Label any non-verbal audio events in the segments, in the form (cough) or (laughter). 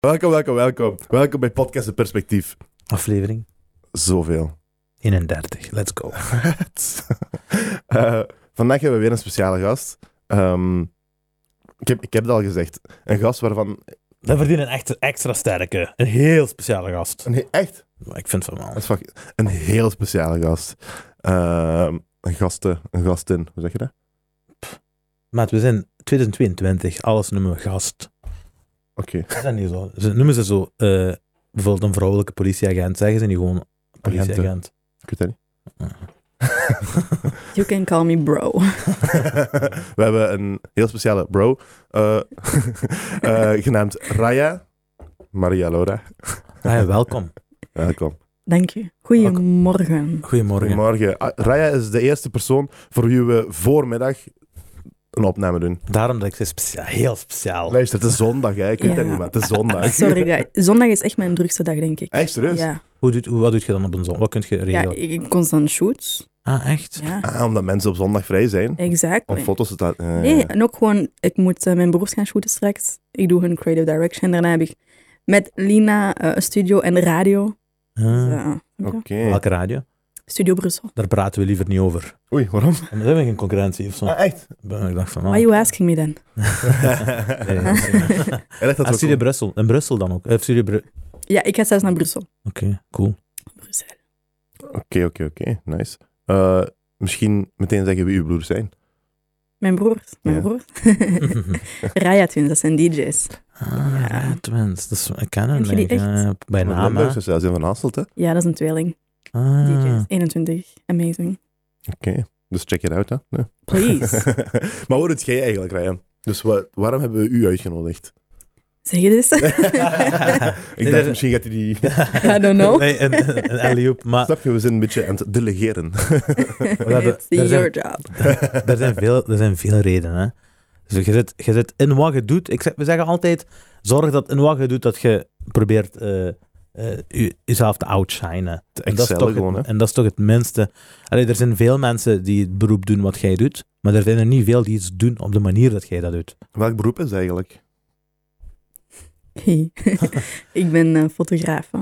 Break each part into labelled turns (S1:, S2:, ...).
S1: Welkom, welkom, welkom. Welkom bij Podcast de Perspectief.
S2: Aflevering
S1: Zoveel. (laughs)
S2: 31. Let's go.
S1: Eh, vandaag hebben we weer een speciale gast. Ehm, ik, heb, ik heb het al gezegd. Een gast waarvan...
S2: We verdienen een echt extra sterke, een heel speciale gast.
S1: Nee, echt.
S2: Maar ik vind van
S1: Dat
S2: wel.
S1: is fucking- een heel speciale gast. Ehm, een gasten, een gastin. Hoe zeg je dat?
S2: Maat, we zijn 2022, alles noemen we gast.
S1: Oké.
S2: Is dat niet zo? Ze noemen ze zo, eh, bijvoorbeeld een vrouwelijke politieagent, zeggen ze niet gewoon politieagent.
S1: Ik weet dat niet. (laughs)
S3: You can call me bro. (laughs)
S1: we hebben een heel speciale bro. eh, (laughs) eh, genaamd Raya. Maria Laura.
S2: Ah ja, welkom.
S1: Welkom.
S3: Dank je. Goedemorgen.
S2: Goedemorgen.
S1: Goedemorgen. Ah, Raya is de eerste persoon voor wie we voormiddag een opname doen.
S2: Daarom dat ik zei specia- heel speciaal.
S1: Luister, het is zondag, hè. Ik weet
S3: Ja.
S1: dat niet, maar het is zondag.
S3: (laughs) Sorry, guys. zondag is echt mijn drukste dag, denk ik.
S1: Echt, serieus?
S3: Ja,
S2: Hoe doet, hoe, wat doe je dan op een zon? Wat kun je
S3: ja
S2: regelen?
S3: ik, ik constant shoots.
S2: Ah, echt?
S3: Ja,
S1: Ah, omdat mensen op zondag vrij zijn. Om
S3: exact.
S1: foto's te ta- eh,
S3: Nee, en ook gewoon, ik moet eh, mijn broers gaan shooten straks. Ik doe hun creative direction. Daarna heb ik met Lina eh, een studio en de radio.
S2: Ah,
S3: Eh,
S1: Oké.
S2: Welke radio?
S3: Studio Brussel.
S2: Daar praten we liever niet over.
S1: Oei, waarom?
S2: We hebben geen concurrentie of zo.
S1: Ah,
S2: (laughs)
S1: echt?
S2: Ik dacht van,
S3: Why
S2: ah.
S3: are you asking me then?
S2: (laughs) Nee,
S1: (laughs)
S2: nee, nee.
S1: Hij legt dat
S2: Ah,
S1: wel
S2: Studio
S1: goed.
S2: Brussel. In Brussel dan ook. Eh, Studio Bru- Oké,
S3: Ja, ik ga zelfs naar Brussel.
S1: (laughs)
S2: cool.
S3: Brussel.
S1: Oké, oké, oké. Nice. Eh, misschien meteen zeggen wie uw broers zijn.
S3: Mijn broers. Mijn
S1: Ja.
S3: broers. (laughs) Raya Twins, dat zijn DJ's.
S2: ah,
S3: Ja.
S2: ja, twins. Dat is, ik ken hem
S3: Kent je die
S2: denk ik,
S3: echt?
S2: eh, bij
S1: Want
S2: naam. hè.
S1: Limburgers zijn zelfs in Van Hasselt, hè.
S3: Ja, dat is een tweeling.
S2: Ah.
S3: DJ's. 21. Amazing.
S1: Oké. Dus check it out, hè. Ja.
S3: Please.
S1: (laughs) maar hoe doet jij eigenlijk, Ryan? Dus wa- waarom hebben we u
S3: (laughs)
S1: uitgenodigd? (laughs)
S3: Zeg je
S2: (laughs)
S3: dit? (laughs)
S1: ik dacht,
S2: er-
S1: misschien gaat hij die...
S2: (laughs)
S3: I don't know.
S2: Nee, een, een, een alley-oop,
S3: Ah.
S2: maar
S1: Snap je, we zijn een beetje aan het
S3: (laughs)
S1: delegeren.
S2: hebben-
S3: It's
S2: daar zijn-
S3: your job.
S2: er zijn veel, er zijn veel redenen. Hè. Dus je zit, je zit in wat je doet. Ik zeg, we zeggen altijd, zorg dat in wat je doet, dat je probeert eh, eh, je- jezelf te outshinen. En dat, is
S1: Excel
S2: toch
S1: gewoon, hè.
S2: het, en dat is toch het minste. Allee, er zijn veel mensen die het beroep doen wat jij doet, maar er zijn er niet veel die iets doen op de manier dat jij dat doet.
S1: Welk beroep is het eigenlijk?
S3: Hey. (laughs) ik ben eh, fotograaf. hè.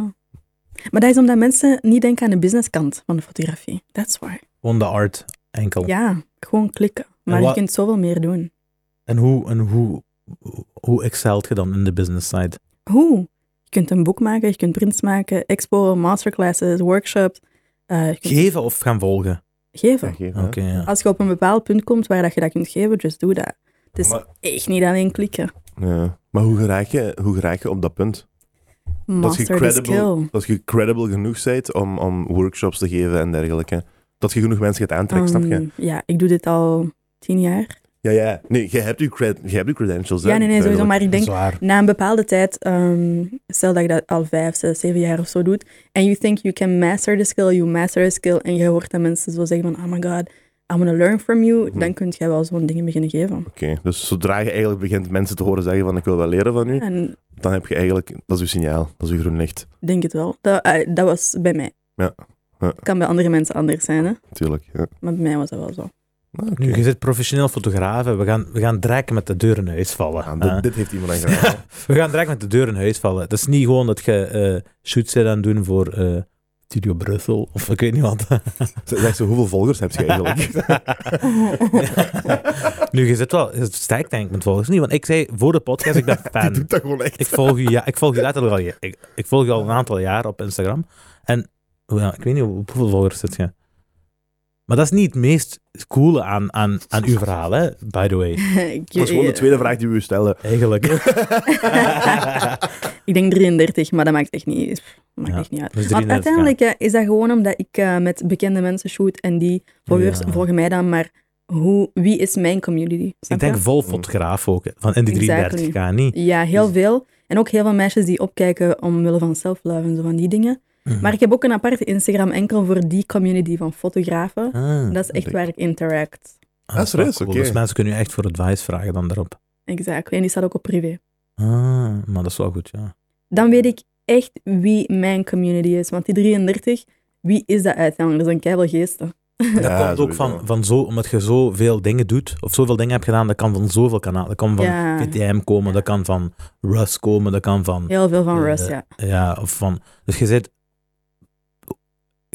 S3: Maar dat is omdat mensen niet denken aan de businesskant van de fotografie. That's why.
S2: Gewoon de art enkel.
S3: Ja, gewoon klikken. Maar je
S2: Oh. wat-
S3: kunt zoveel meer doen.
S2: En, hoe, en hoe, hoe excelt je dan in de business side?
S3: Hoe? Je kunt een boek maken, je kunt prints maken, expo, masterclasses, workshops. eh, je kunt
S2: Geven of gaan volgen?
S3: geven.
S2: Oké, ja.
S3: Als je op een bepaald punt komt waar dat je dat kunt geven, just doe dat. Het is
S1: Maar-
S3: echt niet alleen klikken.
S1: Ja. Maar hoe geraak, je, hoe geraak je op dat punt?
S3: Master the
S1: credible-
S3: skill.
S1: Dat je credible genoeg bent om, om workshops te geven en dergelijke. Dat je genoeg mensen gaat aantrekken, snap je?
S3: Um, ja, ik doe dit al tien jaar.
S1: Ja, ja. Nee, je hebt je, cred, je, hebt je credentials. hè,
S3: Ja, nee, nee, sowieso.
S1: duidelijk.
S3: Maar ik denk,
S2: Zwaar.
S3: na een bepaalde tijd, ehm, stel dat je dat al vijf, zes, zeven jaar of zo doet, en you think you can master the skill, you master the skill, en je hoort dat mensen zo zeggen van, oh my god, I'm gonna learn from you,
S1: Mhm.
S3: dan kun jij wel zo'n dingen beginnen geven.
S1: Oké, dus zodra je eigenlijk begint mensen te horen zeggen van ik wil wel leren van u,
S3: En
S1: dan heb je eigenlijk, dat is uw signaal, dat is uw groen licht,
S3: ik denk het wel. Dat, eh, dat was bij mij.
S1: Ja. Ja.
S3: Het kan bij andere mensen anders zijn, hè?
S1: natuurlijk. Ja.
S3: maar bij mij was dat wel zo. (laughs)
S1: Nou, oké.
S2: Nu, je zit professioneel fotograaf en we gaan, we gaan direct met de deur in huis vallen.
S1: Ah,
S2: hè.
S1: dit, dit heeft iemand aan gedaan.
S2: We gaan direct met de deur in huis vallen. Het is niet gewoon dat je eh shoots zit aan het doen voor eh, Studio Brussel of ik weet niet wat. (laughs)
S1: Zeg zeg zo, hoeveel volgers heb je eigenlijk?
S2: nu, je zit wel je zit sterk denk ik met volgers. Niet, want ik zei voor de podcast, ik ben
S1: Die
S2: fan.
S1: doet dat gewoon echt.
S2: Ik volg je, ja, ik volg je letterlijk al, je- ik, ik volg je al een aantal jaar op Instagram. En ja, ik weet niet hoe- hoeveel volgers zit je. Maar dat is niet het meest coole aan, aan, aan uw verhaal, hè, by the way.
S3: Ik- eh,
S1: Dat is gewoon de tweede vraag die we u stellen.
S2: Eigenlijk. (laughs) Dus
S3: Ik denk 33, maar dat maakt echt niet, maakt
S2: Ja,
S3: echt niet uit.
S2: dus
S3: Want
S2: 33,
S3: uiteindelijk eh, is dat gewoon omdat ik eh, met bekende mensen shoot en die volgers
S2: Ja.
S3: volgen mij dan, maar hoe, wie is mijn community?
S2: Ik
S3: Snap
S2: denk
S3: je?
S2: vol fotograaf ook, hè, van in die
S3: Exactly.
S2: 33 gaan niet.
S3: Ja, heel veel. En ook heel veel meisjes die opkijken omwille van self-love en zo van die dingen. Maar ik heb ook een aparte Instagram enkel voor die community van fotografen.
S2: Ah.
S3: Dat is echt
S1: leuk.
S3: waar ik interact.
S2: Ah,
S1: Ah,
S2: dat is wel
S1: serieus?
S2: cool.
S1: Oké.
S2: Dus mensen kunnen je echt voor advice vragen dan daarop.
S3: Exact. En die staat ook op privé.
S2: Ah, maar dat is wel goed, ja.
S3: Dan weet ik echt wie mijn community is. Want die 33, wie is dat uiteindelijk? Dat zijn keibel geesten.
S2: En dat
S1: Ja,
S2: komt ook
S1: sowieso.
S2: van, van zo, omdat je zoveel dingen doet, of zoveel dingen hebt gedaan, dat kan van zoveel kanalen. Dat kan van
S3: Ja.
S2: VTM komen, dat kan van Rust komen, dat kan van...
S3: Heel veel van
S2: Eh,
S3: Rust, ja.
S2: Ja, of van... Dus je zit...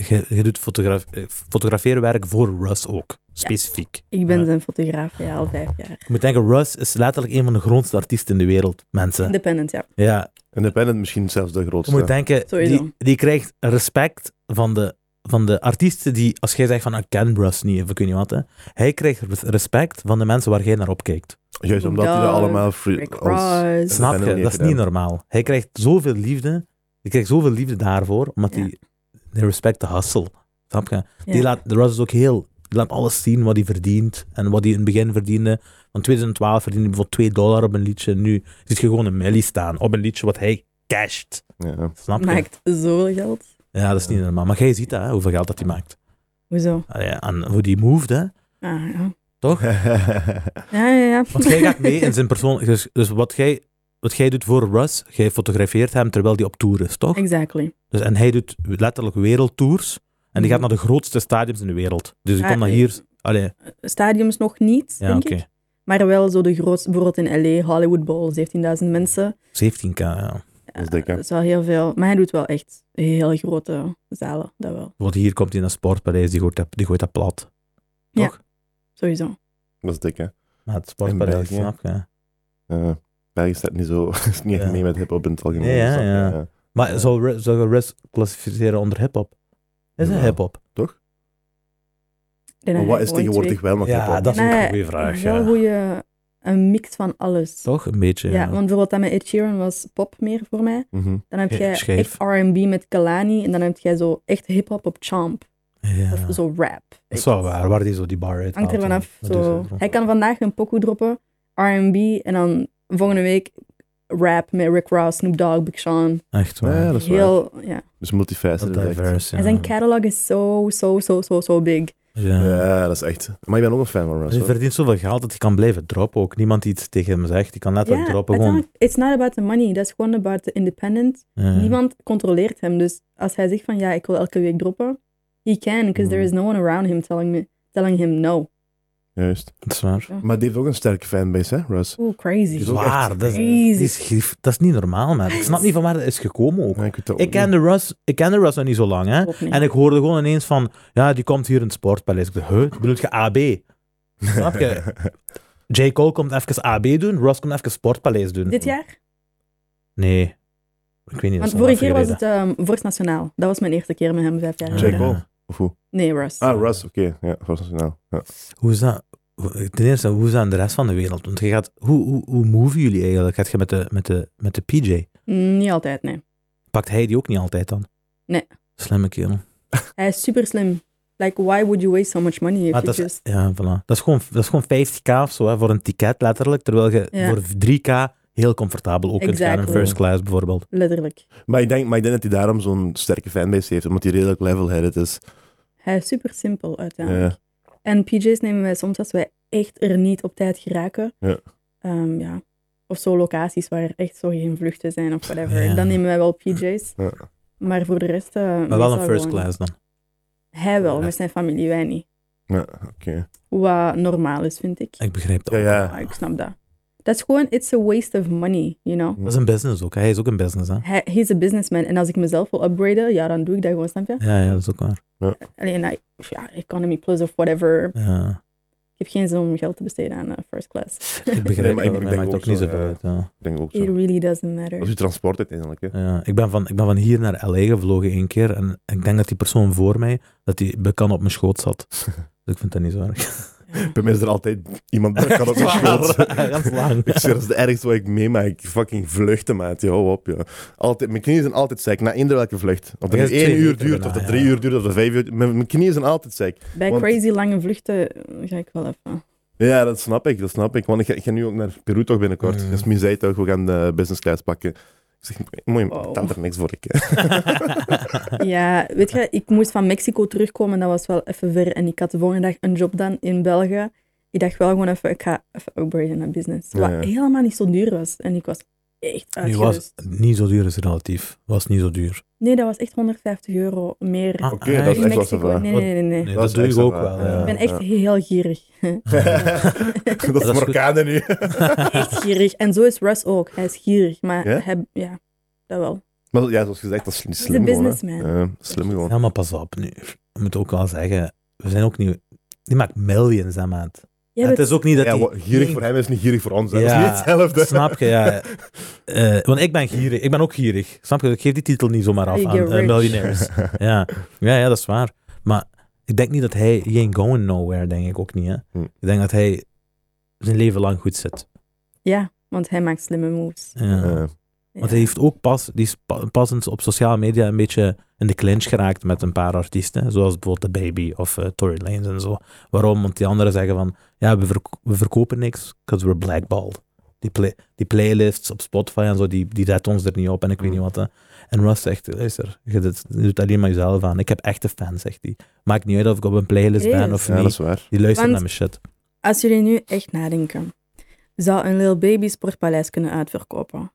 S2: Je, je doet fotograf, eh, fotograferen werk voor Rust ook, specifiek.
S3: Ik ben
S2: Ja.
S3: zijn fotograaf ja, al vijf jaar.
S2: Je moet denken, Rust is letterlijk een van de grootste artiesten in de wereld, mensen.
S3: Independent, ja.
S2: Ja,
S1: Independent misschien zelfs de
S2: je
S1: grootste.
S2: moet denken,
S3: Sowieso.
S2: die, die krijgt respect van de, van de artiesten die, als jij zegt van, "Ah, ik ken Rust niet, of ik weet niet wat, hè. Hij krijgt respect van de mensen waar jij naar opkijkt.
S1: Juist omdat die dat
S3: Dog,
S1: allemaal free,
S3: Rick
S1: als-
S3: Ross.
S2: Snap je?
S1: Independent
S2: Dat is
S1: heeft
S2: niet
S1: gedaan.
S2: normaal. Hij krijgt zoveel liefde. Hij krijgt zoveel liefde daarvoor, omdat
S3: Ja.
S2: hij they respect de hustle. Snap je? Die
S3: Ja.
S2: laat, de Russ is ook heel, die laat alles zien wat hij verdient en wat hij in het begin verdiende. Van 2012 verdiende hij bijvoorbeeld 2 dollar op een liedje. Nu zit je gewoon een milli staan op een liedje wat hij casht.
S1: Ja.
S2: Snap je?
S3: Maakt zoveel geld.
S2: Ja, dat is niet normaal. Maar jij ziet dat, hè, hoeveel geld dat hij maakt.
S3: Hoezo?
S2: Ah ja, en hoe die moved, hè.
S3: Ah, ja.
S1: ja, (laughs)
S3: Ja, ja, ja.
S2: Want jij gaat mee
S3: (laughs)
S2: in zijn persoon. Dus, dus wat, jij, wat jij doet voor Russ, jij fotografeert hem terwijl hij op tour is, toch?
S3: Exactly.
S2: Dus, en hij doet letterlijk wereldtours. En die gaat naar de grootste stadiums in de wereld. Dus die
S3: Mhm. Ah,
S2: komt naar
S3: eh,
S2: hier. Allee,
S3: Stadiums nog niet,
S2: ja,
S3: denk
S2: oké.
S3: ik. Maar wel zo de grootste, bijvoorbeeld in LA, Hollywood Bowl, 17.000 mensen.
S2: 17k, ja.
S1: Dat is dik, hè?
S3: Dat is wel heel veel. Maar hij doet wel echt heel grote zalen, dat wel.
S2: Want hier komt hij naar Sportpaleis, die gooit dat, die gooit dat plat.
S3: Ja.
S2: Toch?
S3: Sowieso.
S1: dat is dik, hè?
S2: Maar het Sportpaleis,
S1: In België.
S2: snap je.
S1: Eh, België staat niet zo, (laughs) is niet echt
S2: Ja.
S1: mee met hip-hop in het algemeen.
S2: Ja, ja,
S1: Dus dat-
S2: ja. Maar
S1: Ja.
S2: zou, Riz- zou je Riz klassificeren onder hip-hop? Is het
S1: Ja.
S2: hip-hop?
S3: Ik denk
S1: Maar wat
S3: dat hij
S1: is
S3: gewoon
S1: tegenwoordig wel nog
S2: Ja,
S1: hip-hop?
S2: dat is ook
S3: Nee,
S2: een goede vraag.
S3: twee- Wel
S2: ja.
S3: goede een mix van alles.
S2: Toch? Een beetje.
S3: Ja,
S2: Ja,
S3: want bijvoorbeeld dat met Ed Sheeran was pop meer voor mij.
S1: Mhm.
S3: Dan heb
S2: Ja,
S3: jij
S2: scheef.
S3: echt R&B met Kalani en dan heb jij zo echt hip-hop op Chomp.
S2: Ja.
S3: Of
S2: Dat
S3: zo rap.
S2: is wel waar, waar die zo die bar uit
S3: Hangt er
S2: haalt en-
S3: vanaf.
S2: dat is
S3: Zo.
S2: het wel.
S3: Hij kan vandaag een pokoe droppen, R&B, en dan volgende week rap met Rick Ross, Snoop Dogg, Big Sean.
S2: Echt waar.
S1: Ja, dat is waar.
S3: Heel, ja.
S1: Dus multifaceted.
S2: Heel
S1: echt.
S2: diverse,
S3: En zijn catalog is zo, zo, zo, zo, zo big.
S2: Ja.
S1: Ja, dat is echt. Maar ik ben ook een fan van Russ.
S2: Hij
S1: hoor.
S2: verdient zoveel geld dat hij kan blijven droppen ook. Niemand die iets tegen hem zegt. Die kan letterlijk droppen gewoon.
S3: uiteindelijk, it's not about the money, that's gewoon about the independent.
S2: Ja.
S3: Niemand controleert hem, dus als hij zegt van ja, ik wil elke week droppen, he can, because there is no one around him telling, me, telling him no.
S1: Juist.
S2: Dat is waar.
S1: Maar die heeft ook een sterke fanbase, hè, Russ?
S3: Oeh, crazy.
S1: is ook echt
S2: Waar, dat is,
S3: crazy.
S2: die is, gif- dat is niet normaal, man. Ik snap niet van waar dat is gekomen ook.
S1: Ja, ik weet dat ook
S2: Ik ken
S1: niet.
S2: de Russ, ik ken de Russ nog niet zo lang, hè.
S3: Ook niet.
S2: En ik hoorde gewoon ineens van, ja, die komt hier in het sportpaleis. Ik dacht, huh, bedoel je (laughs) AB? Snap je? J. Cole komt even AB doen, Russ komt even sportpaleis doen.
S3: Dit jaar?
S2: Nee. Ik weet niet. dat is
S3: Want
S2: al
S3: vorige
S2: even
S3: keer was
S2: geleden.
S3: het ehm Vorst Nationaal. Dat was mijn eerste keer met hem vijf jaar
S2: Ja.
S1: J.
S3: geleden.
S1: Cole? (laughs) Of hoe?
S3: Nee, Russ.
S1: Ah, Russ, oké. Ja, Russ Nationaal. Ja.
S2: Hoe is dat? Ten eerste, hoe is dat aan de rest van de wereld? Want je gaat, hoe, hoe, hoe moven jullie eigenlijk? Gaat je met de, met de, met de PJ?
S3: Mm, Niet altijd, nee.
S2: Pakt hij die ook niet altijd dan?
S3: Nee.
S2: Slimme kerel.
S3: Hij is super slim. Like, why would you waste so much money if
S2: Maar
S1: Ah,
S2: Ah,
S3: you
S2: dat is,
S3: just...
S2: ja, voilà. dat, is gewoon, dat is gewoon 50k of zo hè, voor een ticket letterlijk. Terwijl je
S3: Ja.
S2: voor 3k heel comfortabel ook kunt gaan in
S3: Exactly.
S2: first class bijvoorbeeld.
S3: Letterlijk.
S1: Maar, ik denk, maar ik denk dat hij daarom zo'n sterke fanbase heeft, omdat hij redelijk level-headed is.
S3: Hij is super simpel uiteindelijk.
S1: Ja.
S3: En PJ's nemen wij soms als wij echt er niet op tijd geraken.
S1: Ja.
S3: Ehm, ja. Of zo locaties waar er echt zo geen vluchten zijn of whatever.
S2: Ja.
S3: Dan nemen wij wel PJ's.
S1: Ja.
S3: Maar voor de rest... eh,
S2: Maar wel
S3: meestal
S2: een first
S3: gewoon-
S2: class dan.
S3: Hij wel,
S2: Ja.
S3: met zijn familie, wij niet.
S1: Ja, oké.
S3: Wat normaal is, vind ik.
S2: Ik begrijp dat.
S1: Ja,
S2: ook.
S1: ja.
S3: Maar ik snap dat. Dat is gewoon, it's a waste of money, you know.
S2: Dat is een business ook. hè. Hij is ook een business. Hè?
S3: Hij he's a businessman. En als ik mezelf wil upgraden, ja, dan doe ik dat gewoon, snap je?
S2: Ja, ja, dat is ook waar.
S3: Alleen, like, ja, economy plus of whatever.
S2: Ja.
S3: Ik heb geen zin om geld te besteden aan eh, first class.
S1: (laughs)
S2: Ik
S1: Nee,
S2: begrijp
S1: maar
S2: dat.
S1: ik
S2: maar
S1: denk
S2: Mij maakt
S1: ook
S2: ook niet
S1: zo,
S2: zoveel
S1: ja.
S2: uit. Ja.
S1: Ik denk ook
S3: (laughs) It
S1: zo.
S3: really doesn't
S1: Dat is
S3: matter.
S1: uw transport uiteindelijk, hè.
S2: Ja, ik ben, van, ik ben van hier naar LA gevlogen één keer en ik denk dat die persoon voor mij, dat die bekan op mijn schoot zat.
S1: (laughs)
S2: Dus ik vind dat niet zo erg.
S1: Bij mij is er altijd (laughs) iemand dat kan op mijn
S2: (laughs)
S1: schoot.
S2: Ganz lang.
S1: Ik zeg, dat is het ergste wat ik meemaak. Fucking vluchten, maat. Ja, Hou op, ja. Altijd, mijn knieën zijn altijd sec, na eender welke vlucht. Of dat
S2: Ja,
S1: het
S2: twee
S1: één uur
S2: weken
S1: duurt, of
S2: daarna,
S1: dat drie
S2: ja.
S1: uur duurt, of dat vijf uur Mijn, mijn knieën zijn altijd sec.
S3: Bij
S1: want-
S3: crazy lange vluchten eh, ga ik wel even.
S1: Ja, dat snap ik, dat snap ik. Want ik ga, ik ga nu ook naar Peru toch binnenkort.
S2: Mm.
S1: Dus Mie zei toch, we gaan de business class pakken. Ik zeg, moet je
S3: Wow.
S1: betaalt er niks voor, ik. hè.
S3: Ja, weet je, ik moest van Mexico terugkomen. Dat was wel even ver. En ik had de volgende dag een job dan in België. Ik dacht wel gewoon even, ik ga even upgraden naar business.
S1: Ja,
S3: Wat
S1: ja.
S3: helemaal niet zo duur was. En ik was
S2: (laughs)
S3: echt
S2: Nu was
S3: uitgerust.
S2: het niet zo duur is relatief. Was niet zo duur.
S3: Nee, dat was echt 150 euro meer.
S2: Ah,
S1: Oké, dat is
S3: in
S1: echt wel
S3: Mexico.
S1: zoveel.
S3: Nee, nee, nee. nee.
S2: Nee,
S1: Dat
S2: dat,
S1: is
S2: doe ik
S1: extra
S2: ook
S1: waar,
S2: wel.
S1: ja.
S2: ja.
S3: Ik ben echt
S1: Ja.
S3: heel gierig.
S1: (laughs) dat
S2: is
S1: is
S2: goed.
S1: Marokkanen nu.
S3: echt gierig. En zo is Russ ook. Hij is gierig, maar
S1: Ja?
S3: hij, ja, dat wel.
S1: Maar ja, zoals gezegd, dat is niet
S3: is
S1: slim.
S3: een
S1: gewoon, hè.
S3: businessman.
S1: Ja, slim gewoon.
S2: Ja, maar pas op nu. Ik moet ook wel zeggen, we zijn ook niet... Die maakt millions aan maand.
S3: Jij
S2: het
S3: bent-
S2: is ook niet dat
S1: Ja,
S2: die...
S1: wat gierig voor hem is niet gierig voor ons. hè. Dat
S2: Ja,
S1: is niet hetzelfde.
S2: (laughs) Snap je, ja. Eh, want ik ben gierig. Ik ben ook gierig. Snap je? Ik geef die titel niet zomaar af
S3: You
S2: aan
S3: get
S2: eh,
S3: rich.
S2: miljonairs. ja. Ja, ja, dat is waar. Maar ik denk niet dat hij... He ain't going nowhere, denk ik ook niet. Hè.
S1: Hm.
S2: Ik denk dat hij zijn leven lang goed zit.
S3: Ja, want hij maakt slimme moves.
S1: (laughs)
S2: Ja.
S1: Ja.
S3: Ja.
S2: Want hij heeft ook pas, die is pa- pas eens op sociale media een beetje in de clinch geraakt met een paar artiesten, zoals bijvoorbeeld The Baby of eh, Tory Lanez en zo. Waarom? Want die anderen zeggen van, ja, we, verk- we verkopen niks, because we're blackballed. Die, play- die playlists op Spotify en zo, die, die redt ons er niet op en ik weet
S1: Mm.
S2: niet wat. Hè. En Russ zegt, luister, je, dit- je doet alleen maar jezelf aan. Ik heb echte fans, zegt hij. Maakt niet uit of ik op een playlist ben
S3: Serieus?
S2: of
S1: Ja, dat
S2: niet.
S1: is waar.
S2: Die luisteren
S3: Want-
S2: naar mijn shit.
S3: Als jullie nu echt nadenken, zou een Lil Baby Sportpaleis kunnen uitverkopen?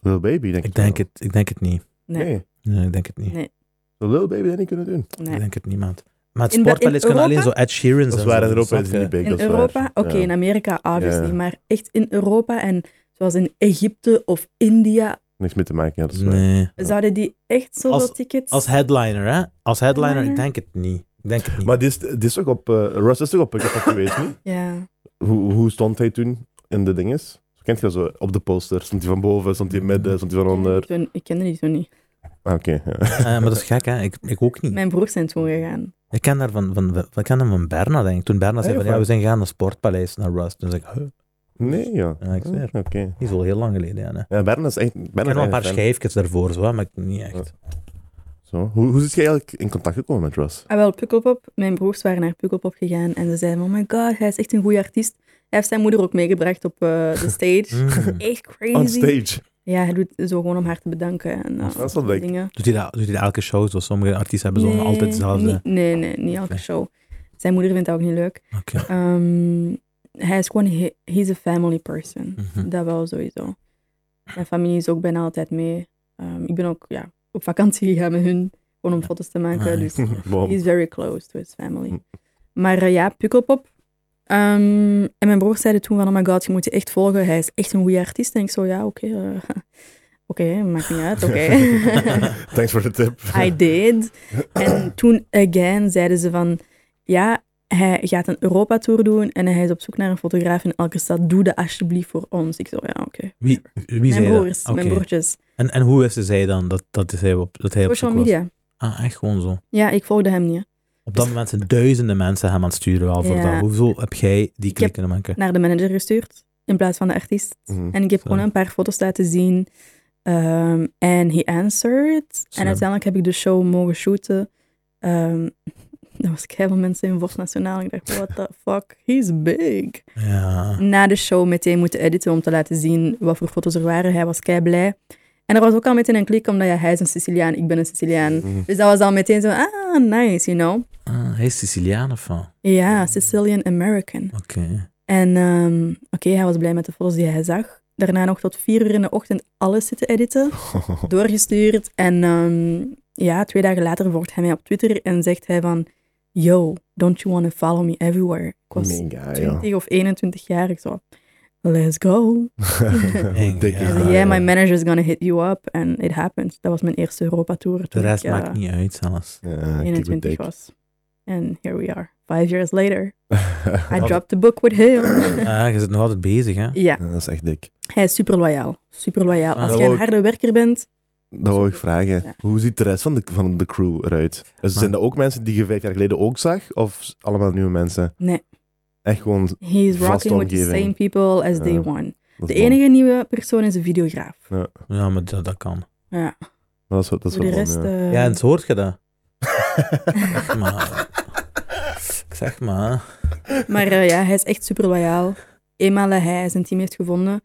S1: Lil Baby, denk ik.
S2: Ik denk
S1: wel.
S2: het, ik denk het niet.
S3: Nee,
S1: Nee.
S2: Nee, ik denk het niet.
S3: Nee.
S1: Zou Lil Baby dat niet kunnen doen?
S3: nee.
S2: Ik denk het niet, maat. Maar het
S3: In Be- in
S2: sportpaleis kunnen alleen zo
S3: Europa?
S2: Ed Sheeran's
S1: Dat is
S2: en
S1: waar,
S2: zo,
S1: in Europa is het
S2: snap je?
S1: niet big. dat
S3: In
S1: is waar.
S3: Europa? Oké, nou-
S1: Ja.
S3: in Amerika obviously,
S1: Ja.
S3: maar echt in Europa en zoals in Egypte of India,
S1: Niks mee te maken, ja, dat is dus waar.
S2: Nee.
S1: Ja.
S3: zouden die echt zoveel tickets...
S2: Als headliner, hè? Als headliner, ik
S3: Headliner?
S2: denk het niet. Ik denk het niet.
S1: Maar dit is, dit is ook op... eh, Russ is toch op Pick-up geweest, niet?
S3: Ja,
S1: Hoe, hoe stond hij toen in de dinges? Kent je dat zo? Op de poster. Stond hij van boven, stond hij in het midden, stond hij van onder?
S3: Toen- ik kende die zo niet.
S1: Ah, Oké, ja.
S2: Eh, maar dat is gek, hè? Ik, ik ook niet.
S3: Mijn broers zijn toen gegaan.
S2: Ik ken daar van, van, van, ik ken hem van Berna, denk ik. Toen Berna zei
S1: Ja,
S2: van,
S1: van-
S2: ja, we zijn gegaan naar Sportpaleis, naar Rust. Toen zei ik, huh?
S1: Nee, ja.
S2: Ja, ik zweer.
S1: Oké.
S2: Die is al heel lang geleden, ja. hè.
S1: Ja, Bern is echt...
S2: Ik
S1: Bern
S2: ken
S1: is
S2: wel een
S1: echt
S2: paar
S1: fan.
S2: schijfjes daarvoor, zo, hè, maar ik- niet echt.
S1: Zo. Hoe, hoe zit jij eigenlijk in contact gekomen met Russ?
S3: Ah, wel, Pukkelpop. Mijn broers waren naar Pukkelpop gegaan en ze zeiden, oh my god, hij is echt een goede artiest. Hij heeft zijn moeder ook meegebracht op eh,
S2: (laughs)
S3: de stage. (laughs)
S2: Mm.
S3: echt crazy.
S1: On
S3: (laughs)
S1: stage.
S3: Ja, hij doet zo gewoon om haar te bedanken. En, eh,
S1: Dat is wel dik.
S3: dingen.
S2: Doet hij dat, doet hij dat elke show? Zo, sommige artiesten hebben zo'n altijd dezelfde.
S3: niet- Nee, nee, niet elke
S2: Oké.
S3: show. Zijn moeder vindt dat ook niet leuk.
S2: Oké.
S3: Ehm, hij is gewoon, he- he's a family person.
S2: Mhm.
S3: Dat wel sowieso. Mijn familie is ook bijna altijd mee. Ehm, ik ben ook ja, op vakantie gegaan met hun, gewoon om foto's te maken.
S2: Ah,
S3: Dus
S1: Bom.
S3: he's very close to his
S2: Hm.
S3: family.
S1: Mm.
S3: Maar eh, ja, Pukkelpop. Ehm, en mijn broers zeiden toen van, oh my god, je moet je echt volgen. Hij is echt een goede artiest. En ik zo, ja, oké. eh, (laughs) oké, maakt niet uit,
S2: (laughs)
S3: oké.
S1: (laughs) Thanks voor de tip.
S3: (laughs)
S1: (laughs)
S3: I did. En toen, again, zeiden ze van... Ja, hij gaat een Europa-tour doen en hij is op zoek naar een fotograaf in elke stad. Doe dat alsjeblieft voor ons. Ik zo, ja, oké.
S2: Wie, wie
S3: Mijn
S2: zei dat?
S3: broers,
S2: Oké.
S3: mijn broertjes.
S2: En, en hoe wisten zij dan dat, dat hij op, dat hij op
S3: Social
S2: zoek was?
S3: media.
S2: Ah, echt gewoon zo.
S3: Ja, ik volgde hem niet. hè.
S2: Op dat moment zijn duizenden mensen hem aan het sturen wel voor
S3: Ja.
S2: dat. Hoeveel heb jij die klik
S3: heb-
S2: kunnen maken?
S3: Naar de manager gestuurd, in plaats van de artiest.
S1: Mhm.
S3: En ik heb gewoon
S2: Zo.
S3: een paar foto's laten zien. Ehm, En he answered.
S2: Slim.
S3: En uiteindelijk heb ik de show mogen shooten. Ehm (laughs) er was keihard mensen in Vocht Nationaal. Ik dacht, what the fuck, he's big.
S2: Ja.
S3: na de show meteen moeten editen om te laten zien wat voor foto's er waren. Hij was kei blij. En er was ook al meteen een klik, omdat ja, hij is een Siciliaan, ik ben een Siciliaan.
S1: Mhm.
S3: Dus dat was al meteen zo, ah, nice, you know.
S2: Ah, hij is Siciliaan of wat?
S3: Ja, Sicilian American.
S2: Oké.
S3: En ehm, oké, hij was blij met de foto's die hij zag. Daarna nog tot vier uur in de ochtend alles zitten editen, doorgestuurd. En ehm, ja, twee dagen later volgt hij mij op Twitter en zegt hij van, yo, don't you want to follow me everywhere? Ik was
S1: Mega, joh.
S3: 20 of 21 jaar, ik zo, let's go.
S1: Hoe dik is
S2: Ja,
S3: Ja,
S1: dat,
S3: yeah,
S1: joh?
S3: my manager is gonna hit you up. And it happened. Dat was mijn eerste Europa-tour
S2: De
S3: toen
S2: rest
S3: ik eh,
S2: maakt niet eh, uit zelfs.
S1: (laughs) Ja, keep it
S3: 21
S1: dik.
S3: was. And here we are. Five years later.
S1: (laughs)
S3: I
S2: Wat-
S3: dropped the book with
S2: (coughs)
S3: him.
S2: Ja, je zit nog altijd bezig, hè?
S3: ja,
S1: Ja, Dat is echt dik.
S3: hij is super loyaal. Super loyaal.
S2: Ah,
S3: Als
S1: dat
S3: jij
S1: wou
S3: een
S1: ik-
S3: harde werker bent,
S1: Dat wou ik vragen.
S3: Ja.
S1: Hoe ziet de rest van de, van de crew eruit? Dus zijn dat ook mensen die je vijf jaar geleden ook zag? Of s- allemaal nieuwe mensen?
S3: Nee.
S1: Echt gewoon... dat
S3: he's
S1: Vaste
S3: rocking with the
S1: omgeving.
S3: same people as day
S1: Ja,
S3: one.
S1: is
S3: De
S1: bom.
S3: enige nieuwe persoon is een videograaf.
S2: Ja, maar dat, dat kan.
S3: Ja,
S1: Maar Dat is, wel- dat is
S3: voor de
S1: wel bom,
S3: rest...
S1: ja.
S3: eh,
S2: Ja, en zo hoort je dat.
S3: (laughs)
S2: Zeg maar. Ik zeg maar.
S3: Maar eh, ja, hij is echt super loyaal. Eenmaal dat hij zijn team heeft gevonden,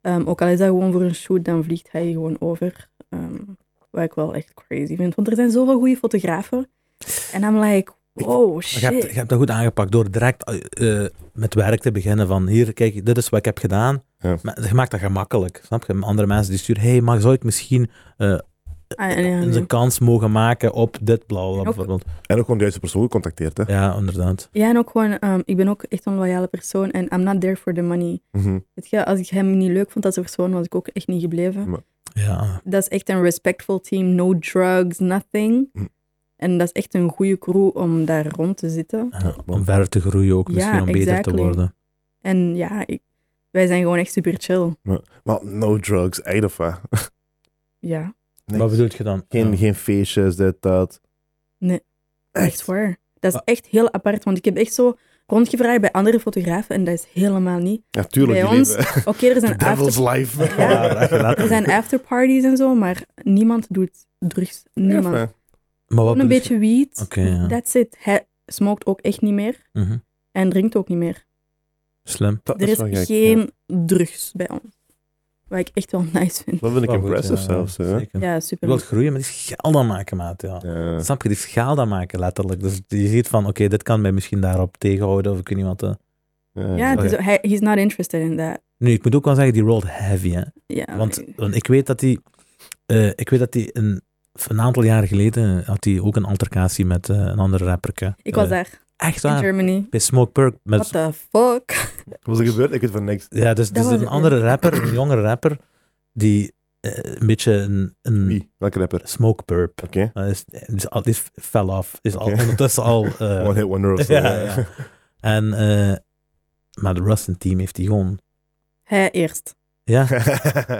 S3: ehm, ook al is dat gewoon voor een shoot, dan vliegt hij gewoon over. Ehm, wat ik wel echt crazy vind. Want er zijn zoveel goede fotografen. En I'm like,
S2: Ik-
S3: oh
S2: Je hebt,
S3: shit.
S2: je hebt dat goed aangepakt door direct eh, eh, met werk te beginnen van hier, kijk, dit is wat ik heb gedaan.
S1: Ja.
S2: Maar je maakt dat gemakkelijk, snap je? Andere mensen die sturen, hey, maar zou ik misschien eh,
S3: Ah, ja, ja,
S2: eens
S3: ja.
S2: een kans mogen maken op dit bla bla, bla,
S3: Ook-
S2: bijvoorbeeld?
S1: En ook gewoon de juiste persoon gecontacteerd, hè?
S2: Ja, inderdaad.
S3: Ja, en ook gewoon, ehm, ik ben ook echt een loyale persoon en I'm not there for the money.
S1: Mhm.
S3: Weet je, als ik hem niet leuk vond als persoon, was ik ook echt niet
S2: Mm.
S3: gebleven.
S2: Ja.
S3: Dat is echt een respectful team, no drugs, nothing.
S2: Mm.
S1: Hm.
S3: En dat is echt een goede crew om daar rond te zitten.
S2: Ja, om verder te groeien ook,
S3: Ja,
S2: misschien om beter te
S3: exactly.
S2: worden.
S3: En ja, ik- wij zijn gewoon echt super chill.
S1: Maar no drugs, Eidofa.
S3: Ja,
S1: Nee.
S2: Wat bedoel je dan?
S1: Geen,
S2: Ja.
S1: geen feestjes, dit, dat.
S3: Nee. echt
S1: Echt?
S3: waar. Dat is
S2: Ah.
S3: echt heel apart, want ik heb echt zo rondgevraagd bij andere fotografen en dat is helemaal
S2: (laughs)
S3: niet.
S1: Ja, tuurlijk.
S3: Bij
S1: die
S3: ons-
S1: leven-
S3: Oké, er
S1: The
S3: zijn after
S1: devil's life.
S3: Ja. Er zijn afterparties en zo, maar niemand doet drugs. Niemand.
S1: Ja,
S2: Maar wat
S3: Gewoon een
S2: bedoel je-
S3: beetje weed.
S2: Oké, ja.
S3: That's it. Hij smokt ook echt niet meer
S2: Mhm.
S3: en drinkt ook niet meer.
S2: Slim.
S1: dat
S3: er is
S1: wel gek,
S3: geen
S1: ja.
S3: drugs bij ons. Wat ik echt wel (laughs) nice vind.
S1: Dat vind ik
S2: Wel goed,
S1: impressive
S2: ja,
S1: zelfs. hè.
S2: zeker.
S3: Ja,
S2: Je
S3: super.
S2: wilt groeien, maar die schaal dan maken, maat. Ja.
S1: Ja.
S2: Snap je? Die schaal dan maken, letterlijk. Dus je ziet van, oké, dit kan mij misschien daarop tegenhouden, of ik weet niet wat. eh.
S3: Ja, het is,
S2: Oké.
S3: hij, he's not interested in that.
S2: Nu, ik moet ook wel zeggen, die rolled heavy, hè.
S3: Ja,
S2: Want, want ik weet dat hij, ik weet dat hij een, een aantal jaren geleden had hij ook een altercatie met eh, een andere rapperke.
S3: ik was
S2: Eh, dus-
S3: daar
S2: Echt
S3: in
S2: waar.
S3: Germany.
S2: Bij Smoke Perk.
S3: What
S2: Met,
S3: the fuck?
S1: Wat is er gebeurd? Ik weet van niks.
S2: ja, dus,
S3: Dat
S2: dus
S3: was
S2: een
S3: het,
S2: andere rapper, een jongere rapper, die eh, een beetje een, een
S1: Wie? Welke rapper?
S2: Smoke Perp.
S1: Oké.
S2: Dat is, is, al- is fell off. Is al,
S1: Oké.
S2: ondertussen
S1: (laughs)
S2: al... eh,
S1: One Hit Wonder (laughs) of zo.
S2: ja, ja. En, eh, maar de Rusten team heeft die gewoon...
S3: Hij eerst.
S1: (laughs)
S2: Ja,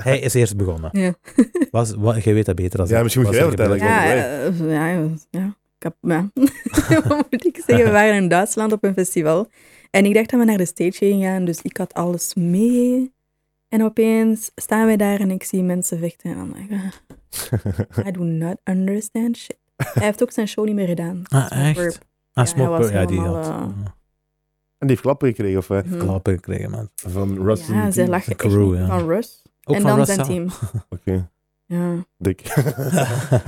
S2: hij is eerst begonnen.
S3: Ja.
S2: (laughs) Was, wa- jij weet dat beter dan
S1: Ja,
S2: ik.
S1: misschien moet
S2: Was
S1: jij
S2: er
S1: vertellen,
S2: gebeurd?
S1: ik
S3: Ja,
S1: wel
S3: eh, ja, ja, ja. Kap- ja. (laughs) Wat moet ik zeggen? We waren in Duitsland op een festival. En ik dacht dat we naar de stage gingen gaan, dus ik had alles mee. En opeens staan wij daar en ik zie mensen vechten. En dan denk ik, I do not understand shit. Hij heeft ook zijn show niet meer gedaan.
S2: Ah, echt?
S3: Verp.
S2: Ah,
S3: Ja,
S2: Smoke
S3: hij was
S2: Perp, ja, die had...
S3: helemaal, eh,
S2: ja.
S1: En die heeft klappen gekregen, of eh,
S3: Mhm.
S2: klappen gekregen, man.
S1: Van Rusty.
S3: Ja, zij lachen
S2: Een
S3: echt
S2: crew,
S3: niet
S2: ja.
S3: van Russ.
S2: Ook
S3: en
S2: van
S3: dan
S2: Russell.
S3: zijn team.
S1: Oké,
S3: Ja.
S1: dik. (laughs)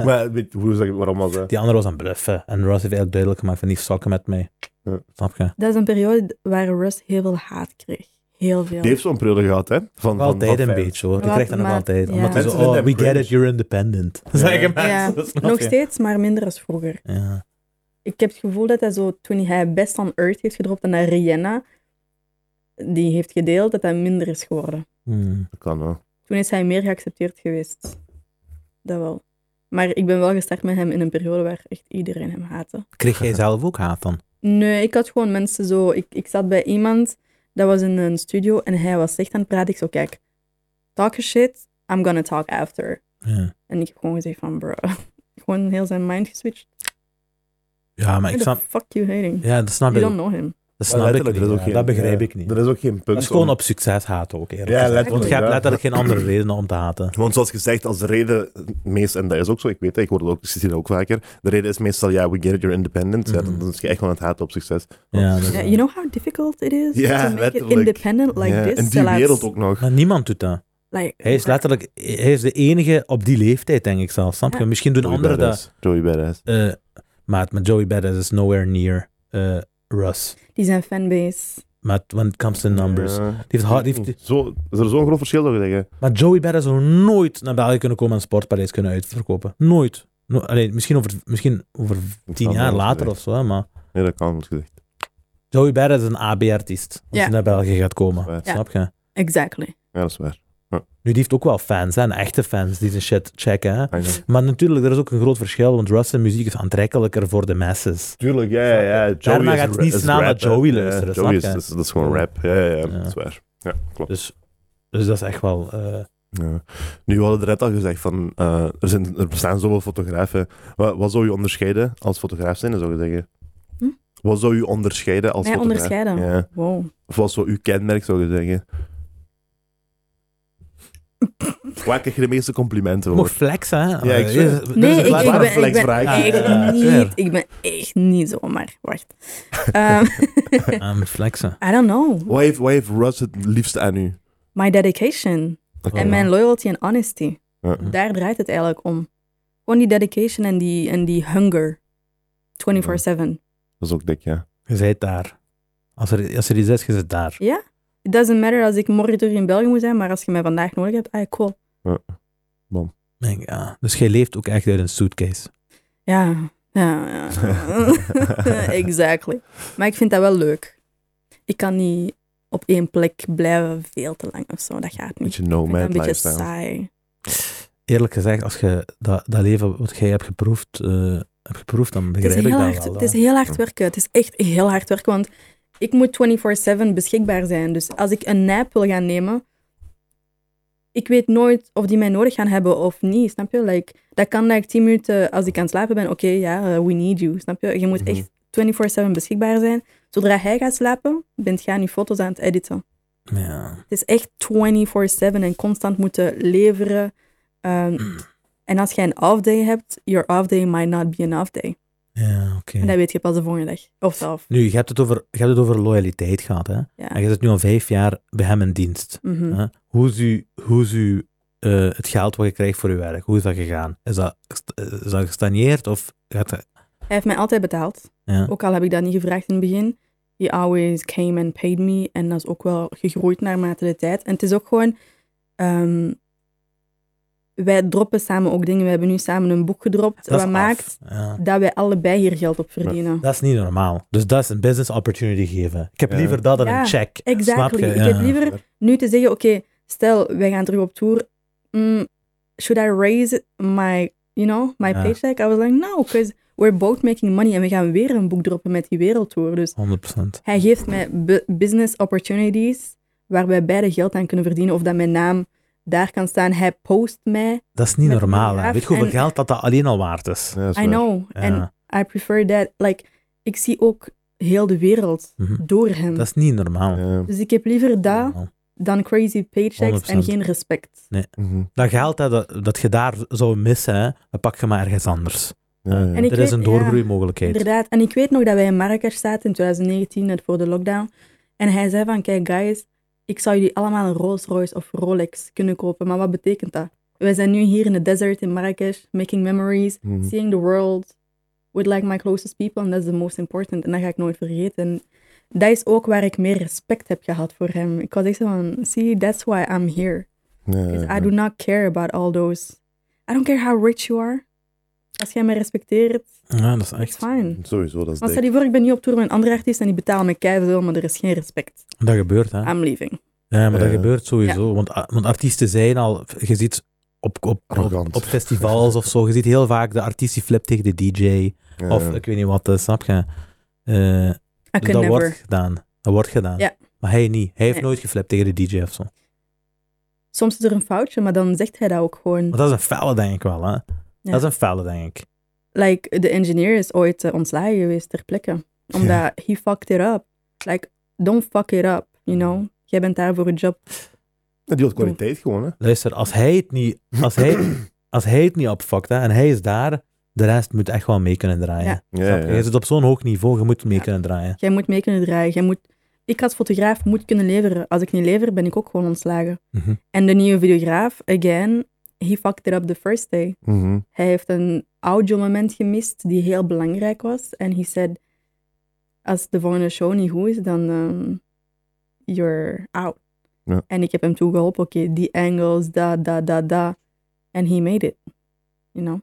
S1: maar weet, hoe zeg ik waarom was dat?
S2: (laughs) Die andere was aan het bluffen. En Russ heeft eigenlijk duidelijk gemaakt van die sokken met mij.
S1: Ja.
S2: Snap je?
S3: Dat is een periode waar Russ heel veel haat kreeg. Heel veel.
S1: Die heeft zo'n periode gehad, hè? Van, van,
S2: Nog altijd
S1: van
S2: een
S1: fans.
S2: beetje hoor. Die
S3: Wat,
S2: krijgt dat nog
S3: maar-
S2: altijd.
S3: ja.
S2: Omdat hij zo,
S1: Mensen vinden
S2: oh,
S1: hem
S2: we get
S1: cringe.
S2: it, you're independent. Zeggen mensen.
S3: Ja.
S2: dat snap
S3: Nog
S2: je.
S3: steeds, maar minder als vroeger.
S2: Ja.
S3: Ik heb het gevoel dat hij zo, toen hij Best on Earth heeft gedropt en naar Rihanna, die heeft gedeeld, dat hij minder is geworden.
S2: Hmm.
S1: Dat kan wel.
S3: Toen is hij meer geaccepteerd geweest. Dat wel. Maar ik ben wel gestart met hem in een periode waar echt iedereen hem haatte.
S2: Kreeg jij zelf ook haat dan?
S3: Nee, ik had gewoon mensen zo. Ik, ik zat bij iemand, dat was in een studio en hij was slecht aan het praten. Ik zo, kijk, talk your shit, I'm gonna talk after.
S2: Ja,
S3: En ik heb gewoon gezegd van, bro, (laughs) gewoon heel zijn mind geswitcht.
S2: ja maar
S3: Why
S2: ik
S3: the
S2: snap...
S3: fuck you hating?
S2: Ja, dat snap
S3: You
S2: ik.
S3: don't know him.
S2: Dat
S1: Maar
S2: snap ik
S1: letterlijk,
S2: niet.
S1: er is ook
S2: ja.
S1: geen-
S2: dat begrijp
S1: ja.
S2: ik niet.
S1: Er is ook geen punt.
S2: Dat is gewoon
S1: om-
S2: op succes haat ook, eerlijk
S1: Ja,
S2: gezegd.
S1: letterlijk.
S2: Want je hebt
S1: ja.
S2: letterlijk geen
S1: (laughs)
S2: andere redenen om te haten.
S1: Want zoals gezegd, als de reden meestal, en dat is ook zo, ik weet het, ik hoor het ook, dus ik zie het ook vaker, de reden is meestal, ja, we get it, you're independent. Ja,
S2: Mhm.
S1: dan is je echt gewoon aan het haten op succes.
S2: Ja, dat is
S3: Yeah,
S2: waar.
S3: you know how difficult it is
S1: Ja,
S3: to make
S1: letterlijk.
S3: it independent like
S1: ja,
S3: this?
S1: in die
S3: Zelfs,
S1: wereld ook nog.
S2: Maar niemand doet dat.
S3: Like,
S2: Hij is letterlijk... Hij is de enige op die leeftijd, denk ik zelf. Snap je?
S3: Ja.
S2: Misschien doen anderen dat...
S1: Badass. Joey Badass.
S2: eh maat, maar Joey Badass is nowhere near eh Russ.
S3: Die zijn fanbase.
S2: Maar when it comes to numbers.
S1: Ja. hmm.
S2: heeft hard- die heeft-
S1: Zo, is er zo'n groot verschil, zou je zeggen?
S2: Maar Joey Badass zou nooit naar België kunnen komen en sportpaleis kunnen uitverkopen. Nooit. No- Allee, misschien over, misschien over tien
S1: kan
S2: jaar
S1: wel,
S2: later
S1: nee.
S2: of zo, hè, maar
S1: Nee, dat kan, moet gezegd.
S2: Joey Badass is een AB-artiest als
S3: Ja.
S2: hij naar België gaat komen.
S1: Waar.
S3: Ja.
S2: Snap je?
S3: Exactly.
S1: Ja, dat is waar.
S2: Nu, die heeft ook wel fans, hè, en echte fans die zijn shit checken. Hè.
S1: I know.
S2: Maar natuurlijk, er is ook een groot verschil, want Russ' muziek is aantrekkelijker voor de masses.
S1: Tuurlijk, ja, ja, ja. Joey
S2: Daarna
S1: is
S2: gaat het
S1: ra-
S2: niet
S1: is
S2: snel naar
S1: rap, hè.
S2: Joey
S1: Ja,
S2: luisteren, snap
S1: Joey is,
S2: je?
S1: dat is, dat is gewoon rap. Ja, ja, ja,
S2: Ja.
S1: dat is waar. Ja, klopt.
S2: Dus, dus dat is echt wel... eh,
S1: Ja. Nu, we hadden er net al gezegd van, eh, er, zijn, er bestaan zoveel fotografen. Wat, wat zou je onderscheiden als fotograaf zijn, zou je zeggen?
S3: Hm?
S1: Wat zou je onderscheiden als
S3: Mij
S1: fotograaf?
S3: onderscheiden?
S1: Ja.
S3: Wow. (laughs)
S1: Of wat zou uw kenmerk, zou je zeggen? Waar krijg je de meeste complimenten
S2: je
S1: voor?
S2: mag flexen, hè?
S1: ik
S2: Eh,
S1: zweer.
S2: eh, dus
S3: Nee,
S2: het
S3: ik, ik,
S2: laat
S1: maar
S3: ben,
S1: een
S2: maar-
S3: ik ben
S1: flexvraag.
S3: echt
S2: Ja, ja, ja.
S3: niet... Ik ben echt niet zomaar... Wacht. (laughs) Ehm,
S2: Aan het flexen.
S3: I don't know.
S1: Wat heeft, wat heeft Russ het liefste aan u?
S3: My dedication.
S1: Oké.
S3: En mijn loyalty en honesty.
S1: Ja.
S3: Daar draait het eigenlijk om. Gewoon die dedication en die, en die hunger. 24-7.
S1: Dat is ook dik, ja.
S2: Je bent daar. Als er, als er iets is, je zit daar.
S3: Ja? It doesn't matter als ik morgen terug in België moet zijn, maar als je mij vandaag nodig hebt, ah, cool.
S2: Denk, ja. Dus jij leeft ook echt uit een suitcase.
S3: Ja,
S2: (laughs)
S3: ja, (laughs) ja. exactly. Maar ik vind dat wel leuk. Ik kan niet op één plek blijven veel te lang of zo, dat gaat niet.
S1: beetje
S3: Ik vind dat
S1: nomad
S3: een beetje
S1: lifestyle.
S3: saai.
S2: Eerlijk gezegd, als je dat, dat leven wat jij hebt geproefd, eh, hebt geproefd dan
S3: Het is,
S2: begrijp ik
S3: heel
S2: dat
S3: hard,
S2: wel.
S3: het
S2: hè.
S3: is heel hard werken. Het is echt heel hard werken, want ik moet 24-7 beschikbaar zijn. Dus als ik een nap wil gaan nemen, ik weet nooit of die mij nodig gaan hebben of niet, snap je? Like, dat kan dat ik 10 minuten, als ik aan het slapen ben, oké, ja, eh, we need you, snap je? Je moet
S1: Mhm.
S3: echt 24-7 beschikbaar zijn. Zodra hij gaat slapen, bent jij nu foto's aan het editen.
S2: Ja.
S3: Het is echt 24-7 en constant moeten leveren. Ehm,
S2: Hmm.
S3: en als jij een off day hebt, your off day might not be an off day.
S2: Ja, oké.
S3: En dat weet je pas de volgende dag. Of zelf.
S2: Nu, je hebt, het over, je hebt het over loyaliteit gehad, hè? En
S3: Ja.
S2: je zit nu al vijf jaar bij hem in dienst.
S3: Mhm.
S2: Hè? Hoe is, u, hoe is u, eh, het geld wat je krijgt voor uw werk? Hoe is dat gegaan? Is dat, is dat gestagneerd of gaat dat...
S3: Hij heeft mij altijd betaald.
S2: Ja.
S3: Ook al heb ik dat niet gevraagd in het begin. He always came and paid me. En dat is ook wel gegroeid naarmate de tijd. En het is ook gewoon... ehm, wij droppen samen ook dingen. We hebben nu samen een boek gedropt.
S2: Dat is
S3: wat
S2: af.
S3: maakt
S2: Ja.
S3: dat wij allebei hier geld op verdienen.
S2: Dat is niet normaal. Dus dat is een business opportunity geven. Ik heb
S1: Ja.
S2: liever dat dan
S3: Ja,
S2: een check.
S3: Exactly.
S2: Snap je?
S3: Ik heb
S2: Ja.
S3: liever nu te zeggen, oké, stel, wij gaan terug op tour. Mm, should I raise my, you know, my
S2: Ja.
S3: paycheck? I was like, no, because we're both making money en we gaan weer een boek droppen met die wereldtour. Dus
S2: 100%.
S3: hij geeft mij bu- business opportunities waar wij beide geld aan kunnen verdienen of dat mijn naam daar kan staan. Hij post mij.
S2: Dat is niet
S3: Met
S2: normaal. Hè.
S3: fotograaf
S2: Weet je hoeveel
S3: en-
S2: geld dat, dat alleen al waard is?
S1: Ja, dat is
S3: I
S1: waar.
S3: know.
S2: Ja.
S3: En I prefer that. Like, ik zie ook heel de wereld
S2: Mhm.
S3: door hem.
S2: Dat is niet normaal.
S1: Ja.
S3: Dus ik heb liever dat
S2: Normaal.
S3: dan crazy paychecks en
S2: 100%.
S3: geen respect.
S1: Mhm.
S2: Dat geld hè, dat, dat je daar zou missen, hè, dat pak je maar ergens anders.
S1: Ja, ja.
S3: En ik
S2: er is
S3: weet-
S2: een
S3: ja.
S2: doorgroeimogelijkheid.
S3: Inderdaad. En ik weet nog dat wij in Marrakesh zaten in 2019, net voor de lockdown. En hij zei van, kijk guys, ik zou jullie allemaal een Rolls Royce of Rolex kunnen kopen. Maar wat betekent dat? Wij zijn nu hier in de desert in Marrakesh, making memories,
S1: Mhm.
S3: seeing the world with like my closest people. And that's the most important. En dat ga ik nooit vergeten. En dat is ook waar ik meer respect heb gehad voor hem. Ik was echt zo van, see, that's why I'm here.
S1: Ja, ja,
S3: 'Cause
S1: ja.
S3: I do not care about all those... I don't care how rich you are. Als jij mij respecteert,
S2: Ja, dat is
S3: it's
S2: echt.
S3: fine.
S1: Sowieso, dat is dik.
S3: Want stel je voor, ik ben nu op tour met een andere artiest en die betalen me keiveel, maar er is geen respect.
S2: Dat gebeurt, hè?
S3: I'm leaving.
S2: Ja, maar dat
S1: Ja.
S2: gebeurt sowieso. Want, a- want artiesten zijn al, je ziet op, op, op,
S1: Arrogant.
S2: op festivals of zo, je ziet heel vaak de artiest die flipt tegen de DJ.
S1: Ja,
S2: Of
S1: ja.
S2: ik weet niet wat, eh, snap je? Eh,
S3: I
S2: dus
S3: could
S2: dat
S3: never.
S2: wordt gedaan. Dat wordt gedaan.
S3: Ja.
S2: Maar hij niet. Hij heeft
S3: Nee.
S2: nooit geflipt tegen de DJ of zo.
S3: Soms is er een foutje, maar dan zegt hij dat ook gewoon.
S2: Maar dat is een felle, denk ik wel, hè? Dat is een felle, denk ik.
S3: Like, de engineer is ooit eh, ontslagen geweest ter plekke. Omdat he fucked it up. Like, don't fuck it up, you know? Jij bent daar voor een job.
S1: Ja, die had kwaliteit gewoon, hè.
S2: Luister, als hij het niet, als
S1: (clears throat)
S2: hij, als hij het niet opvakt hè, en hij is daar, de rest moet echt wel mee kunnen draaien.
S3: Ja.
S1: Ja,
S2: Snap je? Je
S1: ja.
S2: zit op zo'n hoog niveau, je moet mee
S3: Ja.
S2: kunnen draaien.
S3: Jij moet mee kunnen draaien. Jij moet... Ik als fotograaf moet kunnen leveren. Als ik niet lever, ben ik ook gewoon ontslagen.
S2: Mhm.
S3: En de nieuwe videograaf, again, he fucked it up the first day.
S1: Mhm.
S3: Hij heeft een audiomoment gemist die heel belangrijk was. En hij said, als de volgende show niet goed is, dan ehm, you're out.
S1: Ja.
S3: En ik heb hem toegeholpen, oké, die angles, da, da, da, da. En he made it. You know?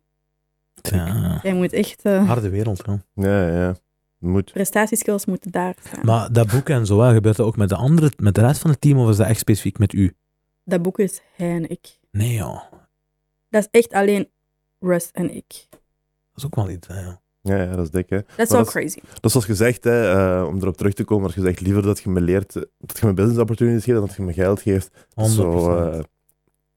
S2: Ja.
S3: Hij moet echt... eh,
S1: Ah.
S2: Harde wereld, hoor.
S1: Ja, ja. Moet.
S3: prestatieskills moeten daar staan.
S2: Maar dat boek en zo, hè, gebeurt dat ook met de, andere, met de rest van het team of is dat echt specifiek met u?
S3: Dat boek is hij en ik.
S2: Nee, joh.
S3: Dat is echt alleen Russ en ik.
S2: Dat is ook wel iets. hè, joh.
S1: Ja, ja, dat is dik, hè.
S3: Dat is
S1: Maar
S3: wel
S1: dat is-
S3: crazy.
S1: Dat is zoals gezegd, hè, eh, om erop terug te komen, als je zegt liever dat je me leert, eh, dat je me business opportunities geeft dan dat je me geld geeft. Dat is
S2: 100%.
S1: Zo, eh,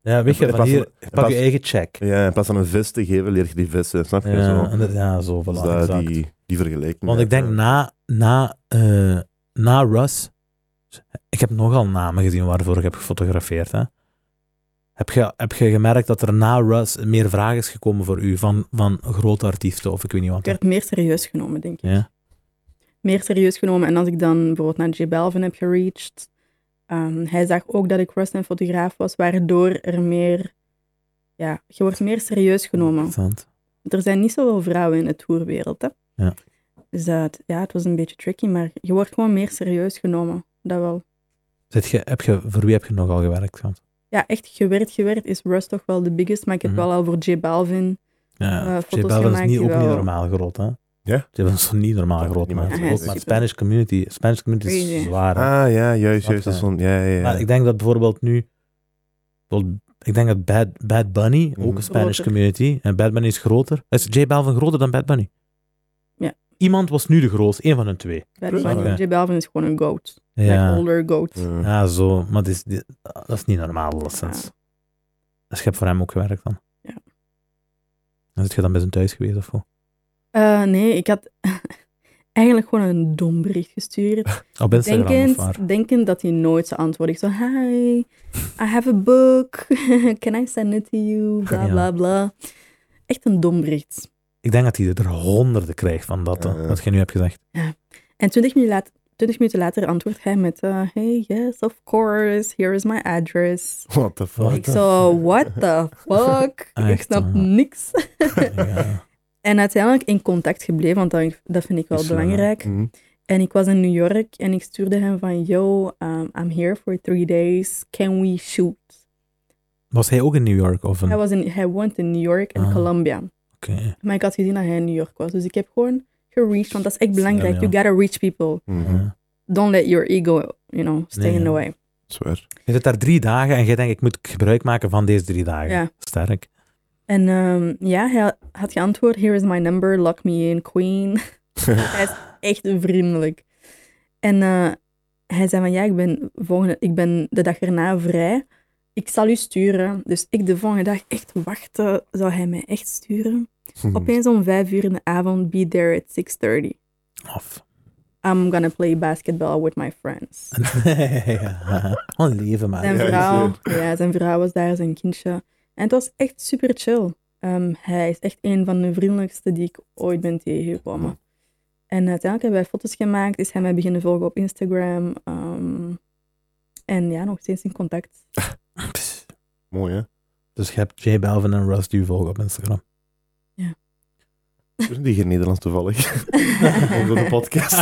S2: ja, weet je,
S1: in
S2: van
S1: plaats
S2: hier,
S1: van- in
S2: pak je
S1: plaats-
S2: eigen check.
S1: ja, in plaats van een vis te geven, leer je die vissen. Snap je? zo.
S2: Ja, en dat- ja, zo,
S1: Dus
S2: voilà,
S1: dat-
S2: exact.
S1: die, die vergelijking. eh,
S2: Want
S1: ja.
S2: ik denk na, na, eh, na Russ, ik heb nogal namen gezien waarvoor ik heb gefotografeerd. Hè. Heb, je, heb je gemerkt dat er na Russ meer vragen is gekomen voor u van, van grote artiesten of ik weet niet wat?
S3: Ik werd meer serieus genomen, denk ik.
S2: Ja.
S3: meer serieus genomen. En als ik dan bijvoorbeeld naar J Balvin heb gereached, ehm, hij zag ook dat ik rust en fotograaf was, waardoor er meer, ja, je wordt meer serieus genomen.
S2: Interessant.
S3: Er zijn niet zoveel vrouwen in de tourwereld, hè.
S2: Ja.
S3: Dus dat, ja, het was een beetje tricky, maar je wordt gewoon meer serieus genomen. Dat wel.
S2: Zit je, heb je, voor wie heb je nogal gewerkt? Want,
S3: Ja, echt gewerkt, gewerkt is Rust toch wel de biggest, maar ik heb
S2: Mhm.
S3: wel al voor J Balvin. Eh,
S2: ja,
S3: foto's
S2: J Balvin is
S3: gemaakt
S2: niet,
S3: die
S2: ook niet
S3: wel-
S2: normaal groot, hè?
S1: Ja?
S2: J Balvin is niet normaal
S1: Dat
S2: groot,
S1: weet
S2: maar,
S1: niemand.
S3: Ja, hij is
S2: ook met
S3: super.
S2: Spanish community. Spanish community is
S3: Crazy.
S2: zwaar. hè.
S1: Ah ja, juist,
S2: Snap
S1: juist. Dat is
S2: je?
S1: zo'n- ja, ja, ja.
S2: Maar ik denk dat bijvoorbeeld nu, bijvoorbeeld, ik denk dat Bad, Bad Bunny, ook
S1: Mhm.
S2: een Spanish
S3: Groter.
S2: community, en Bad Bunny is groter. Is J Balvin groter dan Bad Bunny?
S3: Ja.
S2: Iemand was nu de grootste, één van hun twee.
S3: Bad
S1: Oké.
S3: Bunny. J Balvin is gewoon een goat. Like
S2: Oh, Ja,
S3: older goat.
S1: Ja.
S2: ja zo, maar dit is, dit- dat is niet normaal, dat sens. Dus je hebt voor hem ook gewerkt dan?
S3: Ja.
S2: Dan zit je dan bij zijn thuis geweest of wat?
S3: Eh, nee, ik had (laughs) eigenlijk gewoon een dom bericht
S2: (laughs)
S3: gestuurd.
S2: Op Instagram of waar?
S3: Denkend, denkend dat hij nooit zou antwoorden. Ik zo, hi, I have a book. (laughs) Can I send it to
S2: (laughs)
S3: you? Bla,
S2: Ja.
S3: bla, bla. Echt een dom bericht.
S2: Ik denk dat hij er honderden krijgt van dat,
S1: Ja,
S2: hè,
S1: ja.
S2: wat je nu hebt
S3: (laughs)
S2: gezegd.
S3: En 20 minuten later, 20 minuten later antwoordt hij met, eh, hey, yes, of course, here is my address.
S1: (laughs) What the fuck?
S2: What
S3: ik
S2: the
S3: zo, what the fuck? ik
S2: (laughs) Echt,
S3: snap
S2: hè?
S3: niks.
S2: Ja.
S3: En uiteindelijk in contact gebleven, want dat, dat vind ik wel
S2: Is wel, hè?
S1: (laughs)
S3: belangrijk.
S1: Mhm.
S3: En ik was in New York en ik stuurde hem van, yo, um, I'm here for three days, can we shoot?
S2: Was hij ook in New York of een...
S3: Hij,
S2: Oké.
S3: was in, hij woont in New York en
S2: Ah.
S3: Colombia. Maar ik had gezien dat hij in New York was, dus ik heb gewoon gereached, want dat is echt belangrijk.
S2: ja.
S3: You gotta reach people.
S1: Mhm.
S2: Ja.
S3: Don't let your ego, you know, stay
S2: Nee,
S3: in the
S2: ja.
S3: way.
S1: Zwaar.
S2: Je zit daar drie dagen en jij denkt, ik moet gebruik maken van deze drie dagen.
S3: Ja.
S2: Sterk.
S3: En ehm, ja, hij had geantwoord, here is my number, lock me in, queen. hij is echt vriendelijk. En eh, hij zei van, ja, ik ben, volgende, ik ben de dag erna vrij. Ik zal u sturen. Dus ik de volgende dag echt wachten, zou hij mij echt sturen.
S1: (laughs)
S3: Opeens om vijf uur in de avond, be there at 6.30.
S2: Of... (laughs)
S3: (laughs) I'm gonna play basketball with my friends.
S2: Ah, ja. Oh, Gewoon leven, maar.
S3: Zijn
S1: Ja,
S3: vrouw, ja, zijn vrouw was daar, zijn kindje. En het was echt super chill. Ehm, hij is echt een van de vriendelijkste die ik ooit ben tegengekomen. En uiteindelijk hebben wij foto's gemaakt, is hij mij beginnen volgen op Instagram. ehm, en ja, nog steeds in
S2: (laughs)
S3: contact.
S2: Pss.
S1: Mooi, hè?
S2: Dus je hebt J Balvin en Russ die je volgen op Instagram.
S1: Doen die geen Nederlands toevallig? (laughs) Door de
S2: (laughs)
S1: podcast.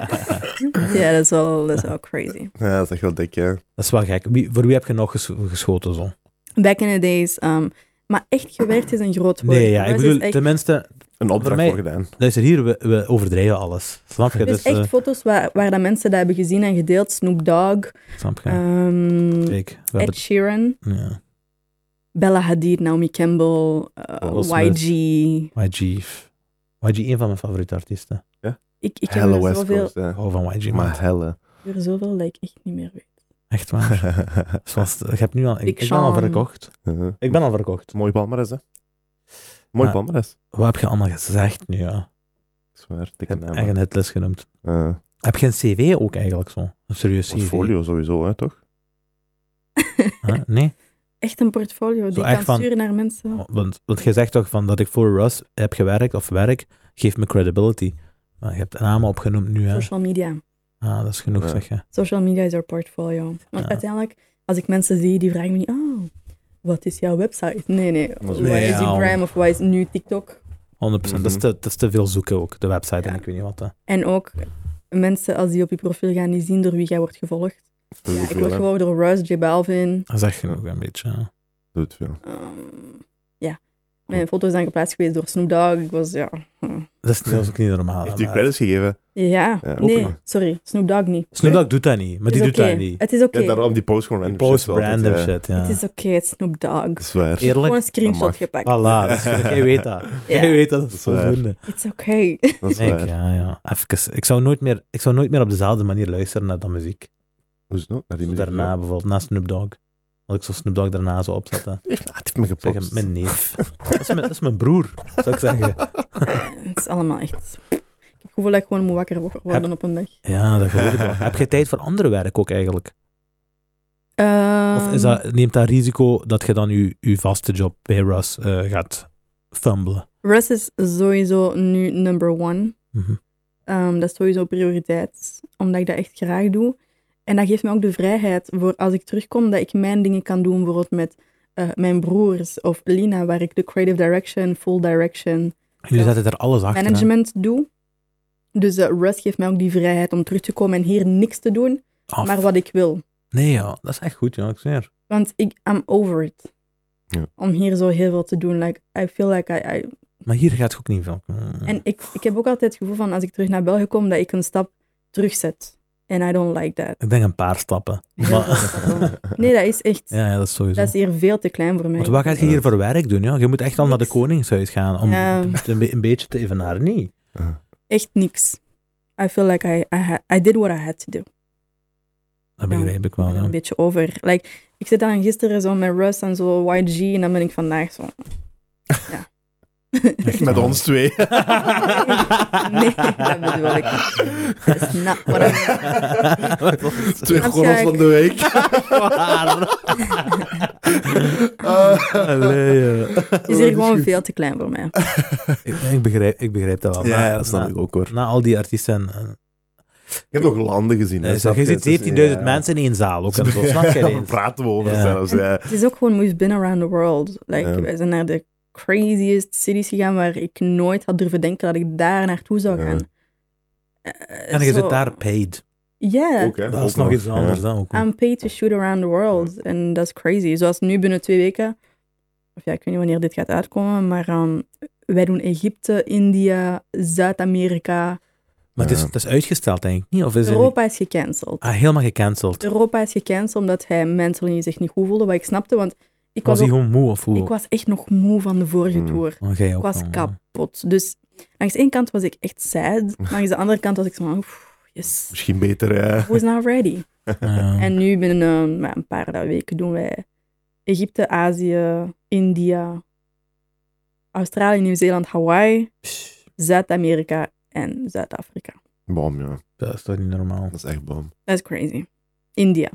S3: (laughs) ja, dat is, wel, dat is wel crazy.
S1: ja, dat is echt wel dik, hè?
S2: Dat is wel gek. Wie, voor wie heb je nog ges- geschoten zo?
S3: Back in the days. ehm, maar echt gewerkt is een groot woord.
S2: Nee, ja. Ik
S3: Russ
S2: bedoel,
S3: is echt,
S2: tenminste...
S1: Een opdracht
S2: mij-
S1: voor gedaan.
S2: Luister, hier, we, we overdrijven alles. Snap je?
S3: dus
S2: Dus,
S3: echt
S2: eh,
S3: foto's waar, waar dat mensen dat hebben gezien en gedeeld. Snoop Dogg,
S2: snap je?
S3: ehm,
S2: Kijk, we
S3: Ed
S2: hebben...
S3: Sheeran.
S2: Ja.
S3: Bella Hadid, Naomi Campbell, eh,
S1: Will
S2: Smith.
S3: YG.
S2: YG. YG, een van mijn favoriete artiesten.
S3: Ik, ik heb
S1: Helle
S3: er
S1: West
S3: zoveel,
S1: Coast, hè?
S2: Ik hou van YG, man.
S1: Maar
S2: (laughs)
S1: helle.
S3: er zoveel dat ik echt niet meer weet.
S2: Echt (laughs) waar. Dus Zoals, ik heb nu al... Ik,
S3: Big
S2: ik ben al
S3: Sean.
S2: verkocht.
S1: Eh,
S2: Ik ben al verkocht.
S1: Mooi palmares, hè? Mooi
S2: Ah.
S1: palmares.
S2: Wat heb je allemaal gezegd nu, ja?
S1: Zwaar,
S2: Ik
S1: dikke
S2: heb
S1: naam.
S2: echt een hitlist genoemd.
S1: Eh,
S2: Heb je een cv ook eigenlijk zo? Een serieus cv?
S1: Portfolio sowieso, hè, toch?
S2: Huh? Nee?
S3: echt een portfolio die
S2: echt
S3: kan
S2: van- Oh,
S3: sturen naar mensen.
S2: Want, want je zegt toch van dat ik voor Russ heb gewerkt of werk, geeft me credibility. Maar je hebt namen opgenoemd nu, hè?
S3: Social media.
S2: Ah, dat is genoeg,
S1: Ja.
S2: zeg je.
S3: Social media is haar portfolio. Want
S2: Ja.
S3: uiteindelijk, als ik mensen zie, die vragen me niet, oh, wat is jouw website? Nee, nee.
S1: Nee,
S3: Waar is
S2: ja.
S3: Instagram of waar is nu TikTok?
S2: 100%. dat, is te, dat is te veel zoeken ook, de website en
S3: Ja.
S2: ik weet niet wat. Hè.
S3: En ook mensen, als die op je profiel gaan, die zien door wie jij wordt gevolgd.
S1: Doe
S3: Ja,
S1: het
S3: ik
S1: veel,
S3: word
S1: hè?
S3: gewoon door Russ, J Balvin.
S2: Dat is echt genoeg, een beetje. hè.
S1: Doe het veel.
S3: ehm, ja. Mijn foto's zijn geplaatst geweest door Snoop Dogg. Ik was, ja... hm.
S2: Dat is, dat is ook niet normaal.
S1: Heeft u
S2: hè, Ah, maar-
S1: credits gegeven?
S3: Ja,
S1: Ja,
S3: nee,
S1: oké.
S3: sorry, Snoop Dogg niet.
S2: Snoop Dogg doet dat niet, maar die
S3: Het is
S2: doet
S3: oké.
S2: dat niet.
S3: Het is oké,
S1: Ja, daarom die post gewoon random
S2: Post
S1: shit wel eh, altijd,
S2: random
S1: ja.
S2: shit, ja.
S3: het is oké, het is Snoop Dogg.
S1: Zwaar.
S3: Gewoon een
S2: (laughs) Eerlijk?
S1: Dat
S3: screenshot
S1: mag.
S3: gepakt.
S2: Allah, dat is- jij weet
S3: (laughs)
S2: dat. Jij weet dat, dat is
S1: Dat is waar.
S2: voldoende.
S3: It's oké.
S1: Dat is
S2: Ik,
S1: waar.
S2: ja, ja. Even, ik, zou nooit meer, ik zou nooit meer op dezelfde manier luisteren naar dat muziek.
S1: Hoe is het nou? Naar die
S2: Zo
S1: muziek.
S2: daarna bijvoorbeeld, na Snoop Dogg. Als ik zo Snoop Dogg daarna zou opzetten.
S1: Echt, ah, het heeft me
S2: Zeg,
S1: gepost.
S2: mijn
S3: (laughs)
S2: neef. Dat is mijn, dat is mijn broer, zou ik
S1: (laughs)
S2: zeggen.
S3: Het is allemaal echt... Ik heb het gevoel dat ik gewoon moet wakker wo- worden op een dag.
S2: Ja, dat geloof ik wel. (laughs) Heb je tijd voor ander werk ook eigenlijk? Of is
S3: Ehm,
S2: dat, neemt dat risico dat je dan je, je vaste job bij Russ eh, gaat fumbelen?
S3: Russ is sowieso nu number one.
S2: Mhm.
S3: Ehm, dat is sowieso prioriteit, omdat ik dat echt graag doe. En dat geeft mij ook de vrijheid voor als ik terugkom, dat ik mijn dingen kan doen, bijvoorbeeld met eh, mijn broers of Lina, waar ik de creative direction, full direction,
S2: Jullie zetten er alles achter. hè?
S3: management doe. Dus eh Russ geeft mij ook die vrijheid om terug te komen en hier niks te doen.
S2: af.
S3: maar wat ik wil.
S2: Nee, joh, dat is echt goed, joh. Ik zweer.
S3: Want ik am over it.
S1: Ja.
S3: Om hier zo heel veel te doen. Like, I feel like I... I-
S2: Maar hier gaat het ook niet veel. Mm.
S3: En ik, ik heb ook altijd het gevoel van, als ik terug naar België kom, dat ik een stap terugzet. And I don't like that.
S2: Ik denk een paar
S3: (laughs)
S2: stappen. (laughs)
S3: Heel
S2: Maar-
S3: veel stappen. Nee, dat is echt...
S2: ja, ja, dat is sowieso.
S3: Dat is hier veel te klein voor mij.
S2: Want wat ga je hier voor werk doen? Ja? Je moet echt al naar de
S3: Niks.
S2: koningshuis gaan om
S3: Ja.
S2: het een, be- een beetje te evenaren. Nee.
S3: Echt niks. I feel like I, I, ha- I did what I had to do.
S2: Dat
S3: Ja.
S2: begrijp ik
S3: Ik
S2: wel.
S3: ben
S2: Oh, Ja.
S3: Een beetje over. Like, ik zit dan gisteren zo met Russ en zo YG en dan ben ik vandaag zo...
S2: (laughs)
S3: Ja.
S1: Met ons twee.
S3: nee, dat bedoel ik niet. That's not what I
S1: Twee
S3: Snap je?
S1: gorrels van de week.
S2: (laughs)
S1: Ah.
S2: Allee, eh. (laughs)
S3: Het is hier gewoon veel te klein voor mij.
S1: (laughs)
S2: ik, ik begrijp, ik begrijp dat wel.
S1: Ja,
S2: Na-
S1: ja, Ah, dat snap
S2: na-
S1: ik ook hoor.
S2: Na al die artiesten. eh,
S1: Ik heb nog landen gezien. hè,
S2: eh,
S1: snap
S2: je
S1: Het is-
S2: ziet 17.000
S1: ja.
S2: mensen in één
S1: (laughs)
S2: zaal ook. En zo, snap je
S1: Ja,
S2: eens?
S1: praten we over
S2: Ja.
S1: zelfs. Ja.
S3: Het is ook gewoon, we've been around the world. Like,
S1: Ja.
S3: wij zijn naar de craziest cities gegaan waar ik nooit had durven denken dat ik daar naartoe zou
S1: Ja.
S3: gaan. Eh,
S2: En je zit daar paid.
S3: Ja,
S1: Ook, hè?
S2: Dat is
S1: Ook
S2: nog iets anders.
S1: Ja.
S2: dan ook.
S3: I'm paid to shoot around the world. En dat is crazy. Zoals nu binnen twee weken, of ja, ik weet niet wanneer dit gaat uitkomen, maar ehm, wij doen Egypte, India, Zuid-Amerika.
S2: Maar het is,
S1: Ja.
S2: het is uitgesteld, denk ik. Niet? Of is het niet?
S3: Europa is gecanceld.
S2: Ah, helemaal gecanceld.
S3: Europa is gecanceld omdat hij mentally zich niet goed voelde, wat ik snapte, want ik
S2: Was
S3: was,
S2: hij
S3: ook-
S2: gewoon moe of hoe?
S3: ik was echt nog moe van de vorige
S1: Hmm.
S3: tour.
S2: Oh, jij ook
S3: Ik
S2: wel,
S3: was
S2: ja.
S3: kapot. Dus langs één kant was ik echt
S2: (laughs)
S3: sad, langs de andere kant was ik zo van, oef, yes,
S1: Misschien beter. Ja.
S3: (laughs) I was now ready.
S2: Ja.
S1: Mm.
S3: En nu binnen eh, maar een paar weken doen wij Egypte, Azië, India, Australië, Nieuw-Zeeland, Hawaii,
S2: Psh,
S3: Zuid-Amerika en Zuid-Afrika.
S1: Bom, ja.
S2: dat is toch niet normaal?
S1: Dat is echt
S2: (laughs)
S1: bom.
S3: Dat is crazy. India.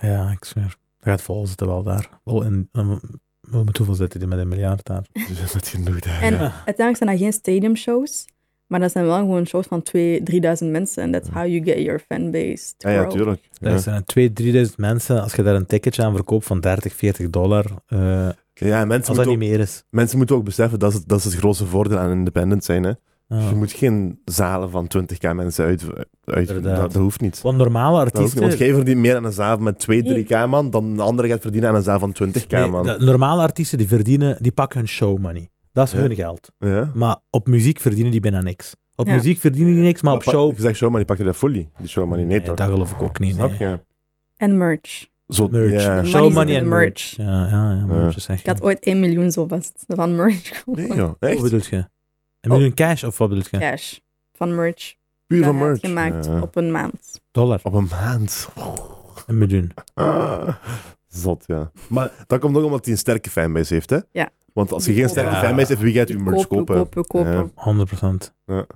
S2: Ja, ik zweer. Dat gaat vol zitten wel daar. Wel in, um, met hoeveel zitten die met een miljard daar?
S1: Dus dat genoeg daar.
S3: En
S1: ja.
S3: uiteindelijk zijn dat geen stadiumshows, maar dat zijn wel gewoon shows van 2.000, 3.000 mensen. En that's how you get your fanbase to
S1: Mm. Ah Ja, ja,
S3: grow.
S1: tuurlijk.
S2: Daar
S1: Ja.
S2: zijn 2.000, 3.000 eh, mensen. Als je daar een ticketje aan verkoopt van 30, 40 dollar, eh,
S1: Ja, en mensen,
S2: als dat
S1: moeten
S2: niet
S1: ook,
S2: meer is.
S1: mensen moeten ook beseffen dat is, dat is het grootste voordeel aan independent zijn. Hè.
S2: Ja.
S1: Je moet geen zalen van 20k mensen uit. uit dat,
S2: Inderdaad.
S1: dat hoeft niet.
S2: Want normale
S1: Dat hoeft niet,
S2: artiesten...
S1: want jij verdient meer aan een zaal met 2, 3k man dan een andere gaat verdienen aan een zaal van 20k
S2: Nee,
S1: man.
S2: de- normale artiesten die verdienen, die pakken hun show money. Dat is
S1: Ja.
S2: hun geld.
S1: ja.
S2: Maar op muziek verdienen die bijna niks. Op
S3: Ja.
S2: muziek verdienen die niks, maar op
S1: pa-
S2: show...
S1: Ik zeg showman, die pakte dat fully. Die showman, die nee,
S2: Nee,
S1: toch?
S2: dat geloof ik ook niet.
S1: Snap
S2: nee.
S1: je?
S3: En merch.
S1: Zo,
S2: Merch.
S1: ja.
S3: Money
S2: Show
S3: is
S2: money
S3: in
S2: en
S3: de
S2: merch.
S3: merch.
S2: Ja, ja, ja, merch
S1: Ja.
S2: is echt...
S3: Ik had ooit 1 miljoen zo vast van merch.
S1: Nee, joh. Echt?
S2: Wat bedoel je? Een
S1: Oh.
S2: miljoen cash of wat bedoel je?
S3: Cash. Van merch.
S1: Puur
S3: Dat
S1: van
S3: had
S1: merch.
S3: gemaakt
S1: Ja.
S3: op een maand.
S2: Dollar.
S1: Op een maand.
S2: Een miljoen.
S1: Ah, zot, ja. Maar dat komt ook omdat hij een sterke fanbase heeft, hè?
S3: Ja.
S1: Want als je geen sterke
S2: Ja.
S1: fanbase heeft, wie gaat je merch kopen?
S3: kopen, kopen.
S1: Ja.
S2: 100 procent.
S1: Ja.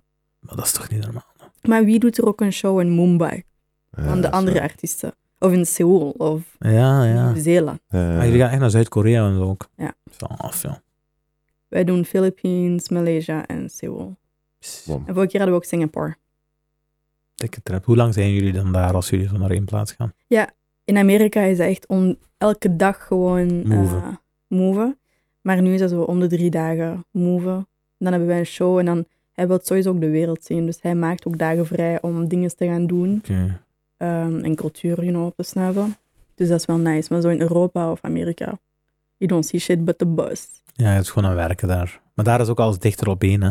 S2: Maar dat is toch niet normaal?
S3: Maar wie doet er ook een show in Mumbai?
S1: Ja,
S3: Van de
S1: dat is
S3: andere
S1: waar.
S3: artiesten. Of in Seoul of
S2: Ja, Ah, ja.
S3: Nieuw-Zeeland.
S1: Ja,
S2: Maar Ah, jullie gaan echt naar Zuid-Korea en zo ook.
S3: Ja.
S2: Zo oh, af, ja.
S3: Wij doen Philippines, Malaysia en Seoul.
S1: Bom.
S3: En vorige keer hadden we ook Singapore.
S2: Dikke trap. Hoe lang zijn jullie dan daar als jullie zo naar één plaats gaan?
S3: In Amerika is dat echt om elke dag gewoon eh,
S2: Moven.
S3: moven. Maar nu is dat zo om de drie dagen moven. Dan hebben wij een show en dan hij wil sowieso ook de wereld zien. Dus hij maakt ook dagen vrij om dingen te gaan doen.
S2: Oké.
S3: ehm, en cultuur, you know, op te snuiven. Dus dat is wel nice. Maar zo in Europa of Amerika, you don't see shit but the bus.
S2: Ja, het is gewoon aan werken daar. Maar daar is ook alles dichter op één, hè.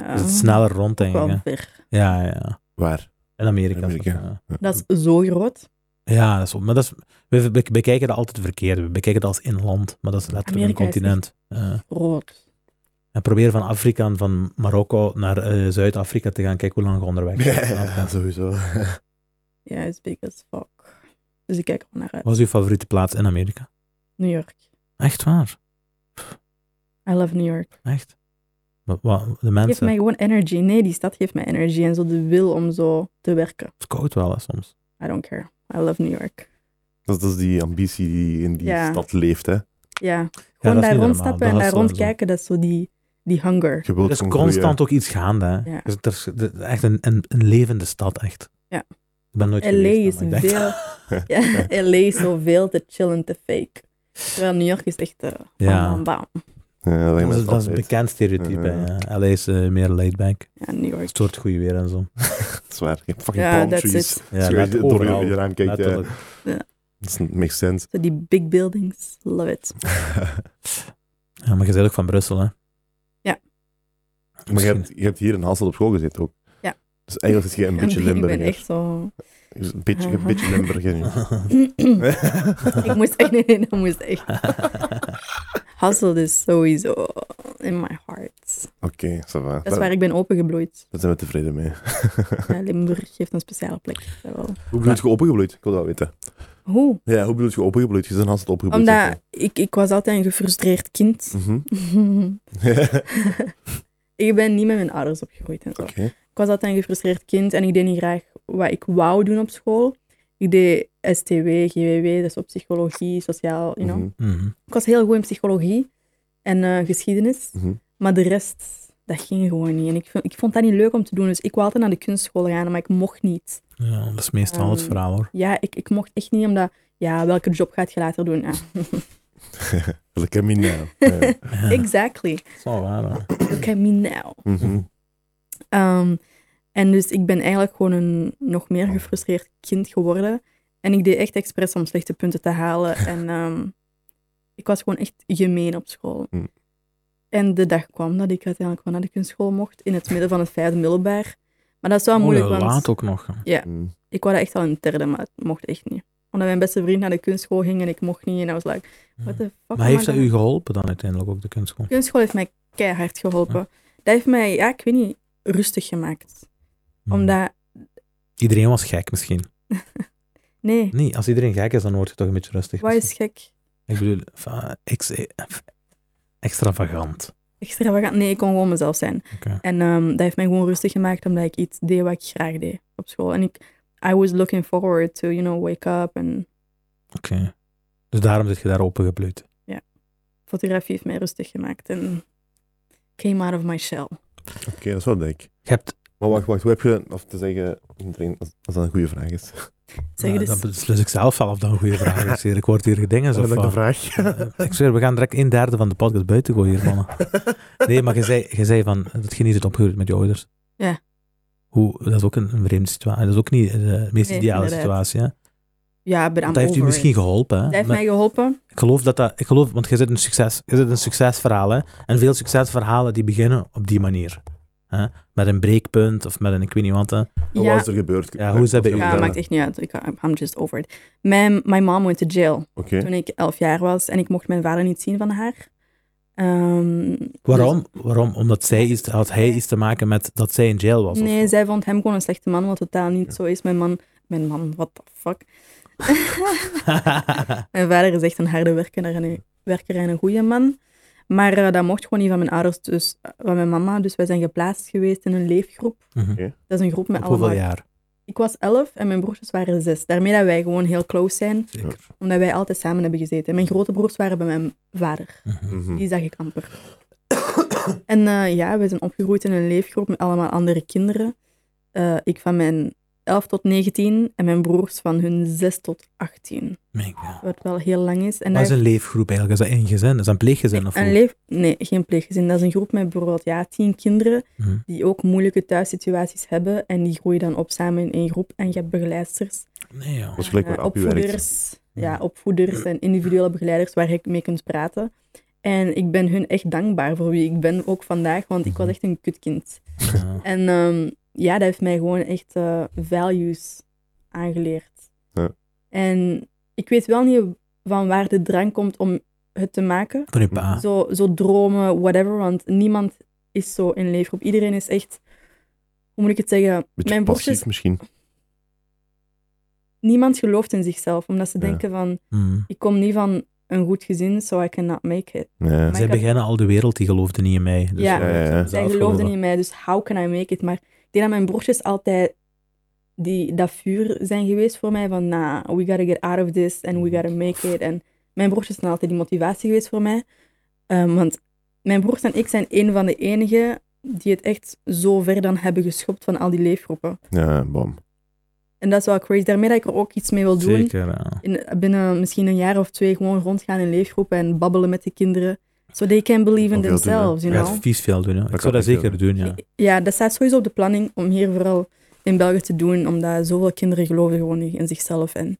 S2: Dus
S3: Ah.
S2: het is sneller rond, denk ik.
S3: wel
S2: hè.
S3: ver.
S2: Ja, ja, ja.
S1: Waar?
S2: In Amerika.
S1: Amerika.
S2: Ja.
S3: Dat is zo groot.
S2: Ja, dat is, maar dat is, we be- bekijken dat altijd verkeerd. We bekijken dat als één land, maar dat is letterlijk
S3: Amerika
S2: een
S3: is
S2: continent. Ja.
S3: Rood.
S2: en probeer van Afrika en van Marokko naar eh, Zuid-Afrika te gaan. Kijk hoe lang je onderweg bent. Snap je?
S1: Ja, sowieso.
S3: Ja, is big as fuck. Dus ik kijk er naar uit.
S2: Wat is uw favoriete plaats in Amerika?
S3: New York.
S2: Echt waar?
S3: I love New York.
S2: Echt? Wat, wat- de
S3: Geef
S2: mensen.
S3: mij gewoon energy. Nee, die stad geeft mij energy en zo de wil om zo te werken.
S2: Het is koud wel hè, soms.
S3: I don't care. I love New York.
S1: (laughs) Dat is die ambitie die in die
S3: Ja.
S1: stad leeft, hè?
S3: Ja,
S2: dat
S3: gewoon
S2: is
S3: daar
S2: niet normaal.
S3: rondstappen
S2: Dat
S3: en daar
S2: is sowieso.
S3: rondkijken, dat is zo die, die hunger.
S1: Je wilt
S2: Er is
S1: gewoon
S2: constant ook iets gaande. Hè. Dus
S3: Ja.
S2: Er is- er is- er is echt een, een, een levende stad, echt.
S3: Ja.
S2: Ik ben nooit
S3: LA
S2: geweest,
S3: is
S2: maar ik denk-
S3: veel. (laughs) Ja, LA is zoveel te chillen, te fake. Terwijl New York is echt eh, bam,
S2: Ja.
S3: bam, bam.
S1: (laughs) Ja, dat,
S2: Dat is, dat is een
S1: altijd.
S2: bekend stereotype.
S1: Ja.
S2: Ja. LA is eh, meer laid back.
S3: Ja, New York.
S2: Stoort goede weer en zo.
S1: Dat is waar. Je hebt fucking
S3: Ja,
S1: palm
S3: that's
S1: trees.
S3: it.
S1: Als
S2: Ja,
S1: je
S2: laat-
S1: door je,
S2: overal.
S1: je raam kijkt, ja.
S2: Letterlijk.
S1: Dat is- makes
S3: (laughs)
S1: sense.
S3: Zo die big buildings, love it.
S2: Ja, maar je bent ook van Brussel, hè?
S3: Ja.
S1: Maar je
S2: Misschien-
S1: hebt, je hebt hier in Hasselt op school gezeten ook.
S3: (laughs) Ja.
S1: Dus eigenlijk zit je een beetje
S3: ik ben
S1: Limburger.
S3: echt zo...
S2: (clears throat)
S1: Dus Een beetje, een
S3: (laughs)
S1: beetje Limburger.
S2: (laughs)
S1: nu.
S3: ik moest echt... Nee, nee, dat moest echt. Hustle is sowieso in my heart.
S1: Oké, ça va.
S3: Dat is
S1: Daar,
S3: waar ik ben
S1: (laughs)
S3: opengebloeid.
S1: daar zijn we tevreden mee.
S3: Ja, Limburg heeft een speciale plek. dat wel.
S1: Hoe bedoel je opengebloeid? Ik wil dat weten.
S3: Hoe?
S1: Ja, hoe bedoel je opengebloeid? Je bent in Hasselt opgebloeid.
S3: Omdat ik, ik was altijd een gefrustreerd kind.
S1: zeg je. Mhm.
S3: (laughs) ik ben niet met mijn ouders opgegroeid en zo.
S1: Oké.
S3: Ik was altijd een gefrustreerd kind en ik deed niet graag wat ik wou doen op school. Ik deed STW, GWW, dat is op psychologie, sociaal, you know.
S1: Mhm.
S2: Mhm.
S3: Ik was heel goed in psychologie en eh, geschiedenis,
S1: Mhm.
S3: maar de rest, dat ging gewoon niet. En ik, vond- ik vond dat niet leuk om te doen, dus ik wou altijd naar de kunstschool gaan, maar ik mocht niet.
S2: Ja, dat is meestal het
S3: Ehm,
S2: verhaal, hoor.
S3: Ja, ik, ik mocht echt niet, omdat, ja, welke job gaat je later doen? Ah,
S1: Look at me
S3: (laughs)
S1: now. Ja.
S2: Ja,
S3: exactly.
S2: dat is wel waar,
S3: Ah,
S2: hoor.
S3: Look at me now.
S1: Mhm.
S3: Ehm, en dus ik ben eigenlijk gewoon een nog meer gefrustreerd kind geworden. En ik deed echt expres om slechte punten te
S2: (laughs)
S3: halen. En ehm, ik was gewoon echt gemeen op school.
S1: Mm.
S3: En de dag kwam dat ik uiteindelijk gewoon naar de kunstschool mocht, in het midden van het vijfde middelbaar. Maar dat is wel
S2: Oh,
S3: moeilijk,
S2: ja,
S3: want Oh,
S2: laat ook nog.
S1: Mhm.
S3: ik wou dat echt al in het derde, maar het mocht echt niet. Omdat mijn beste vriend naar de kunstschool ging en ik mocht niet. En I was like, what the fuck?
S2: Maar heeft
S3: am
S2: dat
S3: I
S2: u geholpen dan uiteindelijk ook, de kunstschool?
S3: Kunstschool heeft mij keihard geholpen. Dat heeft mij, ja, ik weet niet, rustig gemaakt.
S2: Mhm.
S3: Omdat,
S2: Iedereen was gek misschien.
S3: nee,
S2: Nee, als iedereen gek is, dan word je toch een beetje rustig. Dus
S3: wat is gek?
S2: Ik bedoel, van, ex- eh, extravagant.
S3: Extravagant? Nee, ik kon gewoon mezelf zijn.
S2: Oké.
S3: En ehm, dat heeft mij gewoon rustig gemaakt, omdat ik iets deed wat ik graag deed op school. En ik, I was looking forward to, you know, wake up. En
S2: Oké. Dus daarom zit je daar opengebloeid.
S3: fotografie heeft mij rustig gemaakt. En came out of my shell.
S1: Oké, dat is wel dik.
S2: Je hebt...
S1: Maar wacht, wacht. Hoe heb je... Of te zeggen... iedereen, Als als dat een goede vraag is.
S3: Zeg
S2: Ja,
S3: dus,
S2: Dat eh, beslis ik zelf wel of dat een goede vraag is. hier. Ik word hier gedingen.
S1: Dat
S2: Of,
S1: is een
S2: wat?
S1: (laughs) vraag.
S2: Eh, ik zweer, we gaan direct een derde van de podcast buiten gooien hier, mannen. Nee, maar je zei, je zei van, dat je niet zit opgegroeid met je ouders.
S3: Ja.
S2: Hoe, dat is ook een, een vreemde situatie. Ah, Dat is ook niet de meest
S3: Nee,
S2: ideale
S3: inderdaad.
S2: situatie. Hè?
S3: ja, but I'm
S2: Dat heeft u
S3: over
S2: misschien
S3: it.
S2: geholpen. Hè?
S3: Dat heeft
S2: Maar
S3: mij geholpen.
S2: Ik geloof dat dat... Ik geloof, want je zit in een, succes, je zit in een succesverhaal. Hè? En veel succesverhalen die beginnen op die manier. Hè? Met een breekpunt of met een ik weet niet wat. Hè?
S1: Wat
S3: Ja,
S1: is er gebeurd?
S2: Ja, hoe is dat bij u
S3: ja
S2: gedaan?
S3: maakt echt niet uit. Ik, I'm just over it. Mijn, my mom went to jail
S1: Oké.
S3: toen ik elf jaar was. En ik mocht mijn vader niet zien van haar. Ehm,
S2: Waarom? Waarom? Omdat zij iets, had hij iets te maken met dat zij in jail was? of
S3: Nee,
S2: wat?
S3: zij vond hem gewoon een slechte man, wat totaal niet zo is. Mijn man, mijn man, what the fuck. (laughs) mijn vader is echt een harde werker en een, werker en een goede man. Maar eh, dat mocht gewoon niet van mijn ouders, dus eh, van mijn mama. Dus wij zijn geplaatst geweest in een leefgroep.
S2: (laughs) Mhm.
S3: Dat is een groep met
S2: Op hoeveel
S3: allemaal.
S2: jaar?
S3: Ik was elf en mijn broertjes waren zes. Daarmee dat wij gewoon heel close zijn,
S2: Zeker.
S3: omdat wij altijd samen hebben gezeten. En Mijn grote broers waren bij mijn vader.
S2: Mhm.
S1: Mhm.
S3: Die zag ik amper. (coughs) en eh, ja, we zijn opgegroeid in een leefgroep met allemaal andere kinderen. Eh, ik van mijn 11 tot 19 en mijn broers van hun 6 tot 18.
S2: Mijn god.
S3: Wat wel heel lang is. En
S2: Wat is
S3: daar-
S2: een leefgroep eigenlijk? Is dat één gezin? Is dat een pleeggezin? Of
S3: een
S2: hoe?
S3: leef... Nee, geen pleeggezin. Dat is een groep met bijvoorbeeld ja, 10 kinderen
S2: Mhm.
S3: die ook moeilijke thuissituaties hebben. En die groeien dan op samen in één groep. En je hebt begeleidsters,
S2: Nee, joh.
S1: Dat is gelijk
S3: eh,
S1: waar Appie werkt.
S3: opvoeders, ja, opvoeders en individuele begeleiders waar je mee kunt praten. En ik ben hun echt dankbaar voor wie ik ben, ook vandaag, want ik was
S1: Mhm.
S3: echt een kutkind.
S2: Ja.
S3: En ehm, ja, dat heeft mij gewoon echt eh, values aangeleerd.
S1: Ja.
S3: En ik weet wel niet van waar de drang komt om het te maken.
S2: Van je
S1: Ah.
S2: pa.
S3: Zo, zo dromen, whatever, want niemand is zo in leefgroep. Iedereen is echt, hoe moet ik het zeggen?
S1: Beetje passief
S3: Mijn broertjes,
S1: misschien.
S3: niemand gelooft in zichzelf, omdat ze
S1: Ja.
S3: denken van,
S2: Mhm.
S3: ik kom niet van een goed gezin, so I cannot make it.
S1: Ja.
S3: Maar
S2: Zij
S3: ik had-
S2: beginnen al de wereld, die geloofde niet in mij. Dus
S3: Ja.
S1: Ja, ja, ja.
S3: Zij
S2: zelf
S3: geloofden
S2: geloven.
S3: in mij, dus how can I make it? Maar ik denk dat mijn broertjes altijd die, dat vuur zijn geweest voor mij van, nah, we gotta get out of this and we gotta make it. En mijn broertjes zijn altijd die motivatie geweest voor mij. Ehm, want mijn broers en ik zijn een van de enigen die het echt zo ver dan hebben geschopt van al die leefgroepen.
S1: Ja, bom.
S3: En dat is wel crazy. Daarmee dat ik er ook iets mee wil doen.
S2: Zeker, ja.
S3: In, binnen misschien een jaar of twee gewoon rondgaan in leefgroepen en babbelen met de kinderen. So they can believe in
S1: Of veel doen, hè?
S3: themselves, you
S2: Je
S3: know.
S2: gaat vies veel doen. Hè. Ik
S1: Dat
S2: zou
S1: kan
S2: dat
S1: ik
S2: zeker
S1: wel.
S2: doen, ja.
S3: Ja, dat staat sowieso op de planning om hier vooral in België te doen, omdat zoveel kinderen geloven gewoon niet in zichzelf. En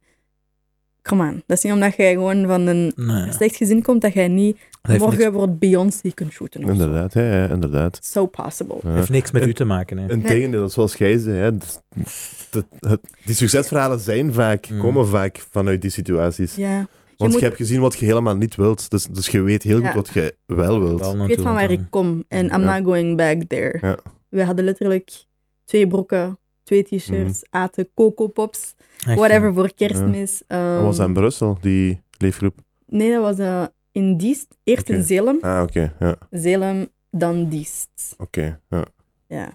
S3: come on, dat is niet omdat jij gewoon van een
S2: Nee.
S3: slecht gezin komt, dat jij niet
S2: Dat heeft niks,
S3: Dus morgen wordt Beyoncé kunt shooten. of zo.
S1: Inderdaad, ja, ja, inderdaad.
S3: So possible.
S1: Ja.
S2: heeft niks met u te maken. Hè.
S1: Integendeel, dat is zoals jij zei, hè, dat- dat- het- die succesverhalen zijn vaak,
S2: Mm.
S1: komen vaak vanuit die situaties.
S3: Ja, je
S1: Want je
S3: moet-
S1: hebt gezien wat je helemaal niet wilt, dus, dus je weet heel
S3: Ja.
S1: goed wat je wel wilt.
S2: Wel
S3: ik weet van waar
S2: natuurlijk,
S3: ik kom en I'm
S1: Ja.
S3: not going back there.
S1: Ja.
S3: We hadden letterlijk twee broeken, twee t-shirts,
S1: Mhm.
S3: aten Coco Pops,
S2: hè. Echt,
S3: whatever voor kerstmis.
S1: Dat
S3: ehm,
S1: was in Brussel, die leefgroep.
S3: Nee, dat was eh, in Diest. Eerst in
S1: Oké.
S3: Zelem,
S1: Ah, oké. ja,
S3: Zelem, dan Diest.
S1: oké. ja.
S3: Ja.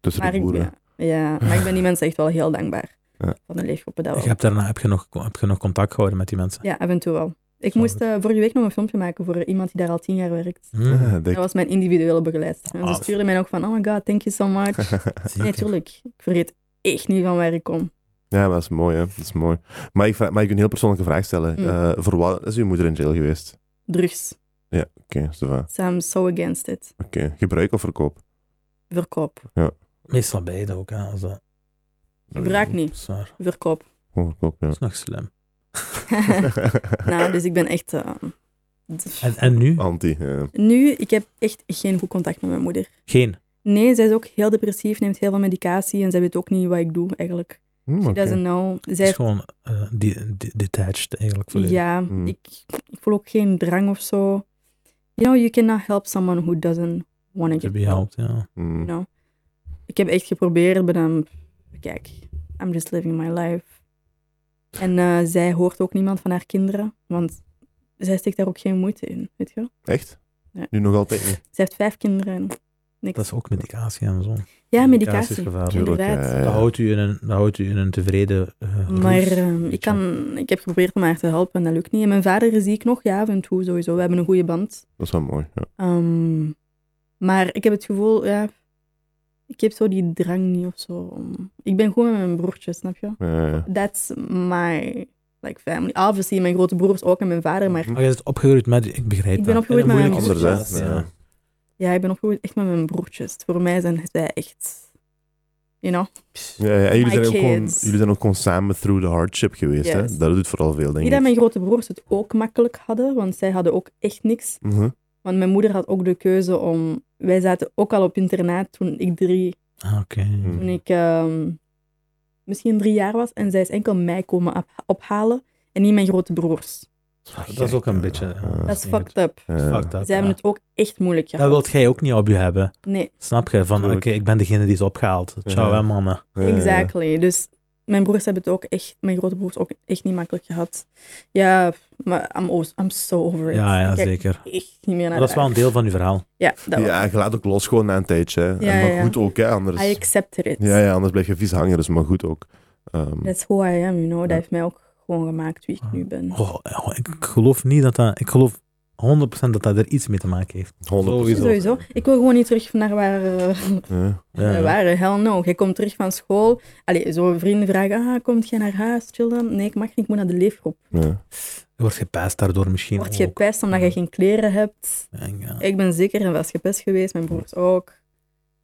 S1: Tussen
S3: Maar
S1: de
S3: ik,
S1: boeren.
S3: ja, ja, maar ik ben die mensen echt wel heel dankbaar
S1: Ja.
S3: van de leefgroepen. Dat
S2: ja.
S3: wel.
S2: Je hebt daarna heb je, nog, heb je nog contact gehouden met die mensen.
S3: Ja, af en toe wel. Ik
S2: Snap
S3: moest eh, vorige week nog een filmpje maken voor iemand die daar al tien jaar werkt.
S2: Mm,
S1: Ah, dik.
S3: Dat was mijn individuele begeleidster. En
S2: Ah,
S3: ze stuurde mij nog van, oh my god, thank you so
S1: (laughs)
S3: much.
S2: zeker.
S3: Nee, tuurlijk. Ik vergeet echt niet van waar ik kom.
S1: Ja, maar dat is mooi, hè. Dat is mooi. Maar ik, vraag- mag ik een heel persoonlijke vraag stellen?
S3: Mm.
S1: Eh, voor wat is uw moeder in jail geweest?
S3: Drugs.
S1: Oké, ça va.
S3: So I'm so against it.
S1: Oké. Gebruik of verkoop?
S3: Verkoop.
S2: Meestal beide ook. Hè, als dat
S3: Gebruik niet.
S2: zwaar.
S3: Verkoop.
S1: (laughs) Gewoon verkoop, Oh, ja.
S2: Dat is nog slim.
S3: (laughs) nou, dus ik ben echt... eh, d-
S2: En, en
S1: (laughs)
S2: nu?
S1: Anti, ja.
S3: Nu, ik heb echt geen goed contact met mijn moeder.
S2: Geen.
S3: Nee, zij is ook heel depressief, neemt heel veel medicatie en zij weet ook niet wat ik doe eigenlijk.
S1: Hm,
S3: She
S1: oké.
S3: doesn't know.
S2: Het is
S3: Zij,
S2: gewoon eh, de- de- detached eigenlijk. Volledig.
S3: ja,
S1: Mm.
S3: ik, ik voel ook geen drang of zo. You know, you cannot help someone who doesn't want to
S2: To
S3: get
S2: be
S3: help.
S2: helped, ja.
S1: Hm.
S3: You know. Ik heb echt geprobeerd, maar dan, kijk, I'm just living my life. En eh, zij hoort ook niemand van haar kinderen, want zij steekt daar ook geen moeite in, weet je wel.
S1: Echt?
S3: Ja.
S1: Nu nog altijd niet.
S3: Zij heeft vijf kinderen en niks.
S2: Dat is ook medicatie en zo.
S3: ja,
S2: medicatie is
S3: medicatie.
S2: gevaarlijk.
S1: Tuurlijk,
S3: Inderdaad.
S1: ja, ja,
S2: Dat
S1: ja.
S2: houdt u in een, dat houdt u in een tevreden eh,
S3: Maar
S2: roes.
S3: ehm, ik, kan, ik heb geprobeerd om haar te helpen en dat lukt niet. En mijn vader zie ik nog, ja, af en toe sowieso. We hebben een goede band.
S1: Dat is wel mooi, ja.
S3: Ehm, maar ik heb het gevoel, ja, ik heb zo die drang niet of zo. om- Ik ben goed met mijn broertje, snap je?
S1: Ja, ja.
S3: That's my like, family. Obviously, mijn grote broers ook en mijn vader. Maar
S1: oh,
S2: Maar je bent opgegroeid met... Ik begrijp
S3: Ik ben
S2: dat.
S3: opgegroeid
S2: In een
S3: met mijn
S2: moeilijke
S3: broertjes.
S1: Anderzijds,
S2: situatie,
S1: ja.
S2: ja.
S3: ja, ik ben opgegroeid echt met mijn broertjes. Voor mij zijn zij echt, you know.
S1: Ja, ja, en jullie
S3: My
S1: zijn, ook gewoon,
S3: kids.
S1: jullie zijn ook gewoon samen through the hardship geweest, hè?
S3: Yes.
S1: Dat doet vooral veel, denk
S3: Niet
S1: ik.
S3: dat mijn grote broers het ook makkelijk hadden, want zij hadden ook echt niks.
S1: Mhm.
S3: Want mijn moeder had ook de keuze om. Wij zaten ook al op internaat toen ik drie,
S2: Ah, Oké.
S1: Hm.
S3: toen ik ehm, misschien drie jaar was. En zij is enkel mij komen op- ophalen en niet mijn grote broers.
S2: Dat is ook een beetje... ja,
S1: Dat
S3: Dat is
S2: niet
S3: fucked up.
S1: Ja.
S2: goed. Fucked up,
S3: Zij
S2: ja.
S3: hebben het ook echt moeilijk
S2: Dat
S3: gehad.
S2: wilt jij ook niet op je hebben.
S3: Nee,
S2: Snap je? Van, oké,
S1: Tuurlijk.
S2: ik ben degene die is opgehaald. Ciao,
S1: Ja.
S2: hè, mannen.
S1: Ja, ja, ja.
S3: exactly. Dus mijn broers hebben het ook echt, mijn grote broers ook echt niet makkelijk gehad. Ja, maar I'm, o- I'm so over it.
S2: Ja, ja,
S3: Ik kijk
S2: zeker.
S3: Echt niet meer naar
S2: Maar dat is wel een
S3: uit.
S2: deel van je verhaal.
S3: Ja, dat
S1: Ja, je laat ook los gewoon na een tijdje. hè.
S3: Ja,
S1: en maar
S3: ja. Ah,
S1: goed ook, hè? Anders,
S3: was- I accepted it.
S1: ja, ja, anders blijf je vies hangen, dus maar goed ook. Ehm,
S3: That's who I am, you know. Dat
S1: Ja.
S3: heeft mij ook gewoon gemaakt wie ik nu ben.
S2: Oh, oh, ik geloof niet dat dat... Ik geloof 100% dat dat er iets mee te maken heeft.
S1: 100%.
S2: Sowieso.
S3: Sowieso. Ik wil gewoon niet terug naar waar eh,
S1: Ja.
S3: (laughs)
S2: Ja.
S3: we waren. Hell no. Jij komt terug van school. Allee, zo vrienden vragen, ah, komt jij naar huis, chill dan? Nee, ik mag niet, ik moet naar de leefgroep.
S1: Ja.
S2: Je wordt gepest daardoor misschien
S3: Word
S2: ook.
S3: gepest omdat je geen kleren hebt.
S2: En ja.
S3: Ik ben zeker en vast gepest geweest, mijn broers ook.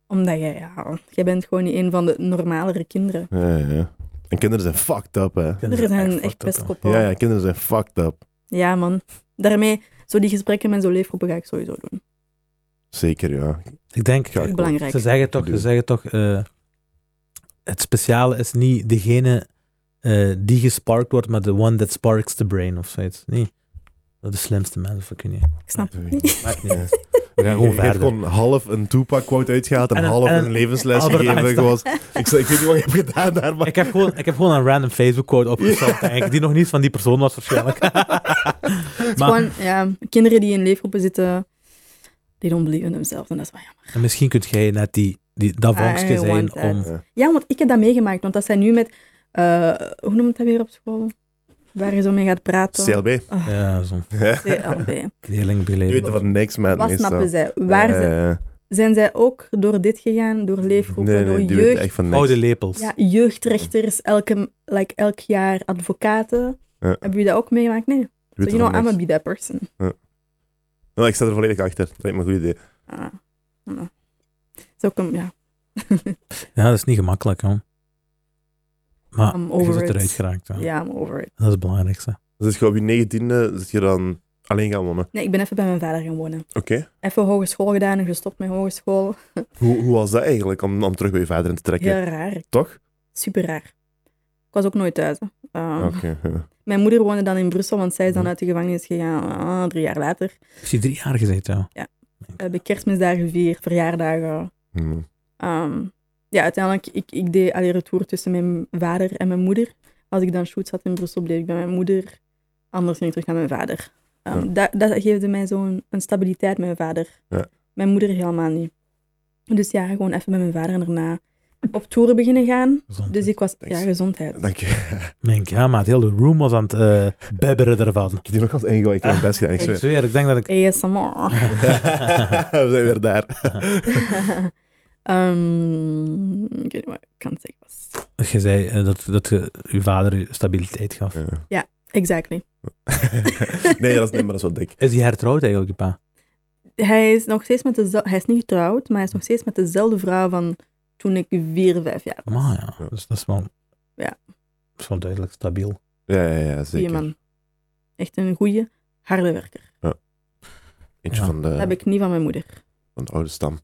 S3: Omdat jij, ja, jij bent gewoon niet een van de normalere kinderen.
S1: Ja, ja, ja. En kinderen zijn fucked up, hè?
S3: Kinderen zijn echt
S2: fucked up, hè.
S3: pestkoppen.
S1: Ja, ja, kinderen zijn fucked up.
S3: Ja, man. Daarmee, zo die gesprekken met zo'n leefgroepen ga ik sowieso doen.
S1: Zeker, ja.
S2: Ik denk,
S1: Ja, ik
S3: belangrijk.
S2: ze zeggen toch, ze
S1: Doe.
S2: zeggen toch eh, het speciale is niet degene eh, die gesparkt wordt, maar the one that sparks the brain of zoiets. Nee. Dat is de slimste mensen, of ik weet niet.
S3: Ik snap het
S1: Doei.
S3: niet.
S2: Maakt niet
S1: Ja.
S2: uit.
S1: (laughs) We
S2: gaan gewoon
S1: je, je hebt
S2: verder.
S1: gewoon half een Tupac-quote uitgehaald en,
S2: En een-
S1: half
S2: en
S1: een,
S2: een
S1: levensles
S2: Albert
S1: gegeven.
S2: Einstein.
S1: Gewoon, ik, zei, ik weet niet wat je hebt gedaan daar, maar...
S2: (laughs) Ik heb, gewoon, ik heb gewoon een random Facebook-code opgezocht, eigenlijk, die nog niet van die persoon was
S3: (laughs)
S2: waarschijnlijk. (laughs) Maar-
S3: Gewoon, ja, kinderen die in leefgroepen zitten, die don't believe in themselves. En dat is wel jammer.
S2: En misschien kunt jij net die, die, dat
S3: Ah, I
S2: vonkje zijn
S3: want that.
S2: om...
S3: Ja, want ik heb dat meegemaakt. Want dat zijn nu met, eh, hoe noem je het dat weer op school? Waar je zo mee gaat praten.
S1: CLB.
S2: Ja, zo'n
S3: CLB.
S1: (laughs) Je weet
S2: leerlingbeleid.
S1: er van niks, man.
S3: Wat
S1: meestal. Eh.
S3: snappen zij? Waar
S1: Ja,
S3: ze-
S1: ja, ja.
S3: zijn zij ook door dit gegaan? Door leefgroepen,
S1: Nee, nee, die
S3: door
S1: weten
S3: jeugd, Oh,
S1: echt van niks.
S2: Oude lepels.
S3: ja, jeugdrechters, elke, like, elk jaar advocaten?
S1: Ja.
S3: Hebben jullie dat ook meegemaakt? Nee.
S1: Die
S3: So,
S1: weten
S3: you know,
S1: van
S3: I'm a
S1: niks.
S3: be that person.
S1: Nou, ik sta er volledig achter. Dat lijkt me een goed idee.
S3: Ah, nou. Zo kom ja. (laughs)
S2: Ja, dat is niet gemakkelijk, hoor. Maar
S3: I'm
S2: je
S3: over
S2: zit
S3: it.
S2: eruit geraakt. hè.
S3: Ja, I'm over it.
S2: Dat is het belangrijkste.
S1: Dus als je op je negentiende zit je dan alleen gaan wonnen.
S3: Nee, ik ben even bij mijn vader gaan wonen.
S1: Oké.
S3: Even hogeschool gedaan en gestopt met hogeschool.
S1: Hoe, hoe was dat eigenlijk om, om terug bij je vader in te trekken?
S3: Heel raar.
S1: Toch?
S3: Super raar. Ik was ook nooit thuis. hè. Ehm,
S1: Oké. ja.
S3: Mijn moeder woonde dan in Brussel, want zij is dan
S2: Mhm.
S3: uit de gevangenis gegaan ah, drie jaar later.
S2: Is hij drie jaar gezeten, ja.
S3: Heb ik kerstmisdagen gevierd, verjaardagen.
S1: Hmm.
S3: Ehm, ja, uiteindelijk, ik, ik deed alleen retour tussen mijn vader en mijn moeder. Als ik dan shoots had in Brussel, bleef ik bij mijn moeder. Anders ging ik terug naar mijn vader. Ehm, dat, dat geefde mij zo'n een stabiliteit met mijn vader.
S1: Ja.
S3: Mijn moeder helemaal niet. Dus ja, gewoon even met mijn vader en daarna op toeren beginnen gaan.
S2: Gezond.
S3: Dus ik was,
S1: Thanks.
S3: ja, gezondheid.
S1: Dank je. (laughs) Ik
S2: Denk, ja, maat, heel de room was aan het eh bebberen ervan.
S1: heb die nog als ingooien. Ik heb mijn best gedaan. Ik
S2: Ik
S3: (laughs)
S1: zweer. (laughs)
S2: zweer, ik denk dat ik...
S3: ASMR.
S1: We zijn weer daar.
S3: (laughs) Ehm, ik weet niet wat ik kan zeggen. was.
S2: (laughs) Je zei eh, dat, dat je, je vader je stabiliteit gaf.
S1: Ja. (laughs)
S3: Exactly.
S1: nee, dat is niet, maar dat is wel dik.
S2: Is hij hertrouwd eigenlijk, je pa?
S3: Hij is nog steeds met dezelfde... Hij is niet getrouwd, maar hij is nog steeds met dezelfde vrouw van toen ik vier, vijf jaar was.
S2: Maar ja,
S1: Ja.
S2: Dus dat is wel...
S3: Ja.
S2: Dat is wel duidelijk stabiel.
S1: Ja, ja, ja
S3: Die
S1: zeker.
S3: man. Echt een goede, harde werker.
S1: Eentje
S2: Ja.
S1: van,
S3: Dat
S1: de,
S3: heb ik niet van mijn moeder.
S1: van de oude
S3: (laughs)
S1: stam.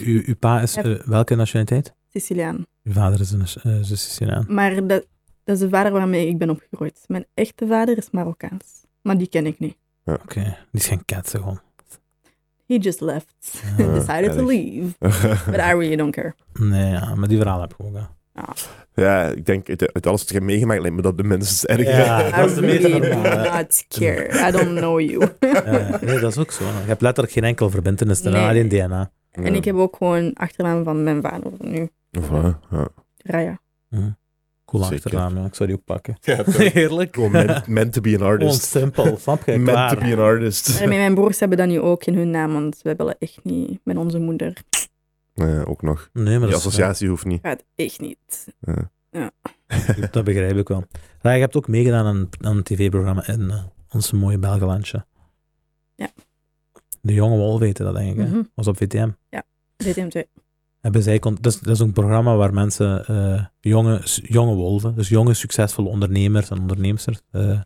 S2: U, uw pa is
S3: Ja.
S2: eh, welke nationaliteit?
S3: Siciliaan.
S2: Uw vader is een eh, is een Siciliaan.
S3: Maar dat, dat is de vader waarmee ik ben opgegroeid. Mijn echte vader is Marokkaans. Maar die ken ik niet.
S2: Oké, die is geen ketsen gewoon.
S3: He just left.
S2: Ja.
S1: Ah,
S3: Decided to
S1: erg. (laughs)
S3: leave. But I really don't care. Ah.
S2: Nee, ja, maar die verhaal heb ik ook. hè.
S1: ja, ik denk uit, uit alles wat je hebt meegemaakt lijkt me dat de minstens erg. (laughs)
S2: Ja,
S3: I
S2: dat is de meest
S3: really do
S2: normale.
S3: not care. I don't know you.
S2: (laughs) Eh, nee, dat is ook zo. Je hebt letterlijk geen enkel verbindenis, daarna
S3: Nee.
S2: alleen DNA.
S3: En ik heb ook gewoon achternaam van mijn vader nu.
S1: Voilà, ja.
S3: Raya.
S2: Cool
S1: Zeker.
S2: achternaam, ja. ik zou die ook (laughs) pakken.
S1: Ja, toch. (laughs)
S2: Heerlijk.
S1: Gewoon meant, meant to be an
S2: (laughs) Gewoon
S1: artist.
S2: simpel, snap je?
S1: meant
S2: Klaar.
S1: to be an artist.
S3: En mijn broers hebben dat nu ook in hun naam, want we willen echt niet met onze moeder.
S1: Ja, ook nog.
S2: Nee, maar
S1: Die
S2: dat, is-
S1: associatie hoeft niet.
S3: Gaat echt niet.
S1: Ja.
S2: dat begrijp ik wel. Rai, je hebt ook meegedaan aan, een- aan een tv-programma in eh, onze mooie Belgelandje.
S3: Ja.
S2: De jonge wol weten dat, denk ik. hè.
S3: Mhm.
S2: was op VTM.
S3: DTM2.
S2: Hebben zij, kon- dat, is, dat is een programma waar mensen, eh, jonge, s- jonge wolven, dus jonge succesvolle ondernemers en onderneemsters, eh,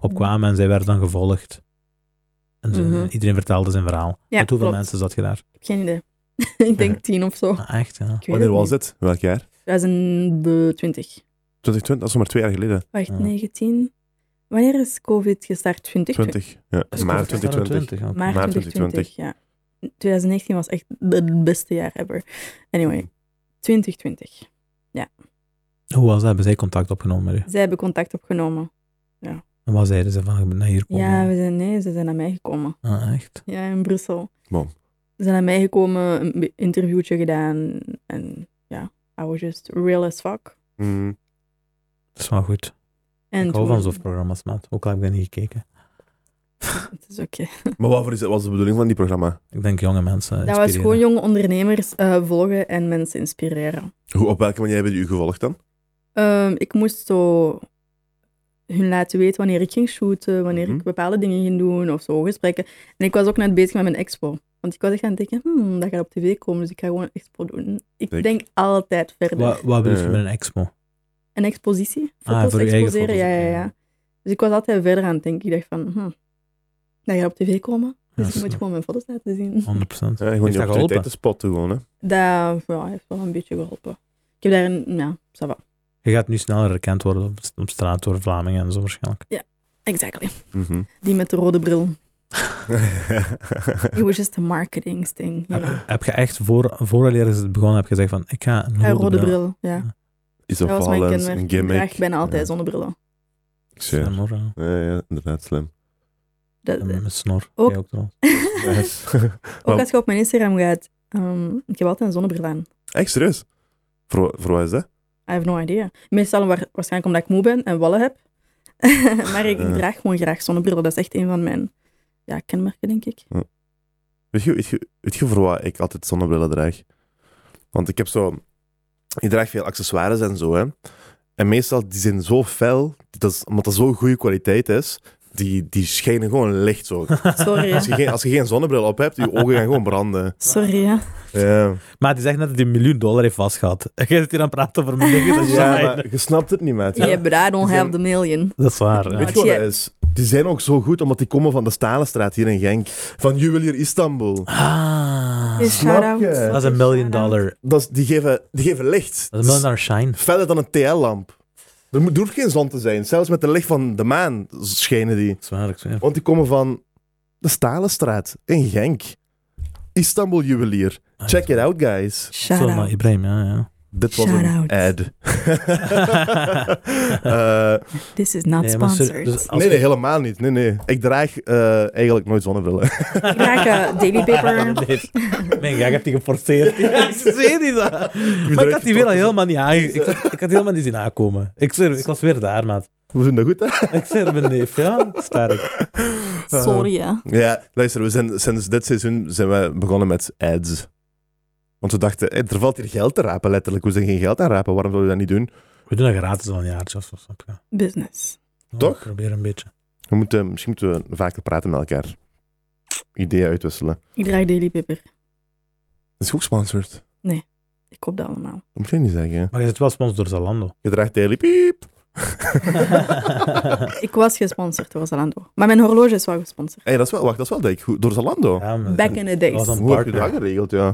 S2: opkwamen en zij werden dan gevolgd. En ze-
S3: Mhm.
S2: iedereen vertelde zijn verhaal.
S3: Ja,
S2: Met hoeveel
S3: klopt.
S2: mensen zat je daar?
S3: Ik heb geen idee. (laughs) ik denk tien of zo.
S2: Ah, echt, ja.
S3: Ik
S1: (laughs)
S3: weet
S1: Wanneer
S3: het
S1: was
S3: niet.
S1: dit? Welk jaar?
S3: 2020.
S1: 2020, dat is nog maar twee jaar geleden.
S3: Wacht,
S2: Ja.
S3: 19. Wanneer is COVID gestart? 20?
S1: 20. Ja, maart 2020.
S2: oké.
S3: Maart
S1: Maart
S3: 2020, ja. 2019 was echt het beste jaar ever. Anyway, 2020.
S2: Hoe was dat? Hebben zij contact opgenomen met u?
S3: Zij hebben contact opgenomen.
S2: En wat zeiden ze van, je moet naar hier komen?
S3: Ja, we zijn, nee, ze zijn naar mij gekomen.
S2: Ah, echt?
S3: Ja, in Brussel.
S1: Wow.
S3: Ze zijn naar mij gekomen, een be- interviewtje gedaan. En ja, I was just real as fuck.
S1: Mm.
S2: Dat is wel goed.
S3: En
S2: ik hou van
S3: toen-
S2: zo'n programma's, maat. Ook al heb ik dat niet gekeken.
S3: Het is oké.
S1: Maar wat voor is- wat was de bedoeling van die programma?
S2: Ik denk jonge mensen
S3: Dat was
S2: inspireren.
S3: gewoon jonge ondernemers eh, volgen en mensen inspireren.
S1: Hoe, op welke manier hebben jullie u gevolgd dan?
S3: Ehm, ik moest zo hun laten weten wanneer ik ging shooten, wanneer
S1: Mhm.
S3: ik bepaalde dingen ging doen of zo, gesprekken. En ik was ook net bezig met mijn expo. Want ik was echt aan het denken, hmm, dat gaat op tv komen, dus ik ga gewoon een expo doen. Ik
S1: Kijk.
S3: denk altijd verder.
S2: Wat, wat bedoel je
S1: Ja.
S2: met een expo?
S3: Een expositie,
S2: Ah,
S3: foto's
S2: voor je eigen
S3: exposeren,
S2: foto's,
S3: ja, ja,
S2: oké.
S3: ja. Dus ik was altijd verder aan het denken. Ik dacht van, hmm, dat gaat op tv komen, dus
S2: Ja,
S3: je moet
S2: zo.
S3: gewoon mijn foto's laten zien.
S2: Oh. 100%.
S1: Ja, gewoon
S2: Heeft
S1: die
S2: dat geholpen?
S1: opportuniteit te spotten gewoon, hè.
S3: Dat ja, heeft wel een beetje geholpen. Ik heb daar een, ja, ça va.
S2: Je gaat nu sneller herkend worden op, op straat door Vlamingen en zo waarschijnlijk.
S3: Exactly. (laughs)
S1: Mhm.
S3: Die met de rode bril. It was just a marketing thing, you know.
S2: Heb je echt, voor, vooraleer is het begonnen, heb je gezegd van, ik ga een
S3: Een
S2: rode,
S3: rode
S2: bril.
S3: bril, ja.
S1: Is
S3: Dat
S1: of
S3: was mijn
S1: alles,
S3: kenmerk.
S1: een
S3: Ik draag
S1: gimmick.
S3: bijna altijd
S1: Ja.
S3: zonnebrillen.
S1: Ik zweer.
S2: Slim, hoor, ja.
S1: Ja, ja, inderdaad, slim.
S3: Dat, (laughs)
S2: En Met snor.
S3: Eh, Ook-
S2: Jij ook trouwens.
S3: ook
S1: Maar-
S3: als je op mijn Instagram gaat, ehm, ik heb altijd een zonnebril aan.
S1: (laughs) Echt serieus? Voor, wa- voor wat is dat?
S3: I have no idea. Meestal waar, waarschijnlijk omdat ik moe ben en wallen heb. (laughs) maar ik, ik
S2: Eh.
S1: Ja.
S3: draag gewoon graag zonnebrillen. Dat is echt een van mijn ja, kenmerken, denk
S2: (laughs)
S3: ik.
S1: Weet je, weet, je, weet je voor wat ik altijd zonnebrillen draag? Want ik heb zo... Ik draag veel accessoires en zo, hè. En meestal, die zijn zo fel, dat is, omdat dat zo'n goede kwaliteit is, die, die schijnen gewoon licht zo.
S3: Sorry,
S1: Als je,
S3: hè.
S1: geen, als je geen zonnebril op hebt, je ogen gaan gewoon branden.
S3: Sorry, hè.
S1: Ja,
S2: Maar die zegt net dat hij een miljoen dollar heeft vastgehad. (laughs) En jij zit hier aan het praten over miljoenen. Dat, is
S1: ja
S2: fijn.
S1: maar je snapt het niet, maat.
S3: Yeah, but I don't
S1: Zijn-
S3: have the million.
S2: dat is waar. ja.
S1: Weet je wat dat is? Die zijn ook zo goed, omdat die komen van de Stalenstraat hier in Genk. Van Juwelier Istanbul.
S2: Ah,
S3: Is
S1: snap
S3: shout-out.
S1: je.
S2: dat is een million dollar.
S1: Dat is, die, geven, die geven licht.
S2: Dat is een million dollar shine.
S1: Verder dan een TL-lamp. Er moet- er hoeft geen zon te zijn. Zelfs met het licht van de maan schijnen die.
S2: Dat is waar, ik zweer.
S1: Want die komen van de Stalenstraat in Genk. Istanbul Juwelier.
S2: Ah,
S1: Check it out, guys.
S3: Shout
S2: Zomaar
S3: out.
S2: Ibrahim, ja, ja.
S1: Dit was een
S2: (laughs)
S3: Shout-out.
S1: ad. (laughs) Eh,
S3: This is not
S2: Nee, maar ser-
S3: sponsored.
S2: dus als
S1: nee, nee,
S2: ik-
S1: helemaal niet. Nee, nee. Ik draag eh, eigenlijk nooit (laughs) zonnebrillen.
S3: Ik raak eh,
S2: (laughs)
S3: daily paper.
S2: Nee, Mijn gag heeft die geforceerd. (laughs) Ja, ik zweer die dat. Maar ik
S1: eruit
S2: had die weer al
S1: getrokken.
S2: helemaal niet aan. Ik, had- ik had helemaal niet zien aankomen. Ik, zweer, ik was weer daar, maat.
S1: We doen dat goed, hè?
S2: Ik zweer mijn neef, ja. Sterk. eh,
S3: Sorry, hè.
S1: Ja, luister, we zijn, sinds dit seizoen zijn we begonnen met ads. Want we dachten, hé, er valt hier geld te rapen, letterlijk. We zijn geen geld aan rapen, waarom zouden we dat niet doen?
S2: We doen dat gratis al een jaartje of zo. snap je?
S3: Business.
S2: Ja,
S1: Toch?
S2: Probeer een beetje.
S1: We moeten, misschien moeten we vaker praten met elkaar. Ideeën uitwisselen.
S3: Ik draag daily paper.
S1: Dat is ook sponsored.
S3: Ik koop dat allemaal.
S1: Dat moet je niet zeggen.
S2: Maar je zit wel sponsor door Zalando.
S1: Je draagt daily (laughs) piep.
S3: Ik was gesponsord door Zalando. Maar mijn horloge is wel gesponsord.
S1: Hé, dat is wel, wacht, dat is wel denk ik goed. Door Zalando.
S2: Ja, maar-
S3: Back in the days.
S2: Was een-
S1: Hoe heb je dat
S2: partner.
S1: geregeld, ja?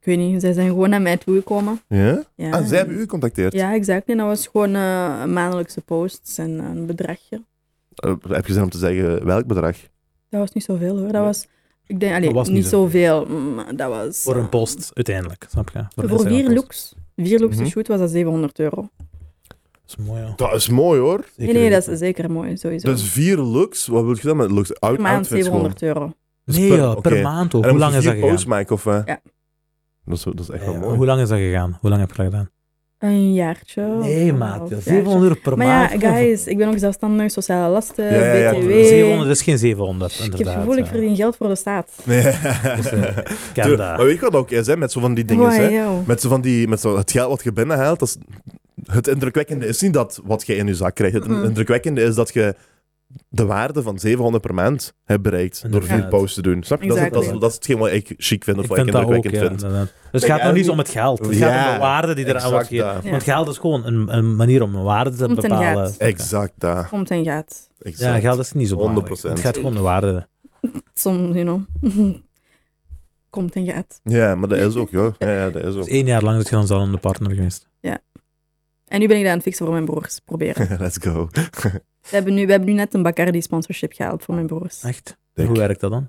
S3: Ik weet niet, zij zijn gewoon naar mij toegekomen.
S1: Ja?
S3: Ja.
S1: Ah, zij hebben u gecontacteerd.
S3: Ja, exact. En dat was gewoon eh, maandelijkse posts en een bedragje.
S1: Eh, heb je zin om te zeggen welk bedrag?
S3: Dat was niet zoveel hoor. Dat was, ik denk, allee,
S2: Dat was
S3: niet,
S2: niet
S3: zoveel. maar dat was...
S2: Voor een
S3: eh,
S2: post, uiteindelijk. Snap je? een
S3: Voor vier
S2: Instagram-post.
S3: looks. Vier looks
S1: Mhm.
S3: een shoot was dat 700 euro.
S2: Dat is mooi, ja.
S1: Dat is mooi, hoor.
S3: Nee, nee, dat is zeker mooi, sowieso.
S1: Dus vier looks. Wat wil je dan met looks? Out,
S3: per maand
S1: outfits gewoon.
S3: 700 euro.
S1: Dus
S2: Nee,
S1: per-
S2: ja,
S1: oké.
S2: per maand
S1: En dan
S2: ook. Hoe
S1: moet
S2: lang
S1: je
S2: is dat
S1: vier
S2: gegaan?
S1: posts maken, of... eh?
S3: Ja.
S1: Dat is, dat is echt
S2: Ja,
S1: wel
S2: ja.
S1: mooi.
S2: Hoe lang is dat gegaan? Hoe lang heb je dat gedaan?
S3: Een jaartje. of
S2: Nee,
S3: een
S2: maat.
S3: half
S2: ja,
S3: jaartje.
S2: 700 euro per
S3: Maar
S2: maand.
S3: ja, guys, eh, ik ben ook zelfstandig, sociale lasten,
S1: Ja, ja, ja,
S3: BTW.
S1: weet.
S2: 700 is geen 700,
S3: ik
S2: inderdaad.
S3: heb het gevoel, ik
S2: ja.
S3: verdien geld voor de staat.
S1: Nee.
S2: eh,
S1: (laughs)
S2: Ik ken
S1: Tuurlijk, Maar
S2: dat.
S1: weet je wat ook is, hè? Met zo van die dingen,
S3: Wow,
S1: hè?
S3: yo.
S1: Met, zo van die, met zo het geld wat je binnenhaalt, dat is, het indrukwekkende is niet dat wat je in je zak krijgt. Het
S3: Mhm.
S1: indrukwekkende is dat je de waarde van 700 per maand hebt bereikt door vier
S2: Inderdaad.
S1: posts te doen. Snap je? Dat is, dat, is,
S3: Exactly.
S1: dat is hetgeen wat ik chic vind of
S2: Ik
S1: wat ik
S2: vind dat ook, ja,
S1: indrukwekkend vind.
S2: inderdaad. Dus het
S1: Ik
S2: gaat nog niet
S1: eigenlijk-
S2: om het geld. Het gaat
S1: Ja,
S2: om de waarde die eraan
S1: Exact
S2: wordt gegeven.
S1: dat.
S3: Ja.
S2: Want geld is gewoon een, een manier om een waarde te
S3: Komt en
S2: bepalen.
S3: gaat.
S1: Exact dat.
S3: Komt en gaat.
S1: Exact.
S2: Ja, geld is niet zo belangrijk.
S1: 100%.
S2: Het gaat gewoon om de waarde.
S3: Soms, you know. (laughs) Komt en gaat.
S1: Ja, maar dat is ook, joh. Ja, ja, dat is
S2: Dus
S1: ook.
S2: één jaar lang zit je dan zo aan de partner geweest.
S3: En nu ben ik dat aan het fixen voor mijn broers.
S1: (laughs)
S3: Proberen.
S2: (laughs)
S1: Let's go.
S3: We hebben nu, we hebben nu net een Bacardi-sponsorship gehaald voor mijn broers.
S2: Echt?
S1: Dik.
S2: Hoe werkt dat dan?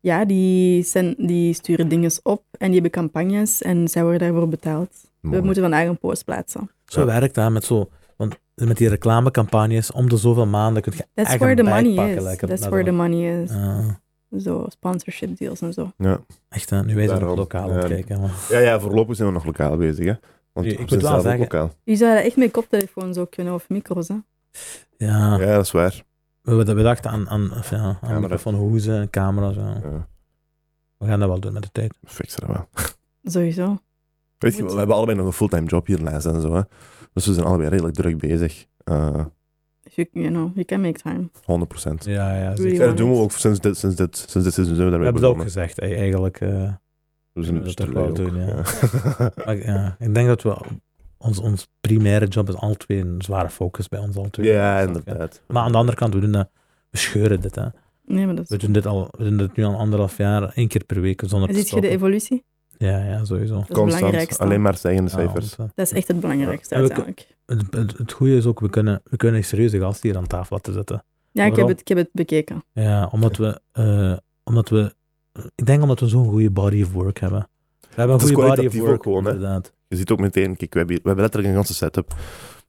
S3: Ja, die, zijn, die sturen dingen op en die hebben campagnes en zij worden daarvoor betaald.
S1: Mooi.
S3: We moeten vandaag een post plaatsen.
S2: Zo
S1: Ja.
S2: werkt dat met zo... Want met die reclamecampagnes, om de zoveel maanden kun je
S3: That's
S2: echt
S3: where
S2: een
S3: the
S2: bag
S3: money
S2: pakken,
S3: is.
S2: lekker.
S3: That's
S2: Dat
S3: where the
S2: dan-
S3: money is.
S2: Ah,
S3: Zo, sponsorship deals en zo.
S1: Ja.
S2: echt, hè. nu wij zijn
S1: Daarom.
S2: op lokaal aan het
S1: Ja.
S2: kijken. man.
S1: Ja, ja, voorlopig zijn we nog lokaal bezig, hè. Want
S2: Ik
S1: we
S2: moet
S1: zijn
S2: wel
S1: zelf ook
S2: zeggen-
S1: lokaal.
S3: Je zou dat echt met koptelefoons ook kunnen, of micro's, hè?
S2: Ja,
S1: Ja, dat is
S2: (laughs)
S1: waar.
S2: We, we dachten aan, aan, of ja, aan
S1: Camera.
S2: microfoon, hoezen en camera's. ja.
S1: Ja,
S2: We gaan dat wel doen met de tijd.
S1: we fixen dat wel.
S3: Sowieso.
S1: Weet je,
S3: Moet.
S1: we hebben allebei nog een fulltime job hiernaast en zo. Hè? Dus we zijn allebei redelijk druk bezig. Eh,
S3: If You, you know, you can make time.
S1: 100%.
S2: Ja, ja.
S3: Doe je
S1: Ja,
S2: zeker.
S1: dat doen we ook sinds dit, sinds dit, sinds dit seizoen zijn we
S2: We
S1: daarmee
S2: hebben het ook
S1: begonnen. Dus
S2: gezegd, hè, eigenlijk. eh.
S1: We
S2: we dat toch wel doen,
S1: (laughs)
S2: ja. (laughs)
S1: ja.
S2: maar, ja, ik denk dat we... Ons, ons primaire job is altijd twee een zware focus bij ons al twee.
S1: Ja, inderdaad.
S2: Maar aan de andere kant, we doen dat... We scheuren dit, hè.
S3: Nee, maar dat
S2: We
S3: is...
S2: doen dit, al, we doen dit nu al anderhalf jaar, één keer per week, zonder
S3: En
S2: te
S3: ziet je de
S2: stoppen.
S3: evolutie?
S2: Ja, ja, sowieso.
S3: Dat is het
S1: Constant.
S3: belangrijkste.
S1: Alleen maar stijgende
S2: Ja,
S1: cijfers.
S2: want,
S3: Dat is echt het belangrijkste,
S2: Ja, we kun-
S3: uiteindelijk.
S2: eh, het, het, het goede is ook, we kunnen, we kunnen een serieuze gast hier aan tafel laten zitten.
S3: Ja, ik heb,
S2: Waarom?
S3: het, ik heb het bekeken.
S2: Ja, omdat we, eh, omdat we, ik denk omdat we zo'n goede body of work hebben. We hebben een
S1: Het is
S2: goede body of
S1: kwalitatief
S2: work,
S1: ook gewoon, hè?
S2: inderdaad.
S1: Je ziet ook meteen, kijk, we hebben, hier- we hebben letterlijk een ganse setup.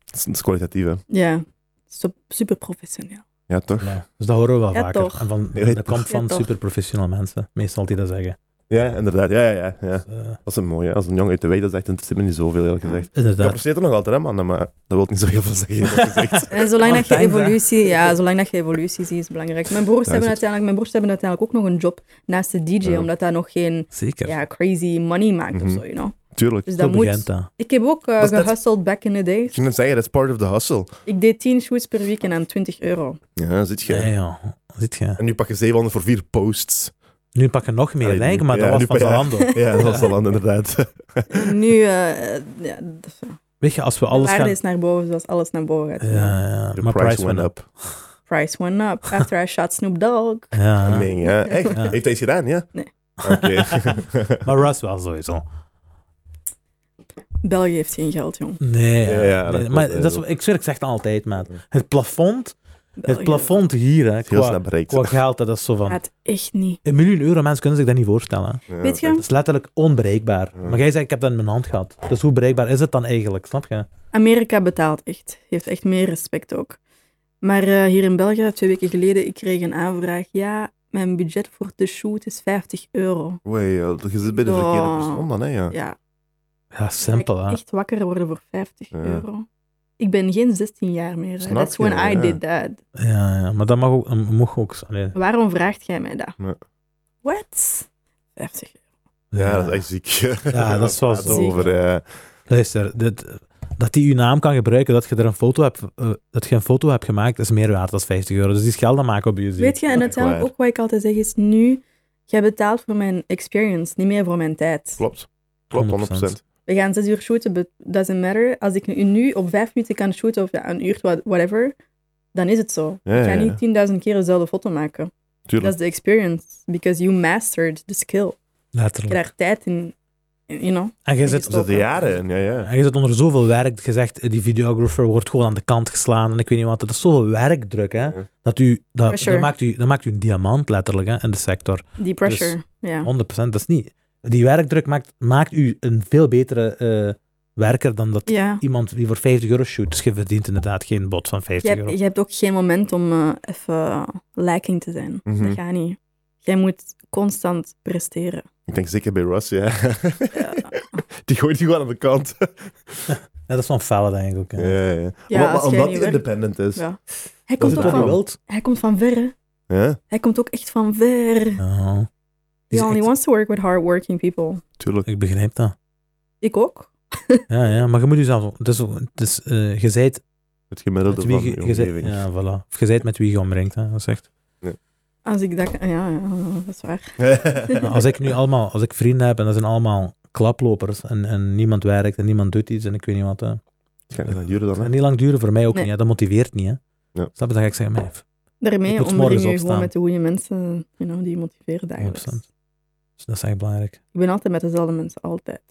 S1: Het is, het is kwalitatief, hè.
S3: Ja, Sup- super professioneel.
S1: Ja, toch?
S2: Ja, dus dat horen we wel
S3: Ja,
S2: vaker.
S3: toch.
S2: En van,
S1: Ja,
S2: dat
S1: toch.
S2: komt van
S3: Ja, toch.
S2: superprofessionele mensen, meestal die dat zeggen.
S1: Ja, inderdaad. Ja, ja, ja. ja.
S2: Dus, eh,
S1: Dat is een mooie. Als een jongen uit de wei dat zegt, het zit me niet zoveel, eerlijk gezegd. Ik
S2: inderdaad.
S1: apprecieer het nog altijd, hè, mannen, maar dat wil niet zo heel veel zeggen.
S2: (laughs)
S1: eerlijk gezegd.
S3: En Eh, zolang dat je
S2: Thanks, hè.
S3: evolutie, ja, zolang dat je evolutie ziet, is belangrijk. Mijn broers,
S1: Ja,
S3: hebben
S1: is het.
S3: uiteindelijk, mijn broers hebben uiteindelijk ook nog een job naast de DJ,
S1: Ja.
S3: omdat dat nog geen
S2: Zeker.
S3: ja, crazy money maakt
S1: Mhm.
S3: of zo, you know.
S1: Tuurlijk.
S3: Dus
S2: Zo
S3: dat
S2: begint
S3: moet.
S2: dat.
S3: Ik heb ook eh,
S1: Dat is net-
S3: gehusteld back in the
S1: Ik
S3: days.
S1: ging net zeggen, that's part of the hustle.
S3: Ik deed 10 shoots per week en aan 20 euro.
S1: Ja, zit je.
S2: Ja, Ah, ja. Ziet je.
S1: En nu pak je 700 voor vier
S2: (laughs)
S1: posts.
S2: Nu pakken nog meer,
S1: Allee,
S2: denk ik, maar
S1: ja,
S2: dat
S1: Ah, nu
S2: was van
S1: pa- (laughs) ja.
S2: Zalando.
S1: Ja, dat was al aan, inderdaad.
S3: Nu, eh, eh, ja, dat-
S2: Weet je, als we
S3: de
S2: alles
S3: waarde
S2: gaan...
S3: is naar boven zoals alles naar boven gaat.
S2: Ja, ja,
S1: The
S2: maar price went up.
S3: Price went up after I shot Snoop Dogg.
S2: Ja, ja.
S1: Nee,
S2: (laughs)
S1: ja. Echt?
S2: Ah. Ja.
S1: Heeft hij iets gedaan, ja?
S3: Nee.
S1: Oké.
S2: (laughs)
S1: (laughs)
S2: Maar Russ wel sowieso.
S3: België heeft geen geld, jong.
S2: Nee,
S1: Ja, ja, dat
S2: nee,
S1: klopt,
S2: maar
S1: ja,
S2: dat is,
S1: dat-
S2: ik zweer, ik zeg het altijd, maat.
S1: Ja.
S2: Het plafond, het
S3: België
S2: plafond hier, hè,
S1: Heel
S2: qua,
S1: snel bereikt.
S2: qua geld, dat is zo van...
S3: Gaat echt niet.
S2: Een miljoen euro, mensen kunnen zich dat niet voorstellen. hè.
S1: Ja,
S3: Weet je?
S1: oké.
S2: Dat is letterlijk onbereikbaar.
S1: Ja.
S2: Maar jij zegt, ik heb dat in mijn hand gehad. Dus hoe bereikbaar is het dan eigenlijk, snap je?
S3: Amerika betaalt echt. Heeft echt meer respect ook. Maar eh, hier in België, twee weken geleden, ik kreeg een aanvraag. Ja, mijn budget voor de shoot is 50 euro.
S1: Oei, ja, je zit bij de
S2: Oh.
S3: Ja.
S1: verkeerde persoon dan, hè? Ja.
S3: Ja,
S2: Ja, simpel, hè.
S3: echt wakker worden voor 50
S1: Ja.
S3: euro. Ik ben geen 16 jaar meer. hè.
S1: Snap
S3: That's
S1: je,
S3: when I
S1: ja.
S3: did that.
S2: Ja, ja, maar dat mag ook... dat Mag ook zo- allee.
S3: Waarom vraagt jij mij dat?
S1: Ja.
S3: What? 50 euro.
S1: Ja, dat is echt ziek.
S2: Ja,
S1: (laughs)
S2: dat is wel
S1: Praat
S2: zo.
S1: Over, ja.
S2: Luister, dit, dat hij uw naam kan gebruiken, dat je er een foto hebt, eh, dat je een foto hebt gemaakt, is meer waard dan 50 euro. Dus die is geld aan maken op je ziel.
S3: Weet je, en uiteindelijk
S1: waar.
S3: ook wat ik altijd zeg is nu, jij betaalt voor mijn experience, niet meer voor mijn tijd.
S1: Klopt. Klopt, 100%.
S2: 100%.
S3: We gaan zes uur shooten, but doesn't matter. Als ik nu- nu op vijf minuten kan shooten of ja, een uur, wha- whatever, dan is het zo.
S1: Ja,
S3: Ik ga
S1: ja, ja.
S3: niet 10.000 keer dezelfde foto maken. Dat
S1: Tuurlijk.
S3: is de experience, because you mastered the skill. Je
S2: Letterlijk.
S3: hebt daar tijd in, in- you know.
S2: En je
S3: is
S2: zit,
S1: Er zitten jaren in, ja, ja.
S2: en je zit onder zoveel werk, je zegt, eh, die videographer wordt gewoon aan de kant geslaan en ik weet niet wat. Dat is zoveel werkdruk, hè.
S1: Ja.
S2: Dat, u, dat,
S3: Pressure.
S2: dat, maakt u, dat maakt u een diamant, letterlijk, hè, in de sector.
S1: Dus
S3: Die pressure, ja.
S2: 100%, dat is niet... Die werkdruk maakt, maakt u een veel betere eh, werker dan dat
S3: Ja,
S2: iemand die voor 50 euro shoot. Dus je verdient inderdaad geen bod van
S3: je
S2: 50 euro.
S3: hebt, je hebt ook geen moment om eh, even lacking te zijn.
S1: Mhm.
S3: Dat gaat niet. Jij moet constant presteren.
S1: Ik denk zeker bij Russ, ja.
S3: Ja.
S1: (laughs) Die gooit die gewoon aan de kant.
S2: Ja, dat is wel een felle, denk ik ook. hè.
S1: Ja, ja. ja.
S3: Ja,
S1: Omdat-
S3: als jij
S1: omdat
S3: niet
S1: hij
S3: werkt-
S1: independent is.
S3: Ja.
S1: Dat
S3: Hij, komt
S1: is
S3: ook
S1: het
S3: van,
S1: probleem.
S2: wilt.
S3: hij komt van ver, hè.
S1: Ja,
S3: Hij komt ook echt van ver.
S2: Ja.
S3: He
S2: Dus
S3: only
S2: ik-
S3: wants to work with hardworking people.
S1: tuurlijk.
S2: Ik begrijp dat.
S3: Ik ook.
S2: Ja, ja, maar je moet jezelf... Het is, het is, eh, je zijt
S1: Het
S2: met
S1: gemiddelde
S2: wie
S1: van je
S2: je... je zijt-
S1: omgeving. (laughs)
S2: ja, voilà. Of je zijt met wie je omringt, hè. Dat is echt...
S3: Als ik dat... Ja, ja, dat is waar.
S2: Nou, als ik nu allemaal... Als ik vrienden heb en dat zijn allemaal klaplopers en, en niemand werkt en niemand doet iets en ik weet niet wat, hè. Het
S1: Het gaat niet aan duren dan,
S2: gaat
S1: hè?
S2: niet lang duren voor mij ook
S3: Nee.
S2: niet, hè. Dat motiveert niet, hè.
S1: Ja.
S2: Snap je? Dan ga ik zeggen, mij, Ik
S3: Daarmee
S2: moet
S3: omring
S2: morgens
S3: je gewoon
S2: opstaan.
S3: met de goede mensen you know, die je motiveren dagelijks.
S2: 100%. Dus dat is echt belangrijk.
S3: Ik ben altijd met dezelfde mensen, altijd.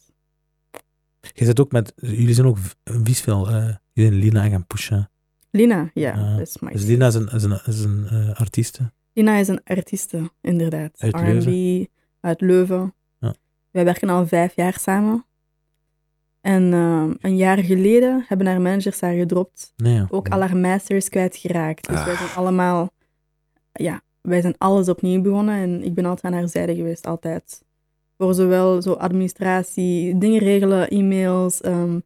S2: Je zit ook met... Jullie zijn ook v- vies veel... eh, jullie zijn Lina gaan pushen.
S3: Lina, ja,
S2: Ja,
S3: dat is my
S2: Dus Lina is een, is een, is een eh, artieste.
S3: Lina is een artieste, inderdaad.
S2: Uit
S3: R&B, uit Leuven.
S2: Ja.
S3: Wij werken al vijf jaar samen. En ehm, een jaar geleden hebben haar managers haar gedropt.
S2: Nee, ja.
S3: Ook al haar masters kwijtgeraakt. Dus wij
S1: Ah.
S3: zijn allemaal... Ja, wij zijn alles opnieuw begonnen. En ik ben altijd aan haar zijde geweest, altijd. Voor zowel zo administratie, dingen regelen, e-mails, ehm,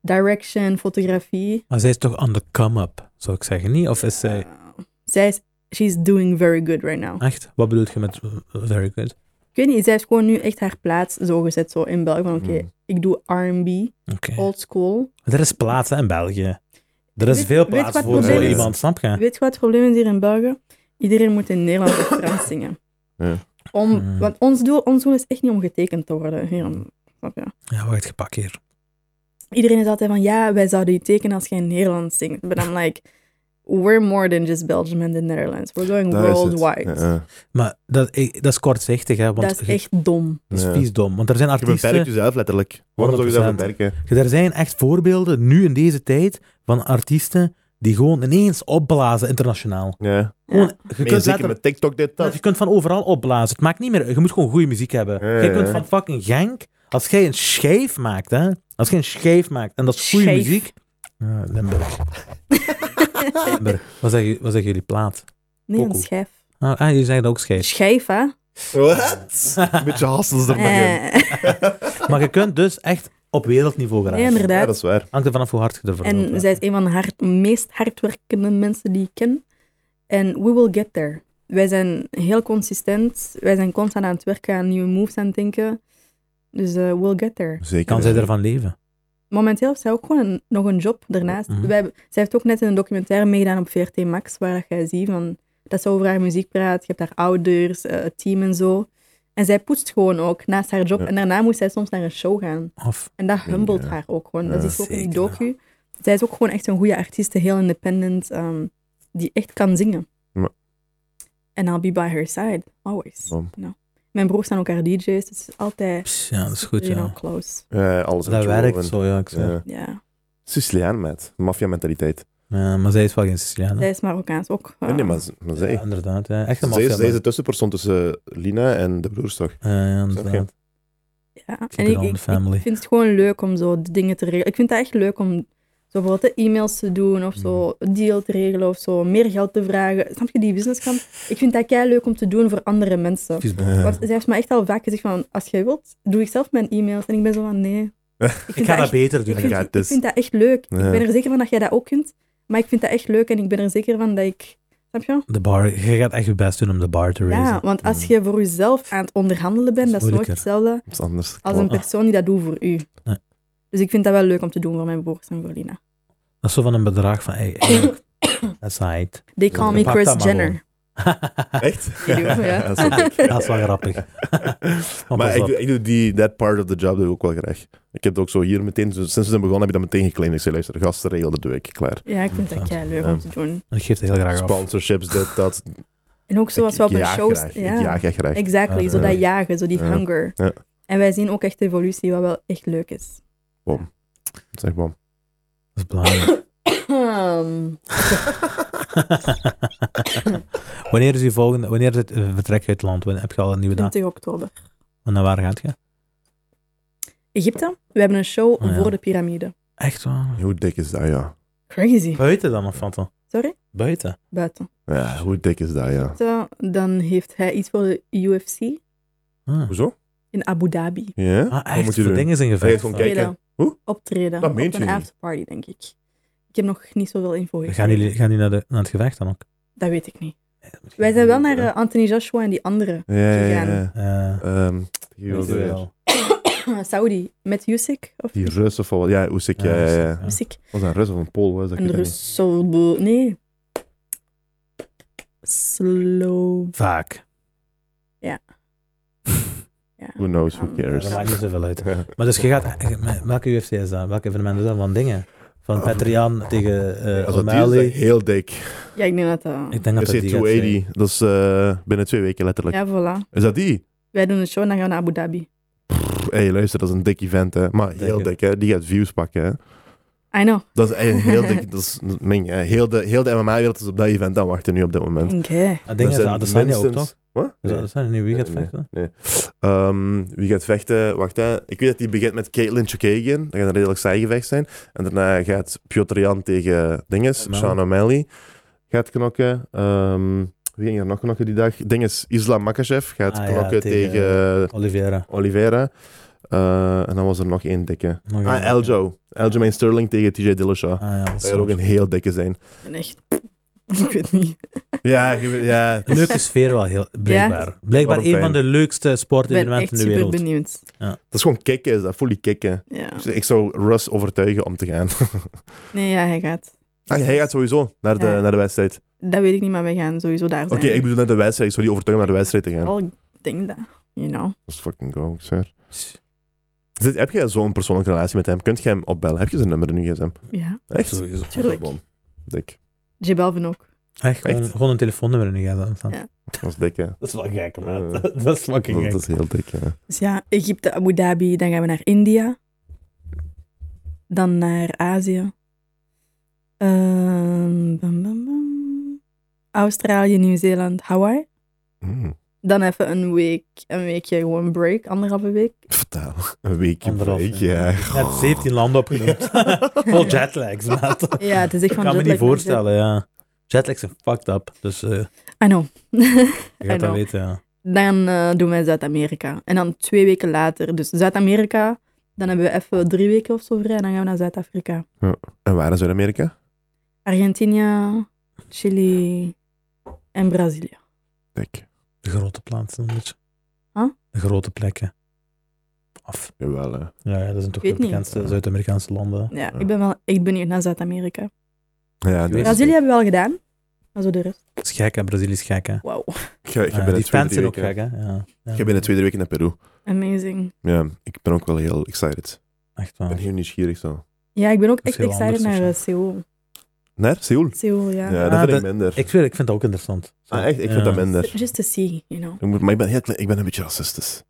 S3: direction, fotografie.
S2: Maar zij is toch on the come-up, zou ik zeggen, niet? Of is zij... Ah.
S3: Eh, zij is... She's doing very good right now.
S2: Echt? Wat bedoel je met eh, very good?
S3: Ik weet niet, zij heeft gewoon nu echt haar plaats zo gezet zo in België. Van oké,
S2: Hmm.
S1: Mm.
S3: ik doe R&B,
S2: Oké.
S3: old school.
S2: Er is plaats hè, in België. Er is
S3: Oh. Weet-
S2: veel
S3: weet
S2: plaats
S3: wat
S2: voor
S1: het
S2: zo
S1: probleem is?
S2: iemand, snap je?
S3: (laughs) Weet je wat het probleem is hier in België? Iedereen moet in Nederlands of Frans zingen.
S1: Ja.
S3: Om,
S2: Mm.
S3: Want ons doel, ons doel is echt niet om getekend te worden. Hier, om- snap je?
S2: Ja, wacht, gepak hier.
S3: Iedereen is altijd van, ja, wij zouden je tekenen als je in Nederlands zingt. But I'm like, we're more than just Belgium and the Netherlands. We're going
S1: Daar is het.
S3: worldwide.
S1: Ja, ja.
S2: Maar dat, ik- dat is kortzichtig, hè? Want
S3: Dat is
S2: je-
S3: echt dom.
S2: dat is
S1: Ja.
S2: vies dom. Want er zijn
S1: Je
S2: artiesten...
S1: beperkt jezelf letterlijk. Waarom zou je jezelf
S2: 100%.
S1: beperken?
S2: Er zijn echt voorbeelden, nu in deze tijd, van artiesten die gewoon ineens opblazen internationaal.
S1: Ja.
S2: Gewoon, je,
S3: Ja.
S1: Maar
S2: kunt
S1: zeker
S2: letterlijk-
S1: met TikTok dit, dat.
S2: (laughs) je kunt van overal opblazen. Het maakt niet meer... Je moet gewoon goede muziek hebben.
S1: Ja,
S2: Je
S1: ja,
S2: kunt
S1: ja.
S2: van fucking Genk... Als jij een schijf maakt, hè? Als jij een schijf maakt en dat is goede
S3: Schijf.
S2: muziek... Ja, (laughs) Limburg. Limburg. Wat zeggen, wat zeggen jullie plaat?
S3: Nee, een
S2: Pokoe.
S3: schijf.
S2: Ah, ah, jullie zeggen dat ook schijf.
S3: Schijf, hè?
S1: Wat? Een beetje hassels er nog in.
S3: Eh,
S2: Maar je kunt dus echt op wereldniveau
S3: nee,
S2: geraken.
S1: Ja,
S3: (laughs) inderdaad.
S1: dat is waar.
S2: Hangt er vanaf hoe hard je ervoor
S3: En
S2: loopt, hè.
S3: zij is een van de hard- meest hardwerkende mensen die ik ken. En we will get there. Wij zijn heel consistent. Wij zijn constant aan het werken, aan nieuwe moves aan het denken. Dus eh, we'll get there.
S1: Zeker.
S2: Kan zij ervan leven?
S3: Momenteel heeft zij ook gewoon een- nog een job daarnaast.
S2: Mhm.
S3: Wij hebben- zij heeft ook net in een documentaire meegedaan op VRT Max, waar dat jij ziet van, dat ze over haar muziek praat. Je hebt haar ouders, eh, het team en zo. En zij poetst gewoon ook naast haar job.
S1: Ja.
S3: En daarna moest zij soms naar een show gaan.
S2: Of
S3: En dat humbelt
S1: Ja.
S3: haar ook gewoon. Dat
S1: Ja.
S3: is ook in die
S2: Zeker.
S3: docu. Zij is ook gewoon echt een goede artiest, heel independent, ehm, die echt kan zingen.
S1: Ja.
S3: En I'll be by her side, always.
S1: Bom.
S3: Nou. Mijn broers zijn ook haar DJ's, dus het is altijd
S2: Pss, ja, dat is goed,
S3: you
S2: ja.
S3: know, close.
S1: Eh, alles
S2: Dat werkt zo, ja. Ik zeg.
S1: Ja.
S3: Ja.
S1: Siciliaan, met Maffia-mentaliteit.
S2: Ja, maar zij is wel geen Siciliaan. hè?
S3: Zij is Marokkaans ook.
S1: Nee, nee,
S3: eh,
S1: maar, z- maar zij.
S2: Ja, inderdaad, ja. echt een
S1: zij, is,
S2: maffia.
S1: zij is
S2: man.
S1: de tussenpersoon tussen Lina en de broers, toch?
S2: Ja, ja, inderdaad.
S3: Ja, en
S2: Keep it
S3: ik,
S2: on
S3: ik,
S2: the family.
S3: ik vind het gewoon leuk om zo de dingen te regelen. Ik vind het echt leuk om zo bijvoorbeeld de e-mails te doen of zo, een deal te regelen of zo, meer geld te vragen. Snap je die businesskant? Ik vind dat kei leuk om te doen voor andere mensen.
S2: Viesbal.
S1: Eh,
S3: Want zij heeft me echt al vaak gezegd van, als jij wilt, doe ik zelf mijn e-mails. En ik ben zo van, nee. vind
S2: Ik ga dat
S3: echt-
S2: beter doen.
S3: ik, vind,
S1: Ja,
S3: ik
S1: dus-
S3: vind dat echt leuk.
S1: Ja.
S3: Ik ben er zeker van dat jij dat ook kunt. Maar ik vind dat echt leuk en ik ben er zeker van dat ik... Snap je?
S2: De bar, je gaat echt je best doen om de bar te raisen.
S3: Ja, want als je voor jezelf aan het onderhandelen bent,
S2: Dat
S3: dat
S2: is
S3: is nooit
S2: moeilijker.
S3: hetzelfde
S1: dat is anders.
S3: als een
S2: Klopt.
S3: persoon die dat doet voor u.
S2: Nee.
S3: Dus ik vind dat wel leuk om te doen voor mijn broers en voor Lina.
S2: Dat is zo van een bedrag van, hey,
S3: (coughs)
S2: eigenlijk, that's right.
S3: They call me
S2: Pak dat
S3: Chris
S2: maar
S3: Jenner. (laughs)
S1: Echt? (laughs)
S3: Die doen we, ja.
S1: dat is wel
S2: (laughs)
S1: leuk.
S2: (laughs) Dat is wel grappig. Maar
S1: maar
S2: pas
S1: ik,
S2: op.
S1: doe- ik doe die, that part of the job doe ik ook wel graag. Ik heb het ook zo hier meteen, sinds we zijn begonnen, heb ik dat meteen geclaimd. Ik zei, luister, gastenregel, dat doe ik, klaar.
S3: Ja, ik vind dat jij leuk om te doen.
S2: Dat geeft het heel graag af.
S1: Sponsorships, dit, dat.
S3: En ook zoals
S1: Ik-
S3: we op
S1: ik
S3: een
S1: jaag
S3: show...
S1: graag. Ik
S3: Ja,
S1: jaag echt graag.
S3: exactly.
S2: Ja.
S3: Zo
S1: Ah, Ja.
S3: dat jagen, zo die
S1: Ja.
S3: hunger.
S1: Ja.
S3: En wij zien ook echt de evolutie, wat wel echt leuk is.
S1: Dat is echt bom.
S2: Dat is
S3: (laughs)
S2: belangrijk.
S3: (coughs) Ehm,
S2: wanneer is je volgende, wanneer is het eh, vertrek uit het land? Wanneer heb je al een nieuwe dag?
S3: 20 oktober.
S2: En naar waar gaat je?
S3: Egypte, we hebben een show
S1: Ah,
S2: Oh, ja.
S3: voor de piramide.
S2: Echt waar?
S1: Hoe dik is dat, ja?
S3: Crazy.
S2: Buiten dan, of wat dan?
S3: Sorry?
S2: Buiten.
S3: Buiten.
S1: Ja, hoe dik is dat, ja?
S3: Zo, Dan heeft hij iets voor de UFC
S2: Ah,
S1: Hoezo?
S3: in Abu Dhabi.
S1: Ja?
S2: Ah,
S1: Wat
S2: echt?
S1: moet je
S2: voor
S1: doen?
S2: dingen zijn
S1: Ga je
S2: gevecht.
S1: gewoon
S2: Ah.
S1: kijken?
S3: Optreden.
S1: Hoe?
S3: Optreden.
S1: Dat
S3: op
S1: meent je
S3: een
S1: niet.
S3: afterparty, denk ik. Ik heb nog niet zoveel info.
S2: Gaan
S3: gekregen.
S2: jullie, gaan jullie naar, de, naar het gevecht dan ook?
S3: Dat weet ik niet. Wij zijn wel naar eh, Anthony Joshua en die andere (coughs)
S1: Ja, ja, ja, ja.
S2: Eh,
S1: Ehm, die,
S2: weet
S1: was
S2: je
S1: er.
S2: wel.
S3: Saudi met Yusik. Of
S1: die Rus of wat? Ja, Oesik, ja, ja, ja.
S2: ja.
S3: Yusik.
S1: Was dat een Rus of een Pool? Was dat Ik
S3: Een
S1: weet het
S3: Rus. Sol- Nee. Slow.
S2: Vaak.
S3: Ja.
S1: niet. Who knows, who cares?
S2: Dat maakt niet zoveel
S1: (laughs)
S2: uit. Maar dus je gaat... met Welke UFC is dat? Welk evenement is dat? Van dingen? Van
S1: Oh.
S2: Petrian tegen eh
S1: Als dat die is, is
S2: O'Malley?
S1: dat heel dik.
S3: Ja, ik denk dat dat...
S2: Ik denk dat
S1: Dat
S2: dat
S1: is
S2: die gaat zijn.
S1: 280. Dat is eh, binnen twee weken letterlijk.
S3: Ja, voilà.
S1: Is dat die?
S3: Wij doen een show en dan gaan we naar Abu Dhabi.
S1: Hé, hey, luister, dat is een dik event, hè. Maar heel
S2: Dikke.
S1: dik, hè. Die gaat views pakken, hè.
S3: I know.
S1: Dat is eigenlijk heel
S2: (laughs)
S1: dik. Dat is, mijn, eh, heel de, heel de MMA-wereld is op dat event aan wachten nu op dit moment.
S3: Oké.
S2: Ik Ah, denk dat
S1: zijn
S2: dat Adesanya ook,
S1: minstens-
S2: toch?
S1: Wat?
S2: Is dat Adesanya nu wie gaat
S1: Nee, nee.
S2: vechten?
S1: Ehm, wie gaat vechten? Wacht, hè. Ik weet dat die begint met Caitlin Chukagian. Dat gaat een redelijk saai gevecht zijn. En daarna gaat Piotr Jan tegen Dinges,
S2: O'Malley.
S1: Sean O'Malley gaat knokken. Ehm, wie ging er nog knokken die dag? Dinges, Islam Makachev gaat
S2: Ah, ja,
S1: knokken
S2: tegen-
S1: tegen, Olivera.
S2: Oliveira.
S1: Oliveira. Eh, en dan was er nog één dikke.
S2: Nog een-
S1: Ah, Eljo. Eljo Sterling tegen TJ Dillashaw.
S2: Ah, ja, dat
S1: Dat
S2: is
S1: gaat ook
S2: zo.
S1: een heel dikke zijn.
S3: En echt... (laughs) Ik weet niet.
S1: Ja, je weet- ja.
S2: Een leuke sfeer wel, heel, blijkbaar. Blijkbaar
S1: Waarom
S2: een van de leukste
S3: Ik ben
S2: sportevenementen
S3: echt
S2: in de
S3: super
S2: wereld.
S3: benieuwd.
S1: Dat is gewoon kicken, is dat fully kicken.
S3: Ja.
S1: Dus ik zou Russ overtuigen om te gaan.
S3: Nee, ja, hij gaat.
S1: Ah, hij gaat sowieso naar de,
S3: Ja.
S1: naar de wedstrijd.
S3: Dat weet ik niet, maar wij gaan sowieso daar
S1: Oké,
S3: zijn.
S1: ik bedoel naar de wedstrijd. Ik zou die overtuigen naar de wedstrijd te gaan.
S3: Wel, ik denk dat. You know.
S1: Dat is fucking go, sir. Zit, heb jij zo'n persoonlijke relatie met hem? Kunt jij hem opbellen? Heb je zijn nummer in je gsm?
S3: Ja.
S1: Echt?
S2: Sowieso.
S3: Tuurlijk.
S1: Dat is bom. Dik.
S3: J Balvin ook.
S2: Echt, gewoon,
S1: Echt?
S2: gewoon een telefoonnummer in de gaten staan.
S3: Ja.
S1: Dat is dik, hè.
S2: Dat is wel gek,
S1: man. Eh.
S2: Dat is
S1: (laughs)
S2: fucking
S1: Dat, dat is heel dik, ja.
S3: Dus ja, Egypte, Abu Dhabi, dan gaan we naar India. Dan naar Azië. Ehm, bam, bam, bam. Australië, Nieuw-Zeeland, Hawaii.
S1: Mm.
S3: Dan even een week, een weekje gewoon break, anderhalve week.
S1: Vertel. Een weekje
S2: Anderhalf,
S1: break,
S2: ja.
S1: ja.
S2: Net 17 landen opgenoemd. (laughs) Vol
S3: (laughs)
S2: jetlags, maat.
S3: Ja, het is echt
S2: Ik
S3: van
S2: kan me
S3: jetlag
S2: niet
S3: naar
S2: voorstellen, ja. Jetlags zijn fucked up, dus eh,
S3: jet- I know. (laughs)
S2: je
S3: I
S2: gaat dat
S3: know.
S2: weten, ja.
S3: Dan eh, doen wij Zuid-Amerika. En dan twee weken later, dus Zuid-Amerika. Dan hebben we even drie weken of zo vrij en dan gaan we naar Zuid-Afrika.
S1: En waar in Zuid-Amerika?
S3: Argentinië, Chili en Brazilië.
S1: Dik.
S2: De grote plaatsen, een beetje.
S3: Huh?
S2: De grote plekken. af.
S1: Jawel, eh. hè.
S2: Ja, ja, dat zijn toch
S3: Ik
S2: de
S3: weet niet.
S2: bekendste Zuid-Amerikaanse landen.
S3: Ja, ik ben wel echt benieuwd naar Zuid-Amerika.
S1: Ja,
S2: Brazilië-
S1: nee.
S3: Brazilië hebben we wel gedaan, maar zo de rest.
S2: Dat is gek, hè? Brazilië is gek, hè?
S3: Wow,
S1: Ik ga, ik ga
S2: Eh,
S1: binnen
S2: die
S1: twee,
S2: fans
S1: drie
S2: zijn ook
S1: weken,
S2: gek, hè? Ja. Ja.
S1: ik ga binnen twee, drie weken naar Peru.
S3: amazing.
S1: Ja, ik ben ook wel heel excited.
S2: Echt
S1: Ik
S2: waar.
S1: ben heel nieuwsgierig zo.
S3: Ja, ik ben ook
S2: Dat is
S3: echt
S2: heel
S3: excited
S2: anders of
S3: naar
S2: zo.
S3: eh, Seoul.
S1: Naar Seoul?
S3: Seoul, ja.
S1: Ja, dat
S2: Ah,
S1: vind ik
S2: dat-
S1: minder.
S2: Ik, zweer, ik vind dat ook interessant.
S1: ah, echt? Ik vind dat
S2: Ja.
S1: minder.
S3: Just to see, you
S2: (laughs)
S3: know.
S1: Ik moet- Maar ik ben, heel klein- ik ben een beetje racistisch.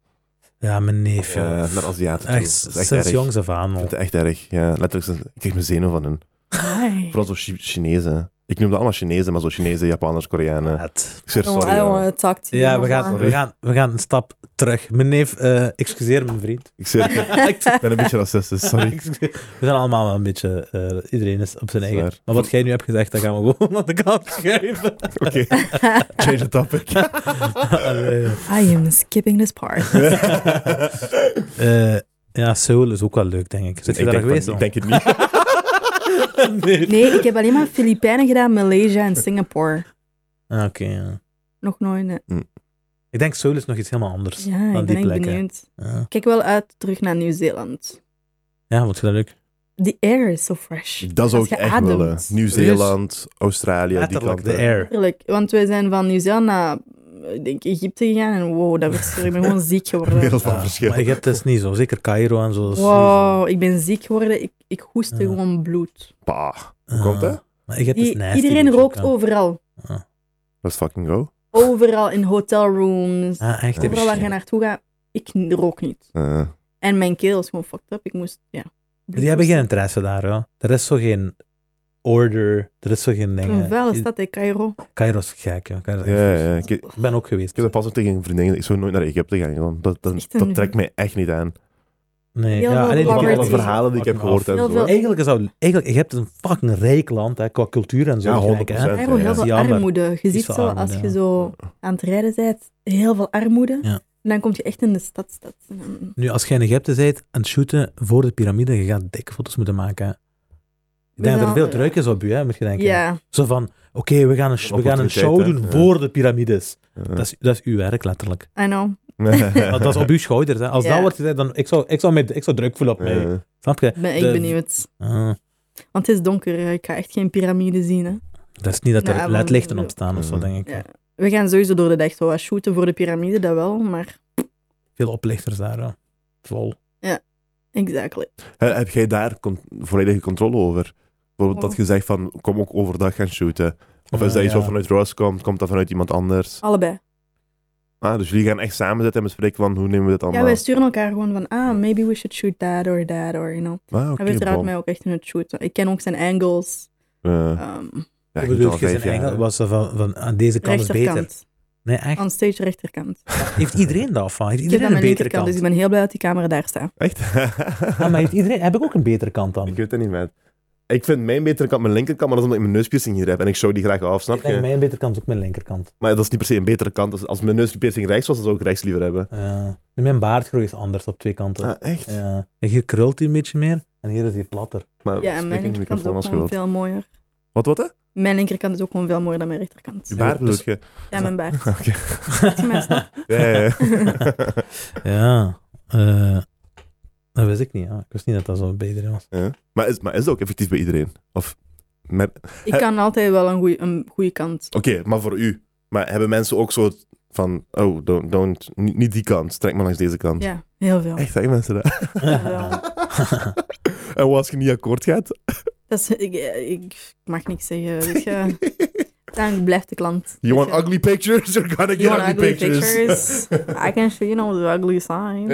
S2: Ja, mijn neef,
S1: Ja,
S2: ja.
S1: naar Aziaten toe.
S2: Echt,
S1: Eh, Dat is echt
S2: sinds
S1: erg.
S2: jongs af aan
S1: Ik
S2: al.
S1: vind het echt erg. Ja, letterlijk. sinds- Ik krijg mijn zenuw van hun.
S3: Hi.
S1: Vooral zo Chi- Chinezen. Ik noem dat allemaal Chinezen, maar zo Chinezen, Japanners, Koreanen.
S2: Het-
S1: Ik zeg
S3: Oh, I
S1: sorry.
S3: don't
S1: ja.
S3: wanna talk to you.
S2: Ja, we gaan, we, gaan, we gaan een stap terug. Mijn neef, eh, excuseer mijn
S3: (laughs)
S2: vriend.
S1: Ik zeg, ik ben een beetje racistisch, sorry.
S2: We zijn allemaal wel een beetje... eh, iedereen is op zijn eigen.
S1: Zwaar.
S2: Maar wat jij nu hebt gezegd, dat gaan we gewoon (laughs) aan
S1: (laughs)
S2: de kant schuiven.
S1: Oké,
S3: (laughs)
S1: change the topic.
S2: Allee.
S3: I am skipping this part.
S2: Eh, ja, Seoul is ook wel leuk, denk ik. Zit je
S1: ik,
S2: daar
S1: denk
S2: geweest?
S1: van- ik
S2: dan?
S1: denk het niet.
S2: (laughs) nee.
S3: Nee, ik heb alleen maar Filipijnen gedaan, Maleisië en Singapore.
S2: Ah, Oké, ja.
S3: Nog nooit. eh,
S2: Ik denk Seoul is nog iets helemaal anders.
S3: Ja,
S2: Van
S3: ik ben
S2: die
S3: echt
S2: plekken.
S3: benieuwd.
S2: Ja,
S3: Kijk wel uit terug naar Nieuw-Zeeland.
S2: ja vond je dat leuk?
S3: The air is so fresh.
S1: (laughs) Dat zou
S3: Als
S1: ik
S3: je
S1: echt
S3: ademt.
S1: willen. Nieuw-Zeeland, Australië,
S2: Letterlijk,
S1: die eh,
S2: de
S1: kanten.
S2: air.
S3: Eerlijk, want wij zijn van Nieuw-Zeeland naar eh, ik denk Egypte gegaan en wow, dat verschil. Ik ben gewoon
S2: (laughs)
S3: ziek geworden.
S1: Wereld van verschil.
S2: Maar Egypte is niet zo. Zeker Cairo en zo. dat is
S3: Wow, ik ben ziek geworden. Ik, ik hoestte
S2: Ja.
S3: gewoon bloed.
S1: Pa,
S2: niet zo.
S1: Komt
S2: Ah,
S1: dat?
S2: Maar Egypte is
S3: I-
S2: nasty,
S3: iedereen
S2: weet je
S3: rookt
S2: ook,
S3: overal.
S1: let's fucking go.
S3: Overal in hotelrooms.
S2: ja. Ah, echt.
S3: Overal waar je
S2: Die
S3: naartoe gaat. Ik rook niet.
S1: Eh,
S3: En mijn keel is gewoon fucked up. Ik moest, ja.
S2: hebben geen interesse daar, ja. Er is zo geen order. Er is zo geen
S3: Een
S2: dingen.
S3: vuile
S2: I-
S3: stad, hè, Cairo.
S2: Cairo is gek, ja. Cairo is echt
S1: ja,
S2: vies.
S1: ja, ik, ik
S2: Ik ben ook geweest.
S1: heb dat pas ook tegen een vriendin. gezegd, Ik zou nooit naar Egypte gaan. gewoon. Dat, dat,
S3: Echt een-
S1: dat trekt mij echt niet aan.
S2: Nee,
S3: Heel
S2: ja,
S3: veel
S2: alleen
S1: Van
S3: poverty.
S1: alle verhalen die ik heb gehoord en
S3: Heel
S1: zo.
S3: veel-
S2: Eigenlijk zou eigenlijk Egypte is een fucking rijk land hè, qua cultuur en zo.
S1: Ja,
S2: gelijk, hè.
S1: 100%.
S3: Cairo, heel
S2: Ja,
S3: veel
S2: eh, jammer.
S3: armoede. Je ziet
S2: veel
S3: zo,
S2: armoede,
S3: als je
S2: ja.
S3: zo aan het rijden bent, heel veel armoede.
S2: Ja.
S3: En dan kom je echt in de stadstad. En dan-
S2: Nu, als jij in Egypte bent aan het shooten voor de piramide, je gaat dikke foto's moeten maken. hè. Ik denk dat er
S3: Ja.
S2: veel druk is op je, hè, moet je denken.
S3: Ja,
S2: Zo van, oké, we gaan een, sh- we gaan een
S1: opportuniteit,
S2: show
S1: hè.
S2: doen
S1: Ja.
S2: voor de piramides.
S1: Eh.
S2: Dat, is, dat is uw werk, letterlijk.
S3: I know.
S1: (laughs)
S2: Dat, dat is op uw schouders. Hè. Als
S3: Ja.
S2: dat wordt gezegd, dan ik zou, ik, zou mij, ik zou druk voelen op mij.
S1: Eh,
S2: Snap je?
S3: Ik ben echt
S2: De-
S3: benieuwd.
S2: Ah,
S3: Want het is donker. hè. Ik ga echt geen piramide zien. Hè.
S2: dat is niet dat er
S3: Nou, want-
S2: ledlichten op staan of zo,
S1: Mhm.
S2: denk ik.
S3: Ja. We gaan sowieso door de dag zo wat shooten voor de piramide, dat wel. Maar,
S2: Veel oplichters daar, ja. Vol.
S3: exactly.
S1: He- Heb jij daar con- volledige controle over? Bijvoorbeeld dat
S3: Oh.
S1: je zegt van, kom ook overdag gaan shooten. Of is
S2: Ah,
S1: dat iets
S2: ja.
S1: wat vanuit Ross komt? Komt dat vanuit iemand anders?
S3: Allebei.
S1: Ah, dus jullie gaan echt samen zitten en bespreken van, hoe nemen we dit
S3: Ja,
S1: allemaal?
S3: wij sturen elkaar gewoon van, ah, maybe we should shoot that or that or, you know.
S1: Ah, oké,
S3: Hij wist eruit
S1: bom.
S3: mij ook echt in het shooten. Ik ken ook zijn angles.
S1: Eh,
S3: ehm
S1: ja,
S2: Hoe
S1: ik doe
S2: bedoel
S1: al
S2: je,
S1: vijf
S2: zijn
S1: jaar,
S2: engel
S1: hè.
S2: was er van, van aan deze kant
S1: dus
S2: is beter.
S3: rechterkant.
S2: Nee, echt.
S3: Onstage rechterkant.
S2: Heeft iedereen dat van? Heeft
S3: Ik
S2: iedereen
S3: heb aan
S2: een
S3: mijn
S2: betere
S3: linkerkant,
S2: kant?
S3: dus ik ben heel blij dat die camera daar staat.
S2: (laughs)
S1: Echt?
S2: Ah, maar heeft iedereen, heb ik ook een betere kant dan?
S1: Ik weet het niet, man. Ik vind mijn betere kant mijn linkerkant, maar dat is omdat ik mijn neuspiercing hier heb. En ik show die graag af, snap
S2: Ik denk
S1: je?
S2: mijn betere kant is ook mijn linkerkant.
S1: Maar dat is niet per se een betere kant. Dus Als mijn neuspiercing rechts was, dan zou ik rechts liever hebben.
S2: Ja. Eh, mijn baardgroei is anders op twee kanten.
S1: Ah, echt?
S2: Ja. En hier krult hij een beetje meer en hier is hij platter.
S1: Maar
S3: Ja, en
S1: spreek
S3: mijn
S1: in de
S3: linkerkant is
S1: microfoon
S3: ook
S1: als je
S3: gewoon
S1: wilt.
S3: veel mooier.
S1: Wat, wat, hè?
S3: Mijn linkerkant is ook gewoon veel mooier dan mijn rechterkant.
S1: Je baard bedoel
S2: dus-
S1: je?
S3: Ja, mijn
S1: (laughs)
S3: baard.
S1: Oké.
S3: Zie je mij staan?
S1: Ja, ja,
S2: (laughs)
S3: (laughs)
S1: (laughs)
S2: ja. eh, dat wist ik niet. Ja. Ik wist niet dat dat zo beter
S3: (laughs)
S2: was.
S1: ja. Maar is, maar is dat ook effectief bij iedereen? Of... met-
S3: Ik kan altijd wel een goede een goeie kant.
S1: Oké, maar voor u. Maar hebben mensen ook zo het van, oh, don't, don't, niet, niet die kant, trek maar langs deze kant.
S3: Ja, heel veel.
S1: Echt, zeggen mensen dat?
S3: Jawel.
S1: (laughs) En wat als je niet akkoord gaat?
S3: Dat is, ik, ik mag niks zeggen. Dus
S1: (laughs)
S3: ja, dan blijft de klant.
S1: You want
S3: Weet je.
S1: ugly pictures? You're gonna get
S3: You
S1: ugly,
S3: want ugly
S1: pictures. (laughs)
S3: pictures? I can show you know the ugly sign.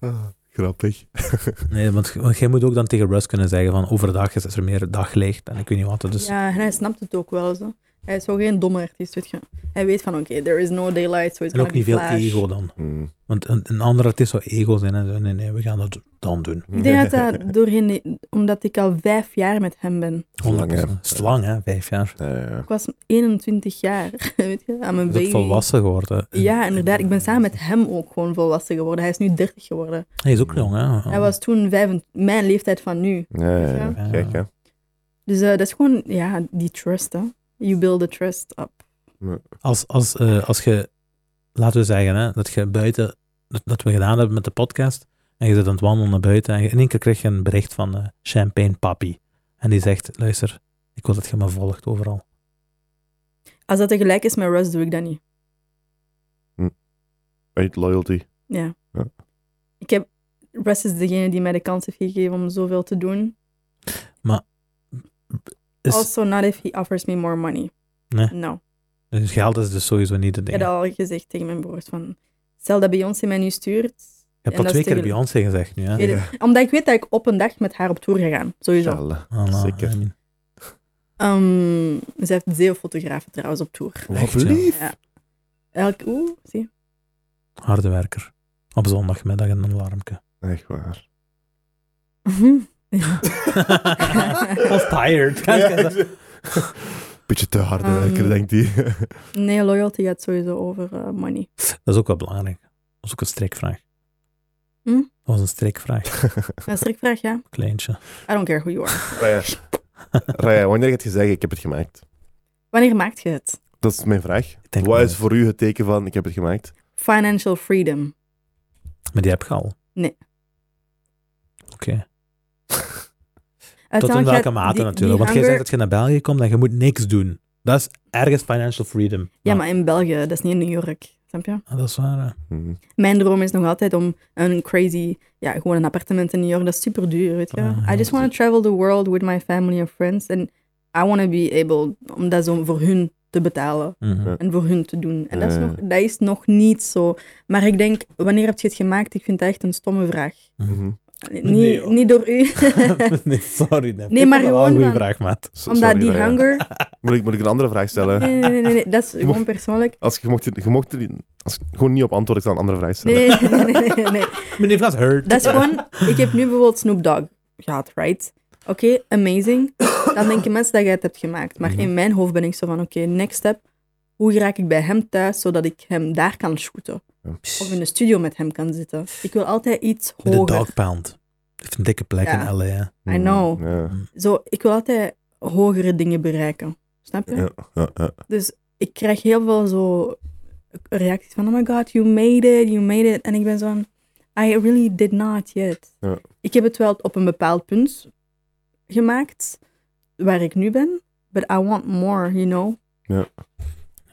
S1: Ah, Grappig.
S2: Nee, want, want jij moet ook dan tegen Russ kunnen zeggen van overdag is er meer daglicht en ik weet niet wat. Dus
S3: Ja, en hij snapt het ook wel zo. Hij is zo geen domme artiest, weet je. Hij weet van, oké, there is no daylight, so it's
S2: en
S3: gonna
S2: ook
S3: be
S2: niet veel
S3: flash.
S2: ego dan.
S1: Mm.
S2: Want een, een andere artiest zou ego zijn en zo. Nee, nee, we gaan dat dan doen.
S3: Ik denk dat dat (laughs) doorheen, die- omdat ik al vijf jaar met hem ben.
S1: Lang, hè?
S2: 100%. Dat is lang, hè? Vijf
S1: (laughs)
S2: jaar.
S1: Ja, ja, ja.
S3: Ik was 21 jaar, (laughs) weet je, aan mijn
S2: Je bent
S3: baby.
S2: volwassen geworden.
S3: Ja, inderdaad. Ik ben samen met hem ook gewoon volwassen geworden. Hij is nu 30 geworden.
S2: Hij is ook jong, hè?
S3: Hij was toen 25, mijn leeftijd van nu.
S1: Ja, ja, ja.
S2: Ja.
S1: Kijk, hè.
S3: Dus eh, dat is gewoon, ja, die trust, hè. You build the trust up.
S2: Als, als, eh, als je, laten we zeggen, hè, dat je buiten dat, dat we gedaan hebben met de podcast. En je zit aan het wandelen naar buiten en je- in één keer kreeg je een bericht van eh, Champagne Papi. En die zegt, luister, ik wil dat je me volgt overal.
S3: Als dat tegelijk is met Rust, doe ik dat niet.
S1: Right, loyalty.
S3: Ja.
S1: Ja.
S3: Ik heb... Rust is degene die mij de kans heeft gegeven om zoveel te doen.
S2: Is,
S3: Also, not if he offers me more money.
S2: Nee.
S3: No.
S2: dus geld is dus sowieso niet het
S3: Ik
S2: ding.
S3: heb
S2: Je
S3: dat al gezegd tegen mijn broers. Van, stel dat Beyoncé mij nu stuurt...
S2: hebt dat
S3: en dat
S2: twee
S3: is
S2: keer
S3: tegen-
S2: Beyoncé gezegd nu, hè?
S3: Ja. Omdat ik weet dat ik op een dag met haar op tour ga gaan. Sowieso.
S1: Inshallah.
S2: Ah, nou,
S1: Zeker.
S2: I mean,
S3: Ehm, ze heeft zeefotografen trouwens op tour.
S1: Wat
S2: Echt, ja.
S1: lief.
S3: Ja. Elk... Oeh, zie je?
S2: harde werker. Op zondagmiddag een alarmke.
S1: Echt
S2: (laughs)
S3: (laughs)
S1: waar.
S2: I was tired. (laughs)
S1: Beetje te hard
S3: Ehm.
S1: werken, denkt hij.
S3: (laughs) Nee, loyalty gaat sowieso over eh, money.
S2: Dat is ook wel belangrijk. Dat is ook een strikvraag.
S3: Hm?
S2: (laughs) Dat was een strikvraag,
S3: Een strikvraag, ja.
S2: kleintje.
S3: I don't care who you are.
S1: (laughs) Raya. Raya, wanneer gaat je zeggen, ik heb het gemaakt?
S3: Wanneer maakt je het?
S1: Dat is mijn vraag.
S2: Ik denk eh,
S1: Wat
S2: wel.
S1: is voor u het teken van, ik heb het gemaakt?
S3: Financial freedom.
S2: Maar die heb je al.
S3: Nee.
S2: Oké. Tot in
S3: Uiteindelijk
S2: welke
S3: gaat
S2: mate
S3: die-
S2: natuurlijk.
S3: die
S2: Want jij
S3: hunger-
S2: zegt dat je naar België komt en je moet niks doen. Dat is ergens financial freedom.
S3: Ja, maar in België, dat is niet in New York. Snap je?
S2: Ah, dat is waar. hè.
S1: Hm.
S3: Mijn droom is nog altijd om een crazy, ja, gewoon een appartement in New York. Dat is super duur, weet je.
S2: Ah, ja,
S3: I just want to travel the world with my family and friends. And I want to be able om dat zo voor hun te betalen
S2: Mhm.
S1: Ja.
S3: en voor hun te doen. En dat
S2: Eh.
S3: is,
S1: Ja.
S3: nog, dat is nog niet zo. Maar ik denk, wanneer heb je het gemaakt? Ik vind dat echt een stomme vraag.
S1: Mhm.
S3: Allee,
S2: Nee,
S3: Niet,
S2: hoor.
S3: niet
S2: (laughs)
S3: door u.
S2: nee, sorry. Nee,
S3: Nee, maar
S2: Ik vond dat wel
S3: gewoon
S2: een goede
S3: dan-
S2: vraag, maat.
S1: S-
S3: Omdat
S1: sorry,
S3: die
S1: Raya.
S2: (laughs)
S3: hunger...
S1: Moet ik, moet ik een andere vraag stellen?
S3: Nee, nee, nee, nee, nee, dat is gewoon persoonlijk.
S1: Als je mocht, je mocht er niet- als, gewoon niet op antwoord, ik zal een andere vraag stellen.
S3: (laughs) Nee, (laughs) nee, nee, nee, nee, nee.
S2: Meneer Vlaas, hurt.
S3: Dat is gewoon... Ik heb nu bijvoorbeeld Snoop Dogg gehad, right? Oké, amazing. Dan denken mensen dat jij het hebt gemaakt. Maar
S2: Mhm.
S3: in mijn hoofd ben ik zo van, oké, next step. Hoe raak ik bij hem thuis, zodat ik hem daar kan shooten? Of in de studio met hem kan zitten. Ik wil altijd iets
S2: De
S3: hoger.
S2: dog pound. Heeft een dikke plek
S3: Ja.
S2: in LA. hè.
S3: I know.
S1: Mhm. Ja.
S3: Zo, ik wil altijd hogere dingen bereiken. Snap je?
S1: Ja, ja, ja.
S3: Dus ik krijg heel veel zo reacties van, oh my god, you made it, you made it. En ik ben zo van, I really did not yet.
S1: Ja.
S3: Ik heb het wel op een bepaald punt gemaakt, waar ik nu ben. But I want more, you know?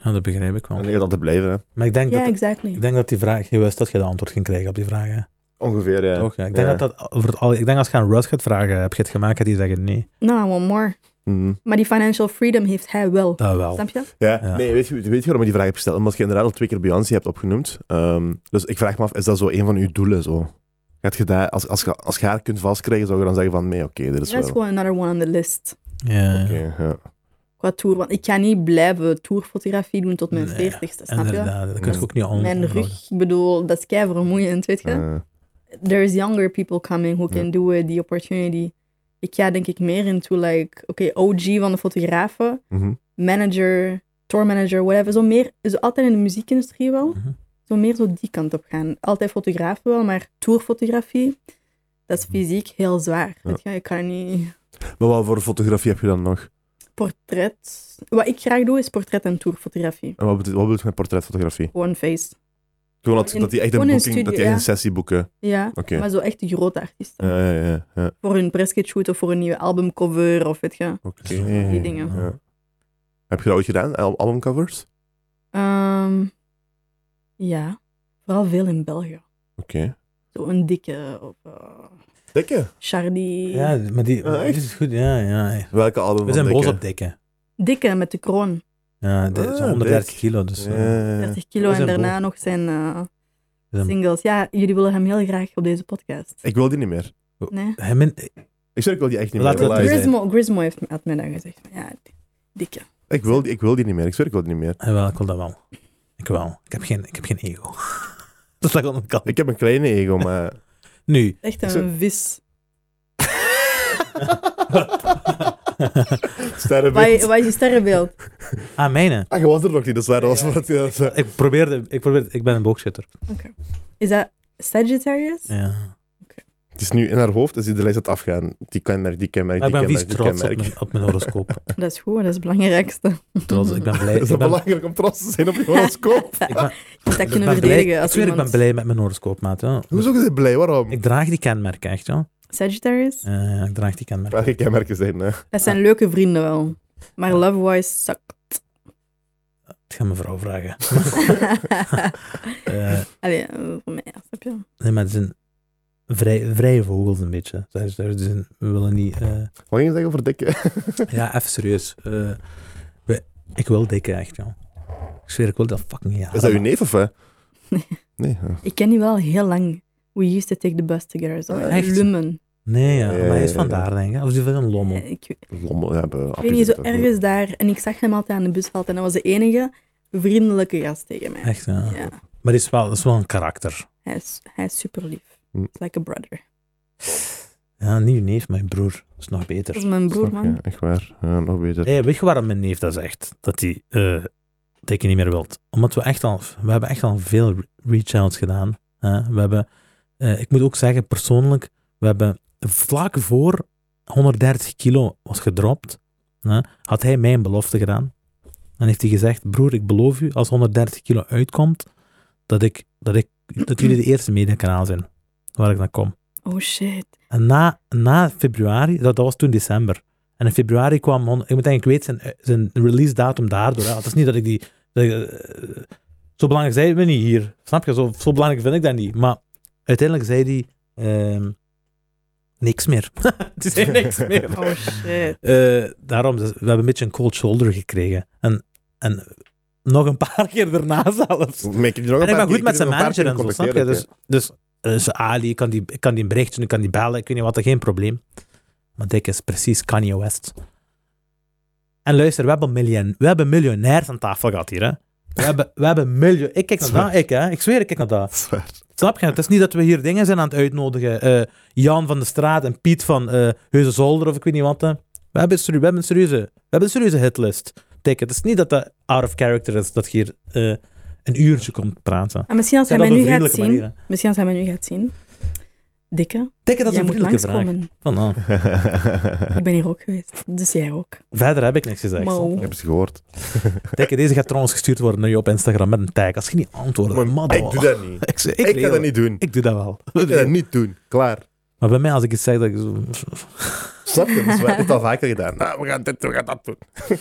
S2: Ja, dat begrijp ik wel.
S1: En je gaat altijd blijven, hè.
S2: Maar ik denk,
S3: Ja,
S2: dat,
S3: exactly.
S2: ik denk dat die vraag... Je wist dat je de antwoord ging krijgen op die vraag, hè?
S1: Ongeveer, ja.
S2: Toch, ja. Ik denk,
S1: Ja.
S2: Dat dat over het al, ik denk als je aan Russ gaat vragen, heb je het gemaakt? Gaat die zeggen nee.
S3: No, I want more.
S1: Mhm.
S3: Maar die financial freedom heeft hij wel.
S2: Dat wel.
S3: Snap je?
S1: Ja,
S2: Ja.
S1: nee, weet je, weet je waarom ik die vraag heb gesteld? Omdat je inderdaad al twee keer Beyoncé hebt opgenoemd. Ehm, dus ik vraag me af, is dat zo een van uw doelen? Zo? Gaat je daar, als, als, je, als je haar kunt vastkrijgen, zou je dan zeggen van, nee, oké, dit is
S3: That's
S1: wel...
S3: gewoon another one on the list.
S2: Ja, ja.
S1: Oké, ja.
S3: Qua tour, want ik ga niet blijven tourfotografie doen tot mijn
S2: Nee,
S3: veertigste, snap je?
S2: Inderdaad, dat kun je ook niet on-
S3: Mijn
S2: onderhouden.
S3: rug, ik bedoel, dat is kei vermoeiend, weet je?
S1: Eh,
S3: there's younger people coming who
S1: Ja.
S3: can do it, the opportunity. Ik ga denk ik meer into like, oké, OG van de fotografen,
S1: mhm.
S3: manager, tour manager, whatever. Zo meer, zo altijd in de muziekindustrie wel,
S2: Mhm.
S3: zo meer zo die kant op gaan. Altijd fotografen wel, maar tourfotografie, dat is fysiek heel zwaar.
S1: Ja.
S3: Weet je, ik kan niet...
S1: Maar wat voor fotografie heb je dan nog?
S3: Portret. Wat ik graag doe, is portret en tourfotografie.
S1: En wat bedoelt, wat bedoelt je met portretfotografie?
S3: Gewoon face.
S1: Gewoon dat,
S3: In-
S1: dat die echt een,
S3: gewoon in
S1: boeking,
S3: studio,
S1: dat die echt
S3: ja.
S1: een sessie boeken.
S3: Ja,
S1: Oké.
S3: maar zo echt de grote artiesten.
S1: Ja, ja, ja. ja.
S3: Voor hun presskit shoot of voor een nieuwe albumcover of weet je.
S1: Oké.
S2: Zo,
S3: die dingen.
S1: Ja. Heb je dat ooit gedaan, al- albumcovers?
S3: Ehm, ja, vooral veel in België.
S1: Oké.
S3: Zo een dikke of eh,
S1: Dikke?
S3: Chardy.
S2: Ja, maar die,
S1: Ah, echt?
S2: die is goed. Ja, ja.
S1: Welke album van
S2: We zijn boos
S1: Dikke?
S2: op dikke.
S3: Dikke met de kroon.
S2: Ja, de,
S1: Ah,
S2: zo'n 130
S1: dik.
S2: kilo. Dus, eh,
S1: Ja, ja, ja.
S3: 30 kilo
S2: We
S3: en
S2: zijn
S3: daarna nog zijn eh,
S2: we zijn-
S3: singles. Ja, jullie willen hem heel graag op deze podcast.
S1: Ik wil die niet meer.
S3: Nee?
S2: hij min- eh,
S1: Ik zeg, ik wil die echt niet
S2: Laten
S1: meer.
S2: we het
S1: Like,
S2: zijn.
S3: Grismo, Grismo heeft, had mij dan gezegd. van, Ja, di- dikke.
S1: Ik wil, die, ik wil die niet meer. Ik zweer, ik wil die niet meer.
S2: hij wel, ik wil dat wel. Ik wel. Ik heb geen, ik heb geen ego. (laughs) dat is wel een kant.
S1: Ik heb een kleine ego, maar...
S3: (laughs)
S2: Nu. (laughs)
S3: Echt
S1: Zo-
S3: een vis.
S1: Sterrenbeeld.
S3: Wat wat is je sterrenbeeld?
S2: ah, mijne.
S1: Ah, je was er nog niet, dus waar was wat je... dat-
S2: Ik probeerde, ik probeerde, ik ben een boogschutter.
S3: Is dat Sagittarius?
S2: Ja.
S1: Het is nu in haar hoofd, is die de lijst aan het afgaan. Die kenmerk, die kenmerk,
S2: Maar ik
S1: die
S2: ben vies
S1: kenmerk, die
S2: trots
S1: (laughs)
S2: op
S1: kenmerk.
S2: mijn, op mijn horoscoop.
S3: Dat is goed, dat is het belangrijkste.
S2: Trots, ik ben blij.
S1: Is
S2: Ik
S1: dat
S2: ben,
S1: belangrijk om trots te zijn op je
S3: (laughs)
S1: horoscoop?
S2: ik ben,
S3: Dat
S2: ik ben
S3: kunnen we
S2: blij.
S3: verdedigen
S2: Ik
S3: als
S2: zweer, ik ben
S3: iemand...
S2: blij met mijn horoscoop, maat. Ja.
S1: Hoezo is hij blij? Waarom?
S2: Ik draag die kenmerken, echt. Ja.
S3: Sagittarius?
S2: Eh, ik draag die kenmerken.
S1: Welke kenmerken zijn, hè?
S3: Dat zijn leuke vrienden wel. Maar love-wise, suck.
S2: Ik ga mijn vrouw
S1: (laughs)
S2: vragen. Eh,
S3: (laughs) Allee, eh, voor mij, ja, snap je?
S2: nee, maar het zijn vrij, vrije vogels een beetje. Zij- zij- ze zijn- We willen niet... eh,
S1: Wat ging je zeggen over dikke?
S2: ja, even serieus. Eh, we- ik wil dikke, echt, ja. Ik zweer, ik wil dat fucking ja.
S1: Is dat uw neef of hè?
S3: Ah, (laughs) Nee.
S1: Nee. hè.
S3: Ik ken die wel heel lang. We used to take the bus together. Zo.
S2: Echt?
S3: Lummen.
S2: Nee, ja,
S1: Ja,
S2: maar hij is
S1: ja,
S2: van
S1: ja.
S2: daar, denk ik. Of die van een lommel.
S3: Eh, Ik,
S1: Lommel, ja, bij
S3: ik weet niet, zo ergens daar. En ik zag hem altijd aan de busveld. En dat was de enige vriendelijke gast tegen mij.
S2: Echt, ja.
S3: Ja,
S2: Maar dat is wel, dat is wel een karakter.
S3: hij is, hij is super lief.
S1: Hm.
S3: Like a brother.
S2: Ja, niet uw neef, mijn broer. Dat is nog
S3: Dat
S2: beter.
S3: is mijn broer, man.
S1: Ja, echt waar. Ja, nog beter.
S2: Nee, weet je waarom mijn neef dat zegt? Dat hij eh dikke niet meer wilt. Omdat we echt al, we hebben echt al veel re- reach-outs gedaan. hè. We hebben, eh, ik moet ook zeggen, persoonlijk, we hebben vlak voor 130 kilo was gedropt, hè, had hij mij een belofte gedaan. Dan heeft hij gezegd, broer, ik beloof u, als 130 kilo uitkomt, dat, ik, dat, ik, dat jullie de eerste mediakanaal zijn waar ik dan kom.
S3: Oh
S2: (laughs)
S3: shit.
S2: En na, na februari, dat, dat was toen december. En in februari kwam, hon- ik moet denk ik weet zijn, eh, zijn release datum daardoor. hè. Het is niet dat ik die, dat ik, eh, zo belangrijk zijn we niet hier. Snap je? Zo, zo belangrijk vind ik dat niet. Maar uiteindelijk zei hij ehm, niks meer. (laughs) Hij zei niks
S3: (laughs)
S2: meer.
S3: Oh shit.
S2: Eh, daarom, dus we hebben een beetje een cold shoulder gekregen. En, en nog een paar keer daarna (laughs) zelfs.
S1: Maar ik heb die nog een paar
S2: En ik ben goed
S1: keer-
S2: met
S1: heb
S2: zijn
S1: die nog een paar
S2: manager en
S1: keer
S2: zo, snap je? Dus,
S1: gecontacteerd,
S2: dus, eh, zo Ali, ik kan, die, ik kan die een berichtje doen, ik kan die bellen, ik weet niet wat, geen probleem. Maar Dick is precies Kanye West. En luister, we hebben, miljoen, we hebben miljonairs aan tafel gehad hier, hè. We hebben, we hebben miljoen... Ik kijk naar dat, ik, hè. Ik zweer, ik kijk naar dat.
S1: hè. Zwaar. (laughs)
S2: Snap je? Het is niet dat we hier dingen zijn aan het uitnodigen. eh, Jan van de Straat en Piet van eh Heuze Zolder of ik weet niet wat. hè. We hebben, een serie- we, hebben een serieuze, we hebben een serieuze hitlist. Dick, het is niet dat dat out of character is dat je hier eh, een uurtje komt praten.
S3: En Ah, misschien als hij
S2: Zeg
S3: mij
S2: dat
S3: nu
S2: op een
S3: gaat zien...
S2: vriendelijke manier,
S3: Misschien als hij mij nu gaat zien... Dikke,
S2: Dikke, dat is
S3: jij
S2: een
S3: moet
S2: vriendelijke vraag.
S3: langskomen.
S2: Van,
S1: ah.
S2: nou,
S3: Ik ben hier ook geweest. Dus jij ook.
S2: verder heb ik niks gezegd.
S3: Mauw.
S1: Ik heb ze gehoord.
S2: Dikke, deze gaat trouwens gestuurd worden naar je op Instagram met een tag. Als je niet antwoordt,
S1: Maar
S2: man,
S1: ik
S2: oh.
S1: doe dat niet.
S2: Ik, zeg- (laughs) ik,
S1: Ik ga
S2: regel-
S1: dat niet doen.
S2: Ik doe dat wel.
S1: Ik ga dat niet doen. Klaar.
S2: Maar bij mij, als ik iets zeg, dat ik zo...
S1: Snap je? Dat is waar. Ik heb het al vaker
S2: (laughs)
S1: gedaan. Nou, we gaan dit, we gaan dat doen. (laughs)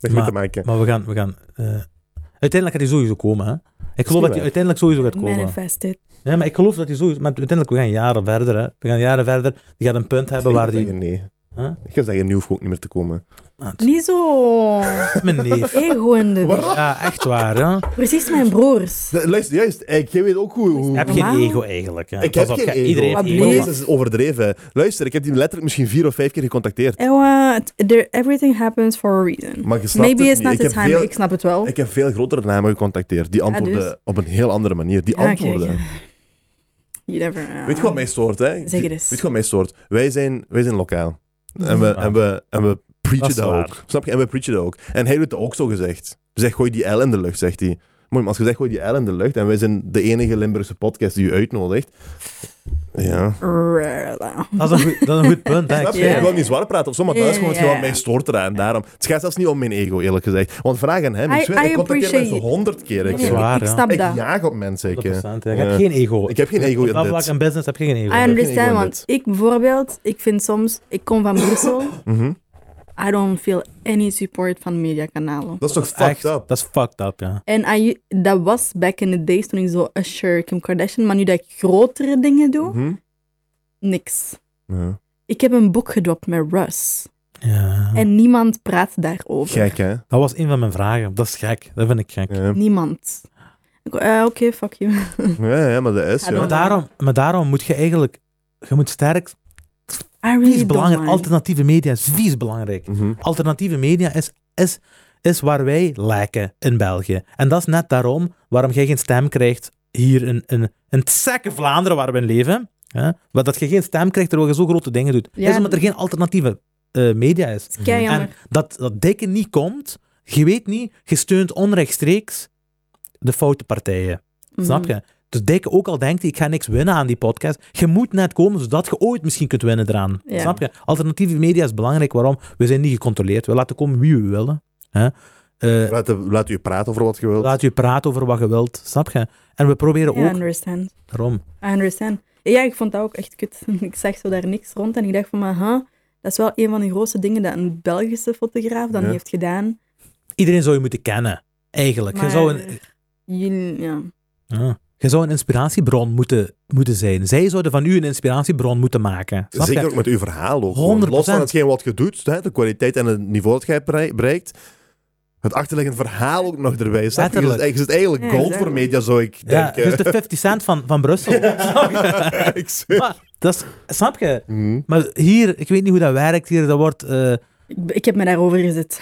S1: Niks mee te maken.
S2: Maar we gaan... We gaan eh, Uiteindelijk gaat hij sowieso komen, hè. Ik geloof
S1: waar.
S2: dat hij uiteindelijk sowieso gaat komen.
S3: Manifest it.
S2: Ja, maar ik geloof dat hij sowieso... Maar uiteindelijk, we gaan jaren verder, hè. We gaan jaren verder. Die gaat een punt hebben
S1: Ik
S2: waar
S1: ga
S2: die...
S1: zeggen nee.
S2: Huh?
S1: Ik ga zeggen, nu hoef ik ook niet meer te komen.
S2: Ah, het
S3: Niet zo
S2: is Oh. mijn neef.
S3: ego in de weg.
S2: Ja, echt waar, ja.
S3: Precies mijn broers.
S1: De- Luister, juist. Ik, jij weet ook hoe... hoe-
S2: Heb je geen
S3: Normaal.
S2: ego eigenlijk, ja.
S1: ik
S2: Pas
S1: heb
S2: op,
S1: geen
S2: ja,
S1: ego.
S2: Iedereen heeft
S3: Maar
S2: ego,
S1: Maar
S3: Nee.
S1: deze is overdreven. Luister, ik heb die letterlijk misschien vier of vijf keer gecontacteerd.
S3: Ewa, het- there- everything happens for a reason.
S1: Maar je snapt
S3: Maybe
S1: het
S3: it's
S1: niet.
S3: not
S1: ik,
S3: the
S1: heb
S3: time,
S1: veel,
S3: ik snap het wel.
S1: ik heb veel grotere namen gecontacteerd. Die
S3: Ja, dus.
S1: antwoorden op een heel andere manier. Die
S3: Ja, kijk.
S1: antwoorden.
S3: You never know.
S1: Weet je wat mij stoort, hè?
S3: Zeg het
S1: Weet
S3: eens. Mhm.
S1: je wat mij stoort? Wij zijn, wij zijn lokaal. En we, en we, en we
S2: Dat
S1: preachen
S2: is
S1: dat,
S2: waar.
S1: ook. Snap je? En we preachen dat ook. En hij doet dat ook zo gezegd. Zeg, gooi die L in de lucht, zegt hij. Mooi, maar als je zegt, gooi die L in de lucht en wij zijn de enige Limburgse podcast die u uitnodigt. Ja.
S2: Dat is een goed, dat is een goed punt, hè. Ik
S1: Snap je?
S2: zweer.
S1: Ik wil niet zwaar praten of zo, maar dat is gewoon hetgeen wat mij stoort eraan. Daarom. Het gaat zelfs niet om mijn ego, eerlijk gezegd. Want vraag aan hem.
S3: I-
S1: Ik zweer,
S3: I
S1: ik contacteer
S3: appreciate-
S1: mensen honderd keer. Ik,
S2: is
S1: ik,
S2: waar,
S3: ik
S2: ja.
S3: snap dat.
S1: jaag op mensen. Ik, eh.
S2: 100%, ja. Je hebt
S1: Ja.
S2: geen ego.
S1: Ik heb geen ego
S2: Op
S1: in
S2: dat
S1: dit.
S2: vlak een business heb je geen ego.
S3: I understand,
S1: ego
S3: want ik bijvoorbeeld, ik vind soms, ik kom van Brussel,
S1: Mhm.
S3: I don't feel any support van mediakanalen.
S1: Dat is toch
S2: Dat is
S1: fucked
S2: echt-
S1: up?
S2: Dat is fucked up, ja.
S3: En I- dat was back in the days toen ik zo Usher, Kim Kardashian, maar nu dat ik grotere dingen doe,
S1: Mhm.
S3: niks.
S1: Ja.
S3: Ik heb een boek gedropt met Russ.
S2: ja.
S3: En niemand praat daarover.
S1: Gek, hè?
S2: Dat was een van mijn vragen. Dat is gek. Dat vind ik gek.
S3: (laughs)
S1: Ja.
S3: Niemand. Ik- eh, Oké, fuck
S2: (laughs)
S3: you.
S1: Ja, ja, maar dat is,
S3: Hallo.
S1: ja.
S2: Maar, daarom, maar daarom moet je eigenlijk... Je moet sterk...
S3: I really
S2: Vies
S3: don't
S2: belangrijk.
S3: mind.
S2: Alternatieve media is vies belangrijk.
S1: Mhm.
S2: Alternatieve media is, is, is waar wij lijken in België. En dat is net daarom waarom jij geen stem krijgt hier in, in, in het gekke Vlaanderen waar we in leven. Hè? Maar dat je geen stem krijgt terwijl je zo grote dingen doet.
S3: Ja.
S2: Is omdat er geen alternatieve eh, media is.
S3: Het is kei jammer.
S2: En dat, dat dikke niet komt,
S3: Mhm.
S2: je weet niet, je steunt onrechtstreeks de foute partijen. Snap je? Dus Dick ook al denkt, ik ga niks winnen aan die podcast. Je moet net komen, zodat je ooit misschien kunt winnen eraan.
S3: Ja.
S2: Snap je? Alternatieve media is belangrijk. Waarom? We zijn niet gecontroleerd. We laten komen wie we willen. Hè? Eh,
S1: Laat, laat u praten over wat je wilt.
S2: laat je praten over wat je wilt. Snap je? En we proberen
S3: Ja, I
S2: ook...
S3: understand.
S2: Daarom.
S3: I understand. Ja, ik vond dat ook echt kut. (laughs) Ik zag zo daar niks rond en ik dacht van, maar huh, dat is wel een van de grootste dingen dat een Belgische fotograaf dan
S1: Ja.
S3: heeft gedaan.
S2: Iedereen zou je moeten kennen. Eigenlijk. Je
S3: Maar-
S2: zou een...
S3: Jullie, ja.
S2: Ja. Je zou een inspiratiebron moeten, moeten zijn. Zij zouden van u een inspiratiebron moeten maken. Snap
S1: Zeker
S2: je?
S1: ook met uw verhaal ook.
S2: 100%.
S1: Los van hetgeen wat je doet, hè, de kwaliteit en het niveau dat jij berei- bereikt, het achterliggend verhaal ook nog erbij. Snap je? Je zit,
S2: Letterlijk.
S1: je zit eigenlijk
S3: Ja,
S1: gold
S3: exact.
S1: voor media, zou ik
S2: Ja,
S1: denken.
S2: dus de 50 cent van, van
S1: (laughs)
S2: Brussel. (laughs)
S1: ik zeg-
S2: Maar, dat is, snap je?
S1: Mhm.
S2: Maar hier, ik weet niet hoe dat werkt hier. Dat wordt, eh,
S3: Ik, be- ik heb me daarover gezet.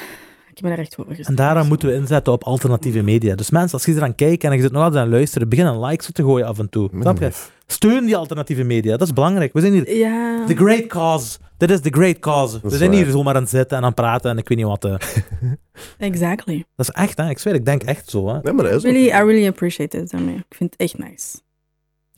S3: Ik heb me daar echt over gezet.
S2: en daaraan moeten we inzetten op alternatieve media. Dus mensen, als je er aan kijkt en je zit nog altijd aan luisteren, begin een like zo te gooien af en toe. Snap je? Steun die alternatieve media. Dat is belangrijk. We zijn hier.
S3: Ja.
S2: The great cause. Dit is the great cause.
S1: is
S2: We zijn
S1: waar.
S2: hier zomaar aan het zitten en aan het praten en ik weet niet wat. eh.
S3: Exactly.
S2: Dat is echt, hè? Ik zweer, ik denk echt zo. Hè?
S1: Nee, maar dat is ook-
S3: Really, I really appreciate it daarmee. Ik vind het echt nice.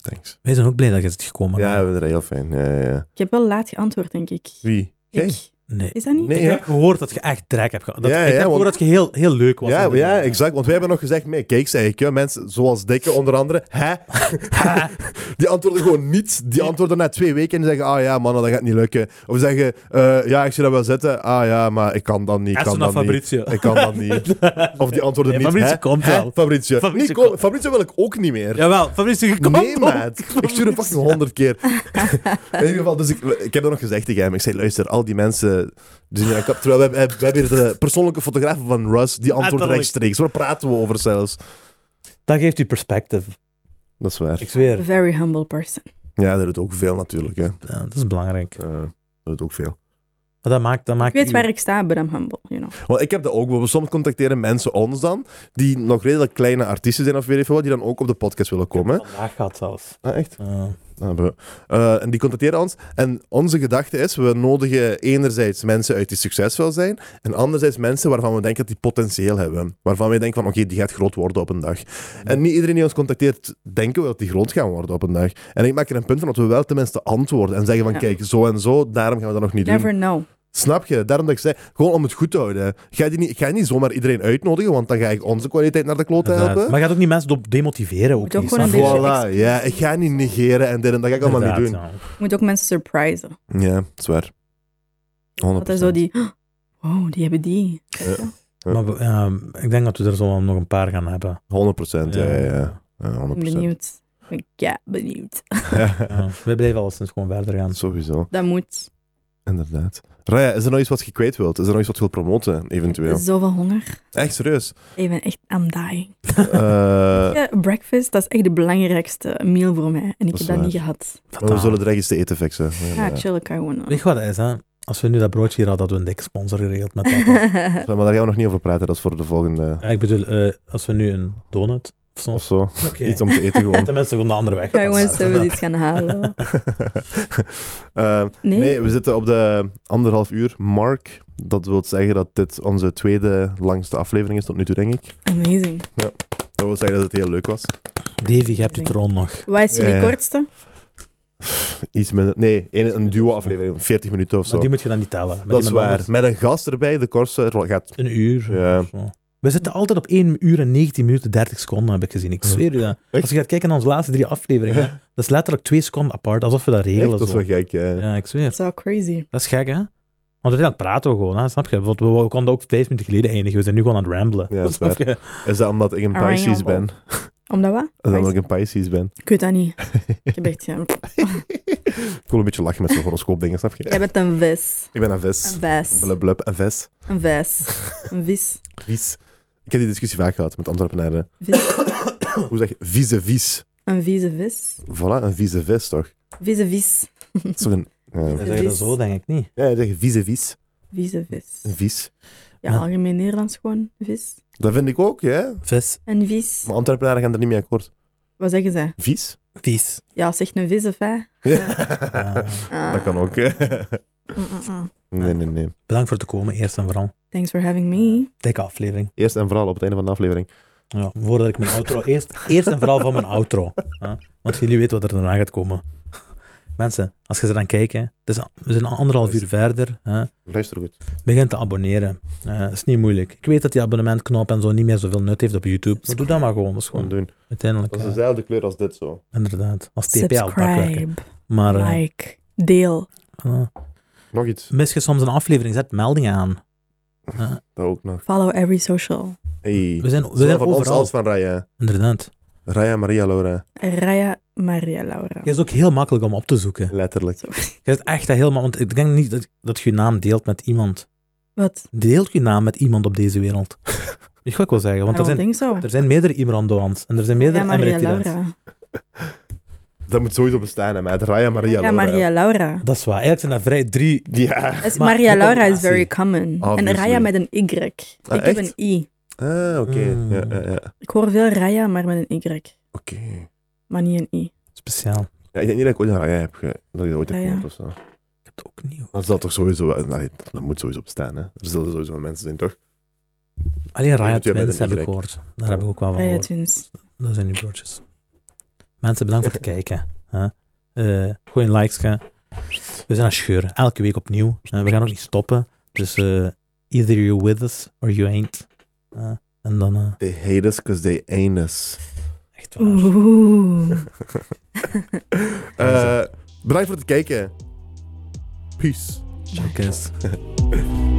S1: Thanks.
S2: Wij zijn ook blij dat je zit gekomen.
S1: Ja, we zijn er heel fijn. Ja, ja, ja.
S3: Ik heb wel laat geantwoord, denk ik.
S1: Wie? Jij?
S3: Ik-
S2: Nee.
S3: Is dat niet?
S1: Nee,
S2: ik
S1: ja.
S2: heb gehoord dat je echt trek hebt gehad. Dat-
S1: Ja,
S2: ik
S1: ja,
S2: heb gehoord
S1: want-
S2: dat je heel, heel leuk was.
S1: Ja, ja,
S2: inderdaad.
S1: exact. Want wij hebben nog gezegd, mee, kijk, zeg ik, hè, mensen zoals Dikke onder andere,
S2: (laughs)
S1: hè? (laughs) die antwoorden gewoon niet. Die antwoorden na twee weken en die zeggen, ah ja, mannen, dat gaat niet lukken. Of zeggen, eh, ja, ik zie dat wel zitten. Ah ja, maar ik kan dan niet. Ik
S2: Echt zo
S1: kan
S2: naar
S1: dan niet.
S2: Fabrizio.
S1: Ik kan dat
S2: (laughs)
S1: niet. Of die antwoorden
S2: Nee,
S1: niet.
S2: Fabrizio
S1: hè?
S2: komt
S1: Hè?
S2: wel.
S1: Fabrizio.
S2: Fabrizio
S1: Niet komen.
S2: komt.
S1: Fabrizio wil ik ook niet meer.
S2: Jawel, Fabrizio, je komt
S1: Nee,
S2: ook.
S1: maat. Ik stuur hem fucking honderd keer.
S3: Ah.
S1: (laughs) In ieder geval, dus ik, ik heb dat nog gezegd tegen hem. Ik zei, luister, al die mensen... Die zijn aan kap- terwijl we, hebben- we hebben hier de persoonlijke fotograaf van Russ, die antwoordt
S2: Letterlijk.
S1: rechtstreeks. Waar praten we over zelfs?
S2: Dat geeft u perspectief.
S1: Dat is waar.
S2: Ik zweer.
S3: Very humble person.
S1: Ja, dat doet ook veel natuurlijk. Hè.
S2: Ja, dat is belangrijk.
S1: Eh, dat doet ook veel.
S2: Maar dat maakt, dat
S3: Ik
S2: maakt
S3: weet
S2: u-
S3: waar ik sta, but I'm humble, you know.
S1: Want ik heb dat ook. wel. Soms contacteren mensen ons dan, die nog redelijk kleine artiesten zijn of weet ik veel wat, die dan ook op de podcast willen komen.
S2: Vandaag gaat zelfs.
S1: Ah, echt?
S2: Ja.
S1: Ah, bro. Eh, en die contacteren ons. En onze gedachte is, we nodigen enerzijds mensen uit die succesvol zijn, en anderzijds mensen waarvan we denken dat die potentieel hebben. Waarvan we denken van, oké, die gaat groot worden op een dag. En niet iedereen die ons contacteert, denken we dat die groot gaan worden op een dag. En ik maak er een punt van dat we wel tenminste antwoorden en zeggen van,
S3: Ja.
S1: kijk, zo en zo, daarom gaan we dat nog niet doen.
S3: Never know.
S1: Snap je? Daarom dat ik zei, gewoon om het goed te houden. Ga je niet, ik ga niet zomaar iedereen uitnodigen, want dan ga ik onze kwaliteit naar de klote
S2: Inderdaad.
S1: helpen.
S2: Maar je gaat ook niet mensen do- demotiveren. Ook
S3: Moet ook
S2: niet,
S3: gewoon
S2: snap je?
S3: een beetje-
S1: Voilà, ja, ik ga niet negeren en dit en dat ga ik allemaal niet doen.
S2: Inderdaad, ja.
S3: Je moet ook mensen surprisen.
S1: Ja, dat is waar. 100%.
S3: Dat is zo die... (gasps) "Oh, Wow, die hebben die.
S2: Maar we- ja, ik denk dat we er zo wel nog een paar gaan hebben.
S1: 100%, ja, ja, ja. ja 100%.
S3: Ik
S1: (laughs)
S3: ben benieuwd. Ik- Ja, benieuwd.
S2: Ja. We blijven al sinds gewoon verder
S1: (laughs)
S2: gaan.
S1: Sowieso,
S3: Dat moet.
S1: inderdaad. Raya, is er nog iets wat je kwijt wilt? Is er nog iets wat je wilt promoten, eventueel?
S3: Zoveel honger.
S1: Echt
S3: (laughs)
S1: serieus?
S3: Ik ben echt, I'm dying.
S1: Eh,
S3: Ja, breakfast, dat is echt de belangrijkste meal voor mij. En ik
S1: Dat is
S3: heb dat
S1: waar.
S3: niet gehad.
S1: maar we zullen direct eens de eten fixen.
S3: Ja,
S1: Ja.
S3: chill, ik ga gewoon... uh,
S2: Weet je wat dat is, hè? Als we nu dat broodje hier hadden, hadden we een dikke sponsor geregeld met
S3: (laughs)
S2: dat.
S1: (laughs) Maar daar gaan we nog niet over praten, dat is voor de volgende...
S2: Ja, ik bedoel, eh, als we nu een donut of zo.
S1: Of zo,
S2: Oké.
S1: iets om te eten
S2: (laughs)
S1: gewoon. (laughs)
S2: Tenminste, gewoon de andere weg.
S3: Ik ga gewoon zelfs iets gaan halen.
S1: Eh,
S3: Nee?
S1: Nee, we zitten op de anderhalf uur mark. Dat wil zeggen dat dit onze tweede langste aflevering is tot nu toe, denk ik.
S3: Amazing.
S1: Dat wil zeggen dat het heel leuk was.
S2: Davy, je hebt je troon nog.
S3: Wat is jullie
S1: Ja.
S3: kortste?
S1: Iets minder... Nee, een, een duo-aflevering, 40 minuten of
S2: Maar
S1: zo.
S2: die moet je dan niet tellen. Met
S1: Dat is
S2: iemand
S1: waar.
S2: anders.
S1: Met een gast erbij, de kortste rol gaat...
S2: Een uur.
S1: Ja.
S2: of zo. We zitten altijd op 1 uur en 19 minuten 30 seconden, heb ik gezien. Ik zweer je dat.
S1: (laughs) Echt?
S2: Als je gaat kijken naar onze laatste drie
S1: (laughs)
S2: afleveringen, dat is letterlijk 2 seconden apart, alsof we dat
S1: Echt,
S2: regelen.
S1: dat is
S2: zo.
S1: wel gek, ja.
S2: Ja, ik zweer.
S3: Dat is wel crazy.
S2: Dat is gek, hè? Want uiteindelijk praten we gewoon, hè? snap je? Want we we konden ook vijf minuten geleden eindigen. We zijn nu gewoon aan het ramblen.
S1: Ja, dat is
S2: Snap
S1: (coughs)
S2: je?
S1: Is dat omdat ik een Pisces ben?
S3: Omdat wat?
S1: Is dat omdat ik een Pisces ben? (laughs)
S3: Ik weet dat niet. Ik heb echt... ja,
S1: Ik wil een beetje lachen met zo'n horoscoopdingen, snap je?
S3: Jij bent een vis.
S1: Ik ben een vis.
S3: Een vis.
S1: Blub, blub, een vis.
S3: Een vis. Een vis.
S1: Vies. Ik heb die discussie vaak gehad met Antwerpenaren.
S3: vis.
S1: Hoe zeg je? Vieze vies.
S3: Een vieze vis.
S1: Voilà, een vieze vis, toch?
S3: Vieze vis.
S1: Dat is toch een... ja.
S2: Dan zeg je dat zo, denk ik niet.
S1: Ja, zeg vieze vies.
S3: Vieze vis.
S1: Een vies.
S3: Ja, algemeen Nederlands gewoon. Vis.
S1: Dat vind ik ook, ja.
S2: Vis.
S3: Een vies.
S1: Maar Antwerpenaren gaan er niet mee akkoord.
S3: Wat zeggen zij?
S1: Vies?
S2: Vies.
S3: Ja, zeg een vis of hè?
S1: Ja. (laughs)
S3: Ah.
S1: Dat kan ook. hè.
S3: Mm, mm, mm.
S1: Nee, nee, nee.
S2: Bedankt voor te komen, eerst en vooral.
S3: Thanks for having me.
S2: Dikke aflevering.
S1: Eerst en vooral op het einde van de aflevering.
S2: Ja, voordat ik mijn outro... Eerst, eerst en vooral van mijn outro. hè. Want jullie weten wat er daarna gaat komen. Mensen, als je ze dan kijkt, hè, het is, al- we zijn al anderhalf uur verder. Hè,
S1: Luister goed.
S2: begin te abonneren. Eh, Dat is niet moeilijk. Ik weet dat die abonnementknop en zo niet meer zoveel nut heeft op YouTube. Maar doe dat maar gewoon. Dat is
S1: Gewoon
S2: gewoon
S1: doen.
S2: uiteindelijk...
S1: Dat is
S2: eh,
S1: dezelfde kleur als dit zo.
S2: inderdaad. Als TPL pakwerken.
S3: Subscribe,
S2: Maar eh,
S3: like, deel.
S2: eh,
S1: Nog iets.
S2: mis je soms een aflevering, zet meldingen aan.
S1: Dat ook nog.
S3: Follow every social.
S1: Hey.
S2: We zijn, we
S1: Zowel
S2: zijn
S1: van ons
S2: overal.
S1: als van Raya.
S2: Inderdaad.
S1: Raya Maria Laura.
S3: Raya Maria Laura.
S2: Het is ook heel makkelijk om op te zoeken.
S1: Letterlijk.
S3: Zo.
S2: Je hebt echt dat helemaal... Want ik denk niet dat, dat je je naam deelt met iemand.
S3: Wat?
S2: Deelt je naam met iemand op deze wereld? (laughs) Weet je wat ik wil zeggen? Want er zijn,
S3: denk zo.
S2: er zijn meerdere Imrandoans en er zijn meerdere
S3: Ja, Maria
S2: Emiratirans.
S3: Laura.
S1: Dat moet sowieso bestaan, hè, met Raya Maria
S3: Ja,
S1: Laura.
S3: Maria Laura.
S2: Dat is waar. Eigenlijk zijn dat vrij drie...
S1: Ja.
S3: Dus
S2: Maar
S3: Maria
S2: de
S3: Laura is
S2: combinatie.
S3: very common.
S1: Obviously.
S3: En Raya met een Y. ik heb
S1: echt?
S3: een I.
S1: Ah, oké.
S2: Mm.
S1: Ja, ja, ja.
S3: Ik hoor veel Raya, maar met een Y.
S1: Oké.
S3: Maar niet een I.
S2: Speciaal.
S1: Ja, ik denk niet dat ik ooit een Raya heb ge... dat ik dat ooit heb
S3: Raya.
S1: gehoord of zo.
S2: Ik heb het ook niet. hoor.
S1: Dat zal toch sowieso... wel- Nee, dat moet sowieso bestaan, hè. Er zullen sowieso mensen zijn, toch?
S2: Alleen Raya
S1: moet je met
S2: Twins
S1: een
S2: heb ik
S1: Y.
S2: gehoord. Daar heb ik ook wel van
S3: Raya
S1: Oh.
S2: gehoord.
S3: Twins.
S2: Dat zijn nu broertjes. Mensen, bedankt voor het kijken. hè. Eh, gooi een likes. hè. We zijn aan scheuren. Elke week opnieuw. Eh, we gaan nog niet stoppen. Dus eh, either you're with us or you ain't. Eh, en dan eh,
S1: They hate us because they ain't us.
S2: echt waar.
S1: Oh.
S3: Oeh.
S1: (laughs) Eh, bedankt voor het kijken. Peace.
S2: Check us.